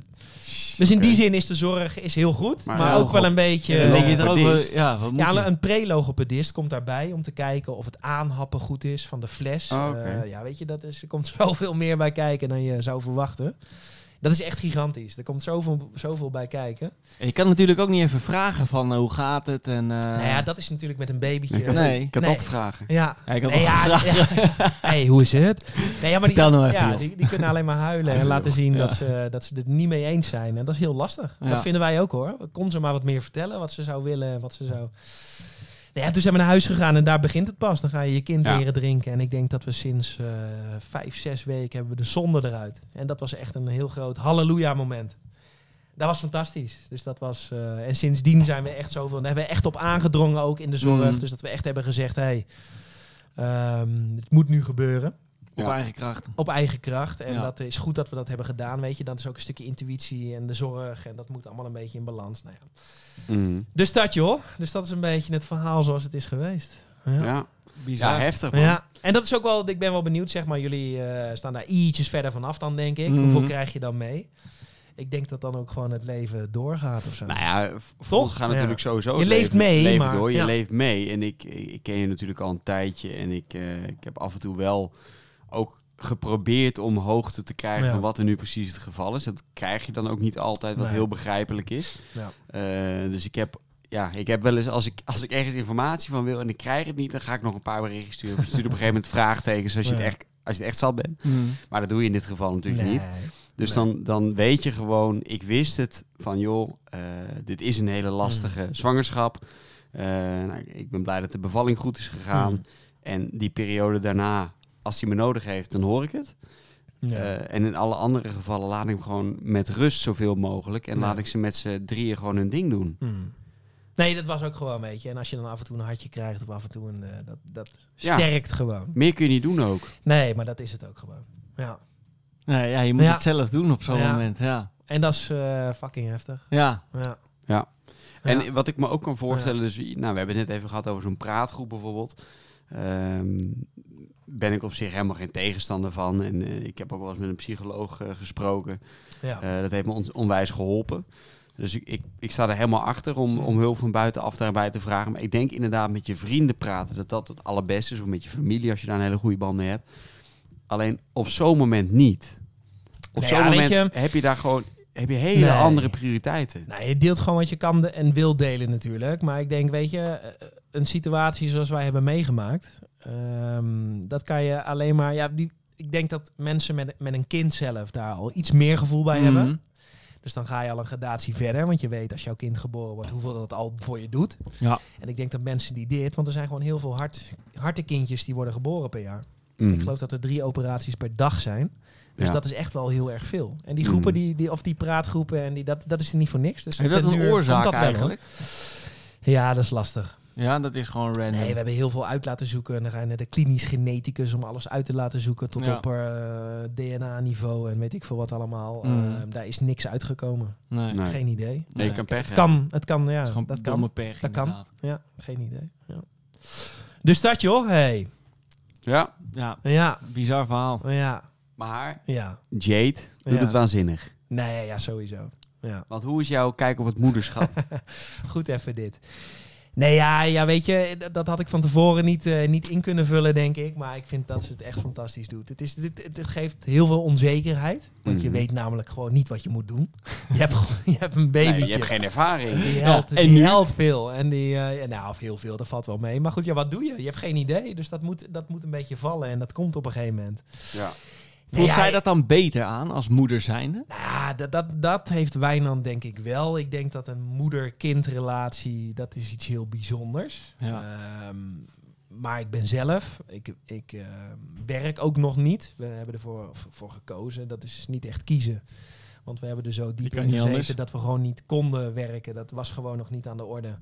Speaker 1: Dus in die zin is de zorg is heel goed,
Speaker 2: Maar
Speaker 1: maar,
Speaker 2: ja,
Speaker 1: ook
Speaker 2: god.
Speaker 1: wel een beetje...
Speaker 3: Dan denk je er ook wel,
Speaker 2: logopedist.
Speaker 3: ja, wat moet
Speaker 1: Ja,
Speaker 3: je?
Speaker 1: een pre-logopedist komt daarbij om te kijken of het aanhappen goed is van de fles.
Speaker 2: Oh, oké.
Speaker 1: Eh, ja, weet je, dat is, er komt zoveel meer bij kijken dan je zou verwachten. Dat is echt gigantisch. Er komt zoveel, zoveel bij kijken.
Speaker 3: Je kan natuurlijk ook niet even vragen van eh, hoe gaat het en... eh,
Speaker 1: Nou ja, dat is natuurlijk met een babytje.
Speaker 2: Ah. Ik had,
Speaker 3: Nee.
Speaker 2: ik had
Speaker 1: Nee.
Speaker 2: dat vragen.
Speaker 1: Ja.
Speaker 3: Ja, ik had
Speaker 1: Nee,
Speaker 3: wel
Speaker 1: ja,
Speaker 3: gevraagd.
Speaker 1: ja. hey, hoe is het? Nee, ja, maar die,
Speaker 3: Vertel nou even,
Speaker 1: ja,
Speaker 3: joh.
Speaker 1: die, die kunnen alleen maar huilen en
Speaker 2: Ja.
Speaker 1: laten zien
Speaker 3: Ja.
Speaker 1: dat, ze, dat ze het niet mee eens zijn. En dat is heel lastig.
Speaker 3: Ja.
Speaker 1: Dat vinden wij ook hoor. Kon ze maar wat meer vertellen wat ze zou willen en wat ze zou... Nou ja, toen zijn we naar huis gegaan en daar begint het pas. Dan ga je je kind
Speaker 2: Ja.
Speaker 1: leren drinken. En ik denk dat we sinds eh, vijf, zes weken hebben we de zonde eruit. En dat was echt een heel groot halleluja moment. Dat was fantastisch. Dus dat was, eh, en sindsdien zijn we echt zoveel. Daar hebben we echt op aangedrongen ook in de zorg.
Speaker 3: Mm.
Speaker 1: Dus dat we echt hebben gezegd: hé, hey, ehm, het moet nu gebeuren.
Speaker 3: Op
Speaker 2: Ja.
Speaker 3: eigen kracht.
Speaker 1: Op eigen kracht. En
Speaker 3: Ja.
Speaker 1: dat is goed dat we dat hebben gedaan. Weet je, dat is ook een stukje intuïtie en de zorg. En dat moet allemaal een beetje in balans. Nou ja.
Speaker 2: Mhm.
Speaker 1: Dus dat, joh. Dus dat is een beetje het verhaal zoals het is geweest. Ja.
Speaker 2: Ja. ja,
Speaker 3: Bizar.
Speaker 2: heftig man.
Speaker 1: Ja, en dat is ook wel, ik ben wel benieuwd, zeg maar, jullie eh, staan daar ietsjes verder vanaf dan, denk ik.
Speaker 3: Mhm.
Speaker 1: Hoeveel krijg je dan mee? Ik denk dat dan ook gewoon het leven doorgaat of zo.
Speaker 2: Nou ja, v- voor ons gaat
Speaker 1: Ja.
Speaker 2: natuurlijk sowieso.
Speaker 1: Je
Speaker 2: het
Speaker 1: leeft
Speaker 2: leven-
Speaker 1: mee,
Speaker 2: leven
Speaker 1: maar-
Speaker 2: door. Je
Speaker 1: ja.
Speaker 2: leeft mee. En ik, ik ken je natuurlijk al een tijdje. En ik, eh, ik heb af en toe wel ook geprobeerd om hoogte te krijgen
Speaker 1: Ja.
Speaker 2: van wat er nu precies het geval is. Dat krijg je dan ook niet altijd, wat
Speaker 1: Nee.
Speaker 2: heel begrijpelijk is.
Speaker 1: Ja.
Speaker 2: Eh, dus ik heb. Ja, ik heb wel eens, als ik, als ik ergens informatie van wil en ik krijg het niet, dan ga ik nog een paar berichten sturen. Of ik stuur op een gegeven moment vraagtekens als je,
Speaker 1: Ja.
Speaker 2: het echt, als je het echt zat bent.
Speaker 3: Mhm.
Speaker 1: Mm.
Speaker 2: Maar dat doe je in dit geval natuurlijk niet.
Speaker 1: Nee.
Speaker 2: Dus
Speaker 1: Nee.
Speaker 2: dan, dan weet je gewoon, ik wist het van joh, eh, dit is een hele lastige
Speaker 1: Mm.
Speaker 2: zwangerschap. Eh, nou, ik ben blij dat de bevalling goed is gegaan.
Speaker 1: Mm.
Speaker 2: En die periode daarna, als hij me nodig heeft, dan hoor ik het.
Speaker 1: Ja.
Speaker 2: Eh, en in alle andere gevallen laat ik hem gewoon met rust zoveel mogelijk. En
Speaker 1: Ja.
Speaker 2: laat ik ze met z'n drieën gewoon hun ding doen.
Speaker 1: Hmm. Nee, dat was ook gewoon, weet je. En als je dan af en toe een hartje krijgt of af en toe een... eh, dat dat
Speaker 2: Ja.
Speaker 1: sterkt gewoon.
Speaker 2: Meer kun je niet doen ook.
Speaker 1: Nee, maar dat is het ook gewoon. Ja.
Speaker 3: Nee, ja, je moet
Speaker 1: Ja.
Speaker 3: het zelf doen op zo'n
Speaker 1: Ja.
Speaker 3: moment. Ja.
Speaker 1: En dat is eh, fucking heftig.
Speaker 3: Ja.
Speaker 1: Ja.
Speaker 2: Ja.
Speaker 1: En
Speaker 2: En wat ik me ook kan voorstellen, dus nou, we hebben het net even gehad over zo'n praatgroep bijvoorbeeld. Ehm, ben ik op zich helemaal geen tegenstander van. En eh, ik heb ook wel eens met een psycholoog eh, gesproken.
Speaker 1: ja.
Speaker 2: Eh, dat heeft me ons onwijs geholpen. Dus ik, ik, ik sta er helemaal achter om, om hulp van buitenaf daarbij te vragen. Maar ik denk inderdaad met je vrienden praten dat dat het allerbeste is. Of met je familie als je daar een hele goede band mee hebt. Alleen op zo'n moment niet. Op
Speaker 1: Nee,
Speaker 2: zo'n
Speaker 1: ja, weet
Speaker 2: moment heb je daar gewoon heb je hele
Speaker 1: Nee.
Speaker 2: andere prioriteiten.
Speaker 1: Nou, je deelt gewoon wat je kan de- en wil delen natuurlijk. Maar ik denk, weet je, eh, een situatie zoals wij hebben meegemaakt, ehm, dat kan je alleen maar. Ja, die, ik denk dat mensen met, met een kind zelf daar al iets meer gevoel
Speaker 2: Mm.
Speaker 1: bij hebben.
Speaker 3: Mhm.
Speaker 1: Dus dan ga je al een gradatie verder, want je weet als jouw kind geboren wordt hoeveel dat al voor je doet.
Speaker 3: Ja.
Speaker 1: En ik denk dat mensen die dit, want er zijn gewoon heel veel hart, harte kindjes die worden geboren per jaar.
Speaker 2: Mm.
Speaker 1: Ik geloof dat er drie operaties per dag zijn. Dus
Speaker 2: Ja.
Speaker 1: dat is echt wel heel erg veel. En die groepen,
Speaker 2: Mm.
Speaker 1: die, die, of die praatgroepen, en die, dat, dat is er niet voor niks. Dus
Speaker 3: Heeft
Speaker 1: ten
Speaker 3: dat een
Speaker 1: duur
Speaker 3: oorzaak
Speaker 1: komt dat wel,
Speaker 3: eigenlijk?
Speaker 1: hoor. ja, dat is lastig.
Speaker 3: Ja, dat is gewoon random.
Speaker 1: Nee, we hebben heel veel uit laten zoeken. En dan ga je naar de klinisch geneticus om alles uit te laten zoeken. Tot
Speaker 3: Ja.
Speaker 1: op eh, DNA-niveau en weet ik veel wat allemaal.
Speaker 3: Mm.
Speaker 1: Eh, daar is niks uitgekomen.
Speaker 3: nee.
Speaker 2: Nee.
Speaker 1: Geen idee.
Speaker 2: Nee, je kan pech
Speaker 1: Het
Speaker 2: hebben.
Speaker 1: kan, het kan, ja.
Speaker 3: Het is gewoon
Speaker 1: Eh, Dat
Speaker 3: domme
Speaker 1: kan.
Speaker 3: pech.
Speaker 1: Dat kan.
Speaker 3: inderdaad.
Speaker 1: Ja, geen idee. Ja. Dus dat joh, hey.
Speaker 2: Ja,
Speaker 3: Ja,
Speaker 1: Ja,
Speaker 3: bizar verhaal.
Speaker 1: ja,
Speaker 2: maar
Speaker 1: ja.
Speaker 2: Jade doet
Speaker 1: Ja.
Speaker 2: het waanzinnig.
Speaker 1: Nee, ja, sowieso. Ja.
Speaker 2: Want hoe is jouw kijk op het moederschap?
Speaker 1: Goed even dit. Nee, ja, ja, weet je, dat, dat had ik van tevoren niet, eh, niet in kunnen vullen, denk ik. Maar ik vind dat ze het echt fantastisch doet. Het, is, dit, het, het geeft heel veel onzekerheid. Want je
Speaker 2: Mhm.
Speaker 1: weet namelijk gewoon niet wat je moet doen. Je hebt, gewoon- je hebt een baby.
Speaker 2: nee, je hebt geen ervaring.
Speaker 1: Die
Speaker 3: Ja,
Speaker 1: helpt,
Speaker 3: en
Speaker 1: die
Speaker 3: nu?
Speaker 1: helpt veel. En die, eh, ja, nou, of heel veel, dat valt wel mee. Maar goed, ja, wat doe je? Je hebt geen idee. Dus dat moet, dat moet een beetje vallen. En dat komt op een gegeven moment.
Speaker 2: Ja.
Speaker 3: Voelt
Speaker 1: Ja,
Speaker 3: zij dat dan beter aan als moeder zijnde?
Speaker 1: Nou, dat, dat, dat heeft Wijnand denk ik wel. Ik denk dat een moeder-kindrelatie, dat is iets heel bijzonders.
Speaker 3: Ja.
Speaker 1: Ehm, maar ik ben zelf, ik, ik ehm, werk ook nog niet. We hebben ervoor v- voor gekozen, dat is niet echt kiezen. Want we hebben er zo diep
Speaker 3: kan
Speaker 1: in
Speaker 3: niet anders.
Speaker 1: gezeten dat we gewoon niet konden werken. Dat was gewoon nog niet aan de orde.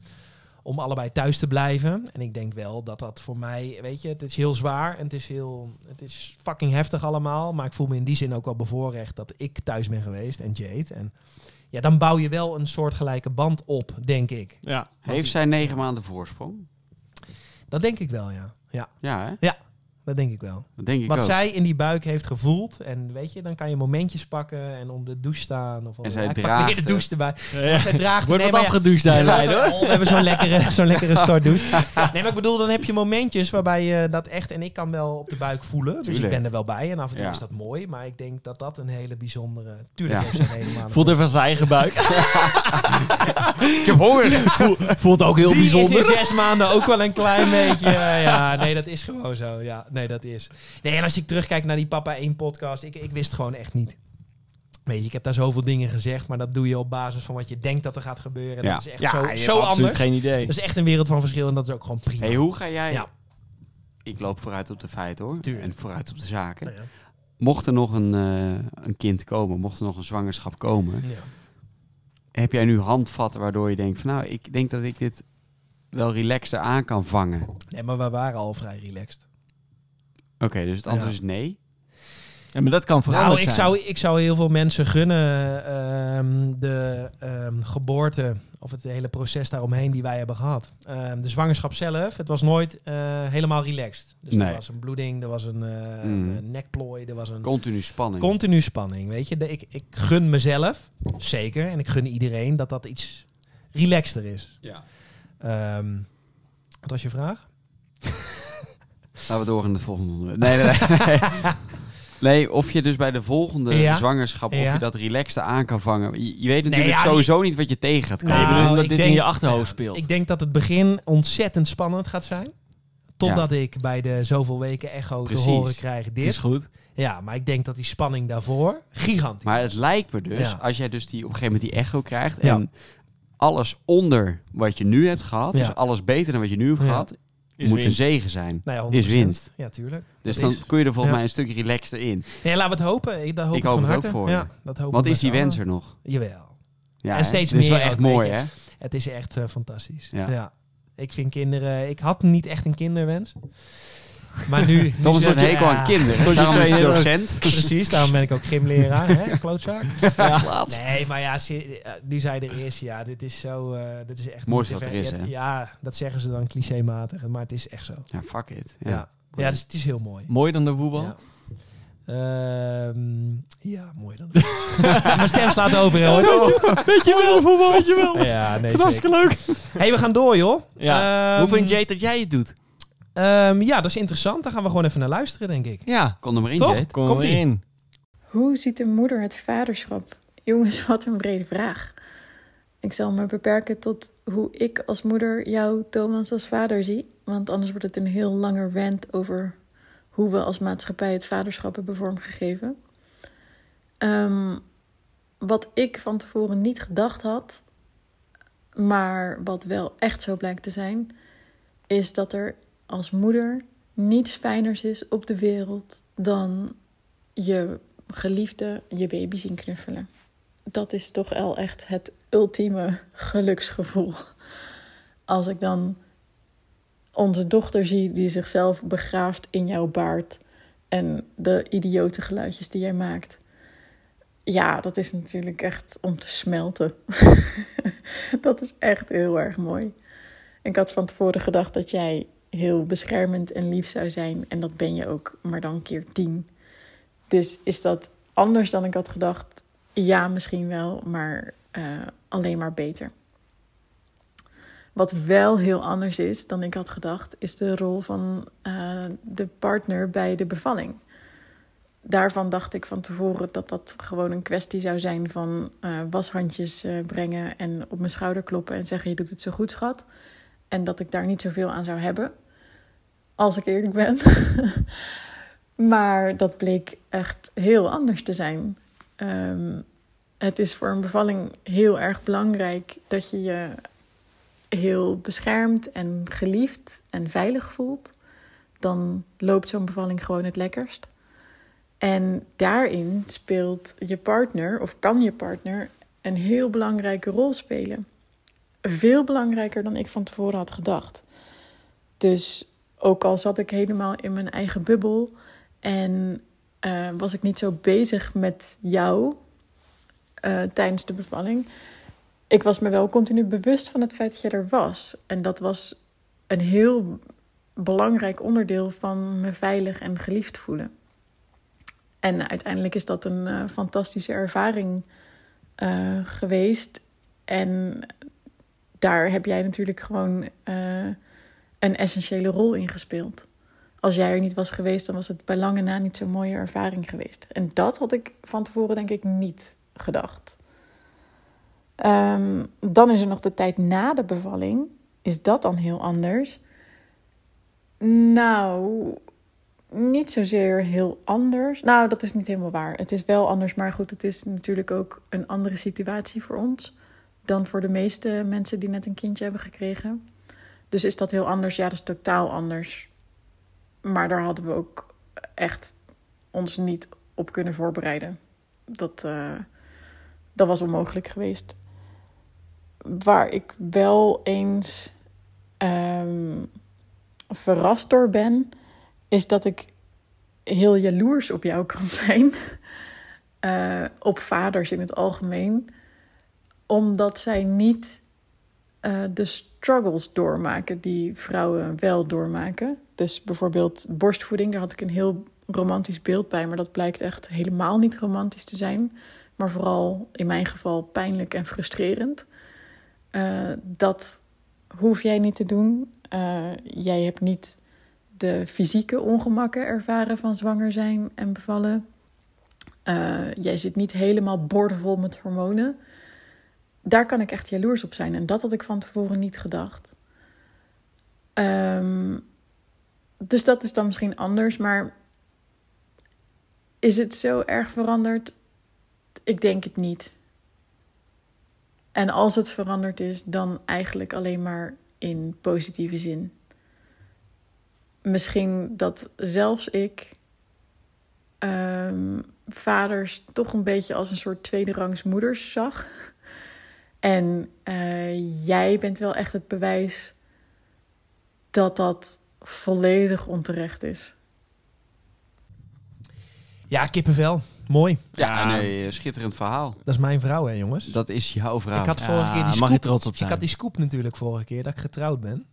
Speaker 1: Om allebei thuis te blijven. En ik denk wel dat dat voor mij, weet je, het is heel zwaar en het is heel, het is fucking heftig allemaal. Maar ik voel me in die zin ook wel bevoorrecht dat ik thuis ben geweest en Jade. En ja, dan bouw je wel een soortgelijke band op, denk ik.
Speaker 3: Ja.
Speaker 2: Heeft zij negen maanden voorsprong?
Speaker 1: Dat denk ik wel, ja. Ja,
Speaker 2: Ja, hè?
Speaker 1: dat denk ik wel.
Speaker 2: Dat denk ik
Speaker 1: Wat
Speaker 2: ook.
Speaker 1: zij in die buik heeft gevoeld. En weet je, dan kan je momentjes pakken en om de douche staan. Of
Speaker 2: En zij
Speaker 1: Ja, ik pak
Speaker 2: draagt
Speaker 1: weer de
Speaker 2: het.
Speaker 1: douche erbij. Zij draagt
Speaker 3: Wordt
Speaker 1: nee, maar
Speaker 3: wat
Speaker 1: ja,
Speaker 3: afgedoucht daar, Leiden, hoor.
Speaker 1: Oh, we hebben zo'n lekkere, zo'n lekkere startdouche. Nee, maar ik bedoel, dan heb je momentjes waarbij je dat echt... En ik kan wel op de buik voelen, dus
Speaker 2: Tuurlijk.
Speaker 1: ik ben er wel bij. En af en toe
Speaker 2: Ja.
Speaker 1: is dat mooi, maar ik denk dat dat een hele bijzondere... Tuurlijk
Speaker 2: Ja.
Speaker 1: heeft ze een hele maand.
Speaker 3: Voelt er van zijn eigen buik.
Speaker 2: Ik heb honger.
Speaker 3: Voelt ook heel
Speaker 1: Die is
Speaker 3: bijzonder.
Speaker 1: in zes maanden ook wel een klein beetje... eh, Ja, nee, dat is gewoon zo. Ja, nee, dat is... Nee, en als ik terugkijk naar die Papa 1 podcast, ik, ik wist gewoon echt niet. Weet je, ik heb daar zoveel dingen gezegd, maar dat doe je op basis van wat je denkt dat er gaat gebeuren. En
Speaker 2: Ja.
Speaker 1: Dat is echt
Speaker 3: Ja, je
Speaker 1: zo,
Speaker 3: hebt
Speaker 1: zo
Speaker 3: Absoluut
Speaker 1: anders.
Speaker 3: geen idee.
Speaker 1: Dat is echt een wereld van verschil en dat is ook gewoon prima.
Speaker 2: Hey, hoe ga jij...
Speaker 1: Ja.
Speaker 2: Ik loop vooruit op de feiten, hoor.
Speaker 1: Tuurlijk.
Speaker 2: En vooruit op de zaken.
Speaker 1: Nou ja.
Speaker 2: Mocht er nog een, eh, een kind komen, mocht er nog een zwangerschap komen...
Speaker 1: Ja.
Speaker 2: Heb jij nu handvatten waardoor je denkt van... Nou, ik denk dat ik dit wel relaxter aan kan vangen. Oké,
Speaker 1: Nee, maar we waren al vrij relaxed.
Speaker 2: dus het antwoord
Speaker 1: Ja.
Speaker 2: is nee.
Speaker 3: Ja, maar dat kan veranderen.
Speaker 1: Nou, ik zou, ik zou heel veel mensen gunnen ehm, de ehm, geboorte of het hele proces daaromheen die wij hebben gehad. Ehm, de zwangerschap zelf, het was nooit eh, helemaal relaxed. Dus
Speaker 2: Nee.
Speaker 1: er was een bloeding, er was een, eh,
Speaker 2: Mm.
Speaker 1: een nekplooi, er was een
Speaker 2: Continu spanning.
Speaker 1: continu spanning. Weet je, De- ik, ik gun mezelf, zeker, en ik gun iedereen dat dat iets relaxter is.
Speaker 2: Ja.
Speaker 1: Ehm, wat was je vraag?
Speaker 2: Laten we door naar de volgende onderwerp. Nee, nee, nee. Nee, of je dus bij de volgende
Speaker 1: Ja.
Speaker 2: zwangerschap... of
Speaker 1: Ja.
Speaker 2: je dat relaxter aan kan vangen. Je, je weet natuurlijk
Speaker 1: ja, die- Nou,
Speaker 2: sowieso niet wat je tegen gaat komen.
Speaker 3: Nee, je bedoelt omdat
Speaker 1: ik
Speaker 3: dit in je achterhoofd
Speaker 1: ja,
Speaker 3: speelt.
Speaker 1: Ik denk dat het begin ontzettend spannend gaat zijn. Totdat ik bij de zoveel weken echo
Speaker 2: Precies.
Speaker 1: te horen krijg
Speaker 3: Het is
Speaker 1: dit.
Speaker 3: goed.
Speaker 1: Ja, maar ik denk dat die spanning daarvoor gigantisch
Speaker 2: Maar het lijkt me dus,
Speaker 1: Ja.
Speaker 2: als jij dus die, op een gegeven moment die echo krijgt...
Speaker 1: Ja.
Speaker 2: en alles onder wat je nu hebt gehad...
Speaker 1: Ja.
Speaker 2: dus alles beter dan wat je nu hebt
Speaker 1: Ja.
Speaker 2: gehad... moet een zegen zijn.
Speaker 1: Nou ja,
Speaker 2: Is
Speaker 1: 100%.
Speaker 2: winst.
Speaker 1: Ja, tuurlijk.
Speaker 2: Dus
Speaker 1: Dat
Speaker 2: dan
Speaker 1: is-
Speaker 2: kun je er volgens
Speaker 1: Ja.
Speaker 2: mij een stuk relaxter in.
Speaker 1: Nee, laten we het hopen. Ik, dat hoop
Speaker 2: Ik
Speaker 1: ik
Speaker 2: hoop
Speaker 1: van
Speaker 2: het ook
Speaker 1: harte.
Speaker 2: voor
Speaker 1: ja, dat hoop
Speaker 2: Wat
Speaker 1: ik
Speaker 2: is die
Speaker 1: met z'n
Speaker 2: wens er nog?
Speaker 1: allen. Jawel.
Speaker 2: Ja,
Speaker 1: En
Speaker 2: hè?
Speaker 1: steeds
Speaker 2: Dit is
Speaker 1: meer
Speaker 2: wel echt
Speaker 1: ook,
Speaker 2: mooi,
Speaker 1: weet je.
Speaker 2: hè?
Speaker 1: Het is echt eh, fantastisch.
Speaker 2: Ja.
Speaker 1: Ja. Ik vind kinderen... Ik had niet echt een kinderwens. Maar nu... nu
Speaker 2: Thomas
Speaker 1: zegt
Speaker 2: heeft een
Speaker 1: hij,
Speaker 2: hekel
Speaker 1: ja,
Speaker 2: aan kinderen.
Speaker 3: Tot je
Speaker 2: Daarom is hij
Speaker 3: tweede-
Speaker 2: docent.
Speaker 1: Precies, daarom ben ik ook gymleraar, hè, klootzaak.
Speaker 2: Ja.
Speaker 1: Nee, maar ja, se- eh, nu zei er eerst, ja, dit is zo, eh, dit is echt...
Speaker 2: Mooiste
Speaker 1: niet te
Speaker 2: wat
Speaker 1: ver-
Speaker 2: er is,
Speaker 1: het-
Speaker 2: hè?
Speaker 1: Ja, dat zeggen ze dan clichématig, maar het is echt zo.
Speaker 2: Ja, fuck it.
Speaker 1: Ja,
Speaker 2: Ja.
Speaker 1: ja. dus het is heel mooi.
Speaker 3: Mooi dan de woebal.
Speaker 1: Ja. Ehm, ja, mooi dan. Mijn stem slaat over, hè, hoor.
Speaker 3: Weet je wel, voetbal, weet je wel.
Speaker 1: Ja, nee,
Speaker 3: Hartstikke
Speaker 1: zeker.
Speaker 3: leuk.
Speaker 1: hey, we gaan door, joh.
Speaker 3: Ja.
Speaker 1: Ehm,
Speaker 3: Hoe vind Jade dat jij het doet?
Speaker 1: ehm, ja, dat is interessant. Daar gaan we gewoon even naar luisteren, denk ik.
Speaker 3: Ja.
Speaker 2: Kon er maar in,
Speaker 1: Toch?
Speaker 2: Jade.
Speaker 3: Kom
Speaker 1: Komt-ie.
Speaker 3: in.
Speaker 4: Hoe ziet een moeder het vaderschap? Jongens, wat een brede vraag. Ik zal me beperken tot hoe ik als moeder jou, Thomas, als vader zie. Want anders wordt het een heel lange rant over hoe we als maatschappij het vaderschap hebben vormgegeven. Ehm, wat ik van tevoren niet gedacht had, maar wat wel echt zo blijkt te zijn, is dat er als moeder niets fijners is op de wereld dan je geliefde je baby zien knuffelen. Dat is toch wel echt het ultieme geluksgevoel. Als ik dan onze dochter zie die zichzelf begraaft in jouw baard en de idiote geluidjes die jij maakt. Ja, dat is natuurlijk echt om te smelten. dat is echt heel erg mooi. Ik had van tevoren gedacht dat jij heel beschermend en lief zou zijn. En dat ben je ook, maar dan keer tien. Dus is dat anders dan ik had gedacht? Ja, misschien wel, maar eh, alleen maar beter. Wat wel heel anders is dan ik had gedacht, is de rol van eh, de partner bij de bevalling. Daarvan dacht ik van tevoren dat dat gewoon een kwestie zou zijn van eh, washandjes eh, brengen en op mijn schouder kloppen en zeggen: Je doet het zo goed, schat. En dat ik daar niet zoveel aan zou hebben, als ik eerlijk ben. Maar dat bleek echt heel anders te zijn. Ehm, het is voor een bevalling heel erg belangrijk dat je je heel beschermd en geliefd en veilig voelt. Dan loopt zo'n bevalling gewoon het lekkerst. En daarin speelt je partner, of kan je partner, een heel belangrijke rol spelen. Veel belangrijker dan ik van tevoren had gedacht. Dus ook al zat ik helemaal in mijn eigen bubbel, en eh, was ik niet zo bezig met jou eh, tijdens de bevalling. Ik was me wel continu bewust van het feit dat je er was. En dat was een heel belangrijk onderdeel van me veilig en geliefd voelen. En uiteindelijk is dat een eh, fantastische ervaring eh, geweest. En daar heb jij natuurlijk gewoon eh, een essentiële rol in gespeeld als jij er niet was geweest, dan was het bij lange na niet zo'n mooie ervaring geweest. En dat had ik van tevoren denk ik niet gedacht. Ehm, dan is er nog de tijd na de bevalling. Is dat dan heel anders? Nou, niet zozeer heel anders. Nou, dat is niet helemaal waar. Het is wel anders, maar goed, het is natuurlijk ook een andere situatie voor ons dan voor de meeste mensen die net een kindje hebben gekregen. Dus is dat heel anders? Ja, dat is totaal anders. Maar daar hadden we ook echt ons niet op kunnen voorbereiden. Dat, eh, dat was onmogelijk geweest. Waar ik wel eens ehm, verrast door ben, is dat ik heel jaloers op jou kan zijn. Eh, op vaders in het algemeen. Omdat zij niet eh, de struggles doormaken die vrouwen wel doormaken. Dus bijvoorbeeld borstvoeding, daar had ik een heel romantisch beeld bij, maar dat blijkt echt helemaal niet romantisch te zijn. Maar vooral in mijn geval pijnlijk en frustrerend. Eh, dat hoef jij niet te doen. Eh, jij hebt niet de fysieke ongemakken ervaren van zwanger zijn en bevallen. Eh, jij zit niet helemaal boordevol met hormonen daar kan ik echt jaloers op zijn. En dat had ik van tevoren niet gedacht. Ehm, dus dat is dan misschien anders. Maar is het zo erg veranderd? Ik denk het niet. En als het veranderd is, dan eigenlijk alleen maar in positieve zin. Misschien dat zelfs ik ehm, vaders toch een beetje als een soort tweederangs moeders zag. En eh, jij bent wel echt het bewijs dat dat volledig onterecht is.
Speaker 1: Ja, kippenvel. Mooi.
Speaker 2: Ja,
Speaker 3: Ja.
Speaker 2: nee, schitterend verhaal.
Speaker 1: Dat is mijn vrouw, hè, jongens.
Speaker 2: Dat is jouw verhaal.
Speaker 1: Ik had vorige keer die
Speaker 3: mag je
Speaker 1: scoop.
Speaker 3: trots op
Speaker 1: Ik
Speaker 3: zijn.
Speaker 1: had die scoop natuurlijk vorige keer dat ik getrouwd ben.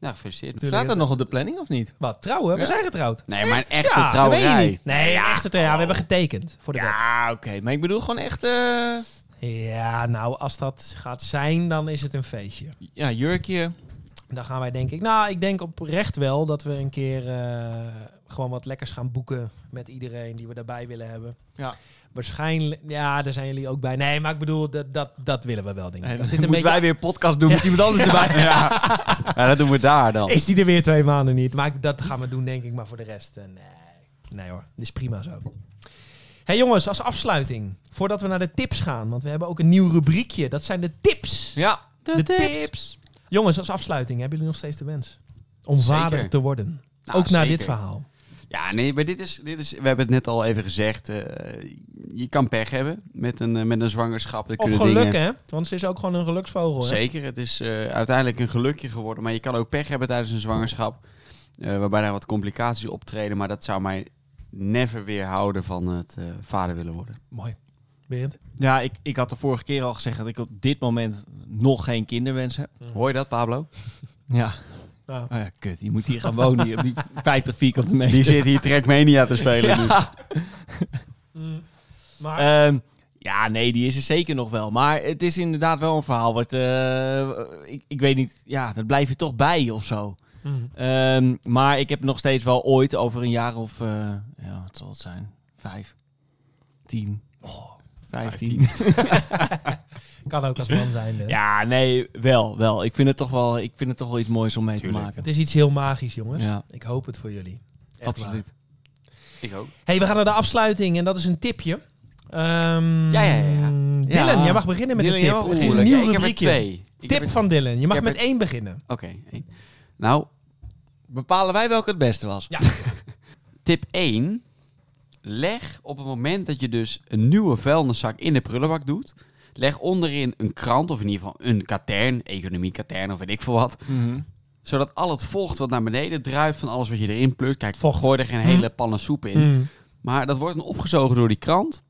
Speaker 2: Ja, Nou, gefeliciteerd.
Speaker 1: Tuurlijk.
Speaker 3: Staat dat nog op de planning of niet?
Speaker 1: Wat, trouwen? We
Speaker 3: Ja.
Speaker 1: zijn getrouwd.
Speaker 2: Nee, maar een echte
Speaker 1: Ja,
Speaker 3: dat weet je
Speaker 2: trouwerij.
Speaker 3: niet.
Speaker 1: Nee, ja, echt het. Ja, we hebben getekend voor de wet.
Speaker 3: Ja, oké. Maar ik bedoel gewoon echt... eh,
Speaker 1: Ja, nou, als dat gaat zijn, dan is het een feestje.
Speaker 3: ja, jurkje.
Speaker 1: Dan gaan wij denk ik... Nou, ik denk oprecht wel dat we een keer eh, gewoon wat lekkers gaan boeken met iedereen die we daarbij willen hebben.
Speaker 3: Ja.
Speaker 1: Waarschijnlijk... Ja, daar zijn jullie ook bij. Nee, maar ik bedoel, dat, dat, dat willen we wel, denk ik.
Speaker 3: Nee,
Speaker 1: Dat
Speaker 3: dan
Speaker 1: zit een
Speaker 3: moeten
Speaker 1: beetje-
Speaker 3: wij weer podcast doen met iemand anders erbij. Ja.
Speaker 2: Ja, dat doen we daar dan.
Speaker 1: Is die er weer twee maanden niet? Maar ik- dat gaan we doen, denk ik. Maar voor de rest, eh, nee. Nee hoor, dit is prima zo. hey jongens, als afsluiting. Voordat we naar de tips gaan. Want we hebben ook een nieuw rubriekje. Dat zijn de tips.
Speaker 3: ja.
Speaker 1: de Jongens, als afsluiting. Hebben jullie nog steeds de wens? Om
Speaker 2: Zeker.
Speaker 1: vader te worden.
Speaker 2: Nou,
Speaker 1: ook na
Speaker 2: zeker.
Speaker 1: dit verhaal.
Speaker 2: Ja, nee, maar dit is, dit is... We hebben het net al even gezegd. eh, je kan pech hebben met een, eh, met een zwangerschap. Er
Speaker 1: Of
Speaker 2: kunnen
Speaker 1: geluk,
Speaker 2: dingen...
Speaker 1: hè? Want ze is ook gewoon een geluksvogel. Hè?
Speaker 2: Zeker, het is eh, uiteindelijk een gelukje geworden. Maar je kan ook pech hebben tijdens een zwangerschap. eh, waarbij er wat complicaties optreden. Maar dat zou mij never weerhouden van het eh, vader willen worden.
Speaker 1: Mooi. Berend?
Speaker 3: Ja, ik, ik had de vorige keer al gezegd dat ik op dit moment nog geen kinderwens heb.
Speaker 2: Hoor je dat, Pablo?
Speaker 3: Ja.
Speaker 1: Nou,
Speaker 3: Oh ja, kut. Je moet hier gaan wonen, hier op die 50 vierkante meter.
Speaker 2: Die zit hier Trackmania te spelen. nu.
Speaker 1: mm, maar
Speaker 3: Ehm, ja, nee, die is er zeker nog wel. Maar het is inderdaad wel een verhaal wat... eh, ik, ik weet niet, ja, dat blijf je toch bij of zo.
Speaker 1: mm,
Speaker 3: Ehm, maar ik heb nog steeds wel ooit over een jaar of... eh, ja, wat zal het zijn? Vijf, tien, Oh, vijftien.
Speaker 1: kan ook als man zijn. hè?
Speaker 3: Ja, nee, wel, wel. Ik vind het toch wel, ik vind het toch wel iets moois om mee
Speaker 2: Tuurlijk.
Speaker 3: te maken.
Speaker 1: Het is iets heel magisch, jongens.
Speaker 3: Ja,
Speaker 1: Ik hoop het voor jullie. Echt waar.
Speaker 3: absoluut.
Speaker 2: Ik ook.
Speaker 1: hey, we gaan naar de afsluiting en dat is een tipje. Ehm,
Speaker 2: Ja, ja, ja, ja.
Speaker 1: Dylan,
Speaker 3: Ja.
Speaker 1: jij mag beginnen met
Speaker 2: Dylan,
Speaker 1: een
Speaker 2: jij
Speaker 1: tip.
Speaker 2: mag-
Speaker 1: het is een
Speaker 2: Oeh,
Speaker 1: nieuw
Speaker 2: ik heb er
Speaker 1: rubriekje.
Speaker 2: twee. Ik heb
Speaker 1: Tip
Speaker 2: er-
Speaker 1: van Dylan. Je mag
Speaker 2: heb
Speaker 1: met
Speaker 2: er-
Speaker 1: één beginnen.
Speaker 2: Oké. één. Nou,
Speaker 3: Bepalen wij welke het beste was?
Speaker 1: Ja.
Speaker 2: tip 1. Leg op het moment dat je dus een nieuwe vuilniszak in de prullenbak doet. Leg onderin een krant of in ieder geval een katern, economie-katern of weet ik veel wat.
Speaker 3: Mhm.
Speaker 2: Zodat al het vocht wat naar beneden druipt van alles wat je erin plukt. Kijk,
Speaker 1: Vocht.
Speaker 2: gooi er geen
Speaker 1: Hm.
Speaker 2: hele pannen soep in.
Speaker 1: Mm.
Speaker 2: Maar dat wordt dan opgezogen door die krant.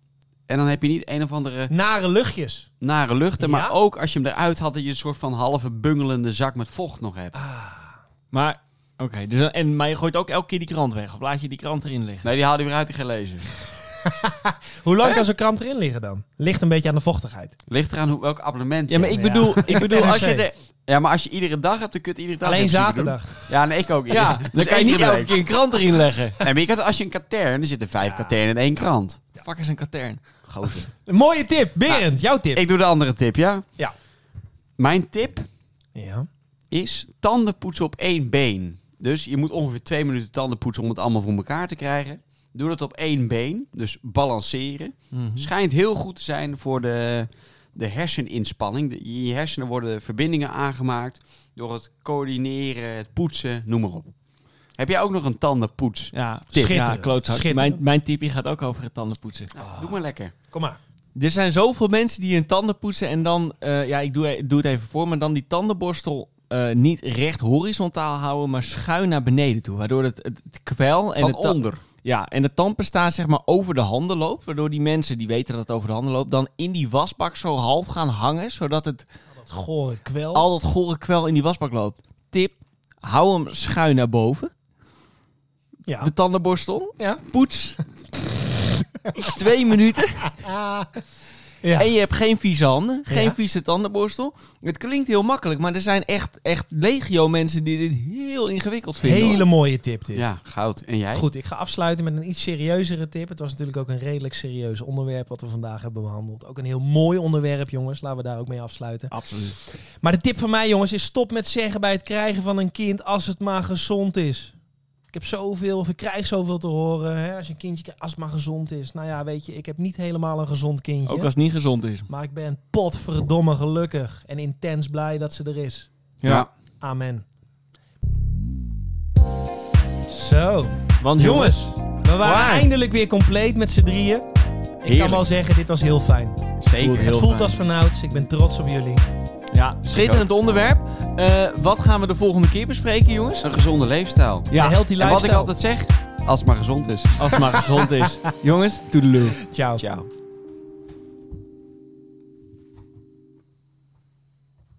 Speaker 2: En dan heb je niet een of andere
Speaker 1: Nare luchtjes.
Speaker 2: nare luchten.
Speaker 1: Ja?
Speaker 2: Maar ook als je hem eruit had, dat je een soort van halve bungelende zak met vocht nog hebt.
Speaker 3: Maar, oké. dus, dan- en, maar je gooit ook elke keer die krant weg. Of laat je die krant erin liggen?
Speaker 2: Nee, die haalde hij weer uit, die gelezen.
Speaker 1: Hoe lang kan zo'n krant erin liggen dan? Ligt een beetje aan de vochtigheid.
Speaker 2: Ligt eraan hoe, welk abonnement je
Speaker 3: Ja, maar
Speaker 2: hebt.
Speaker 3: ik
Speaker 1: Ja.
Speaker 3: bedoel, ik bedoel als je
Speaker 1: NRC.
Speaker 3: de,
Speaker 2: ja, maar als je iedere dag hebt, dan kun je het iedere dag
Speaker 1: Alleen
Speaker 2: in principe
Speaker 1: zaterdag.
Speaker 2: doen. Ja, nee, ik ook.
Speaker 3: Ja,
Speaker 2: Dus
Speaker 3: dan kan je
Speaker 2: één
Speaker 3: niet
Speaker 2: keer de
Speaker 3: elke
Speaker 2: week.
Speaker 3: keer een krant erin leggen.
Speaker 2: Nee, maar je kan, als je een katern, er zitten vijf katernen in één krant.
Speaker 3: Fuck is een katern.
Speaker 2: Gozer.
Speaker 1: Een mooie tip. Berend, jouw tip.
Speaker 2: Nou, ik doe de andere tip, ja?
Speaker 1: Ja.
Speaker 2: Mijn tip
Speaker 1: Ja.
Speaker 2: is tanden poetsen op één been. Dus je moet ongeveer twee minuten tanden poetsen om het allemaal voor elkaar te krijgen. Doe dat op één been, dus balanceren. Schijnt heel goed te zijn voor de, de herseninspanning. De- in je hersenen worden verbindingen aangemaakt door het coördineren, het poetsen, noem maar op. Heb jij ook nog een tandenpoets?
Speaker 3: Ja,
Speaker 1: Schitterend.
Speaker 3: ja klootzak.
Speaker 1: Schitterend.
Speaker 3: Mijn, mijn tipje gaat ook over het tandenpoetsen.
Speaker 2: Nou, Doe maar lekker.
Speaker 1: Kom maar.
Speaker 3: Er zijn zoveel mensen die hun tanden poetsen en dan, eh, ja, ik doe, ik doe het even voor, maar dan die tandenborstel eh, niet recht horizontaal houden, maar schuin naar beneden toe. Waardoor het, het, het kwel en
Speaker 2: Van
Speaker 3: het ta-
Speaker 2: onder.
Speaker 3: Ja, en de tandpasta zeg maar over de handen loopt. Waardoor die mensen die weten dat het over de handen loopt, dan in die wasbak zo half gaan hangen. Zodat het
Speaker 1: Dat gore kwel.
Speaker 3: al dat gore kwel in die wasbak loopt. Tip, hou hem schuin naar boven.
Speaker 1: Ja.
Speaker 3: De tandenborstel.
Speaker 1: Ja.
Speaker 3: Poets. Twee minuten.
Speaker 1: Ja.
Speaker 3: En je hebt geen vieze handen. Geen
Speaker 1: Ja.
Speaker 3: vieze tandenborstel. Het klinkt heel makkelijk, maar er zijn echt, echt legio mensen die dit heel ingewikkeld vinden. hoor.
Speaker 1: Hele mooie tip dit.
Speaker 2: Ja, goud. En jij?
Speaker 1: Goed, ik ga afsluiten met een iets serieuzere tip. Het was natuurlijk ook een redelijk serieus onderwerp wat we vandaag hebben behandeld. Ook een heel mooi onderwerp, jongens. Laten we daar ook mee afsluiten.
Speaker 3: Absoluut.
Speaker 1: Maar de tip van mij, jongens, is stop met zeggen bij het krijgen van een kind als het maar gezond is. Ik heb zoveel, of ik krijg zoveel te horen. Hè, als je een kindje krijgt, als het maar gezond is. Nou ja, weet je, ik heb niet helemaal een gezond kindje.
Speaker 3: Ook als het niet gezond is.
Speaker 1: Maar ik ben potverdomme gelukkig en intens blij dat ze er is.
Speaker 2: Ja.
Speaker 1: Amen. Zo.
Speaker 3: Want jongens,
Speaker 1: Jongens, we waren
Speaker 3: Waar?
Speaker 1: eindelijk weer compleet met z'n drieën. Ik kan
Speaker 3: Heerlijk.
Speaker 1: wel zeggen, dit was heel fijn.
Speaker 3: zeker.
Speaker 1: het voelt als vanouds. Ik ben trots op jullie.
Speaker 3: Ja, schitterend onderwerp. Eh, wat gaan we de volgende keer bespreken, jongens?
Speaker 2: Een gezonde leefstijl.
Speaker 1: Een healthy
Speaker 2: En wat ik
Speaker 1: lifestyle.
Speaker 2: altijd zeg, als het maar gezond is.
Speaker 3: Als het maar gezond is. jongens, toedeloe.
Speaker 1: Ciao.
Speaker 2: Ciao.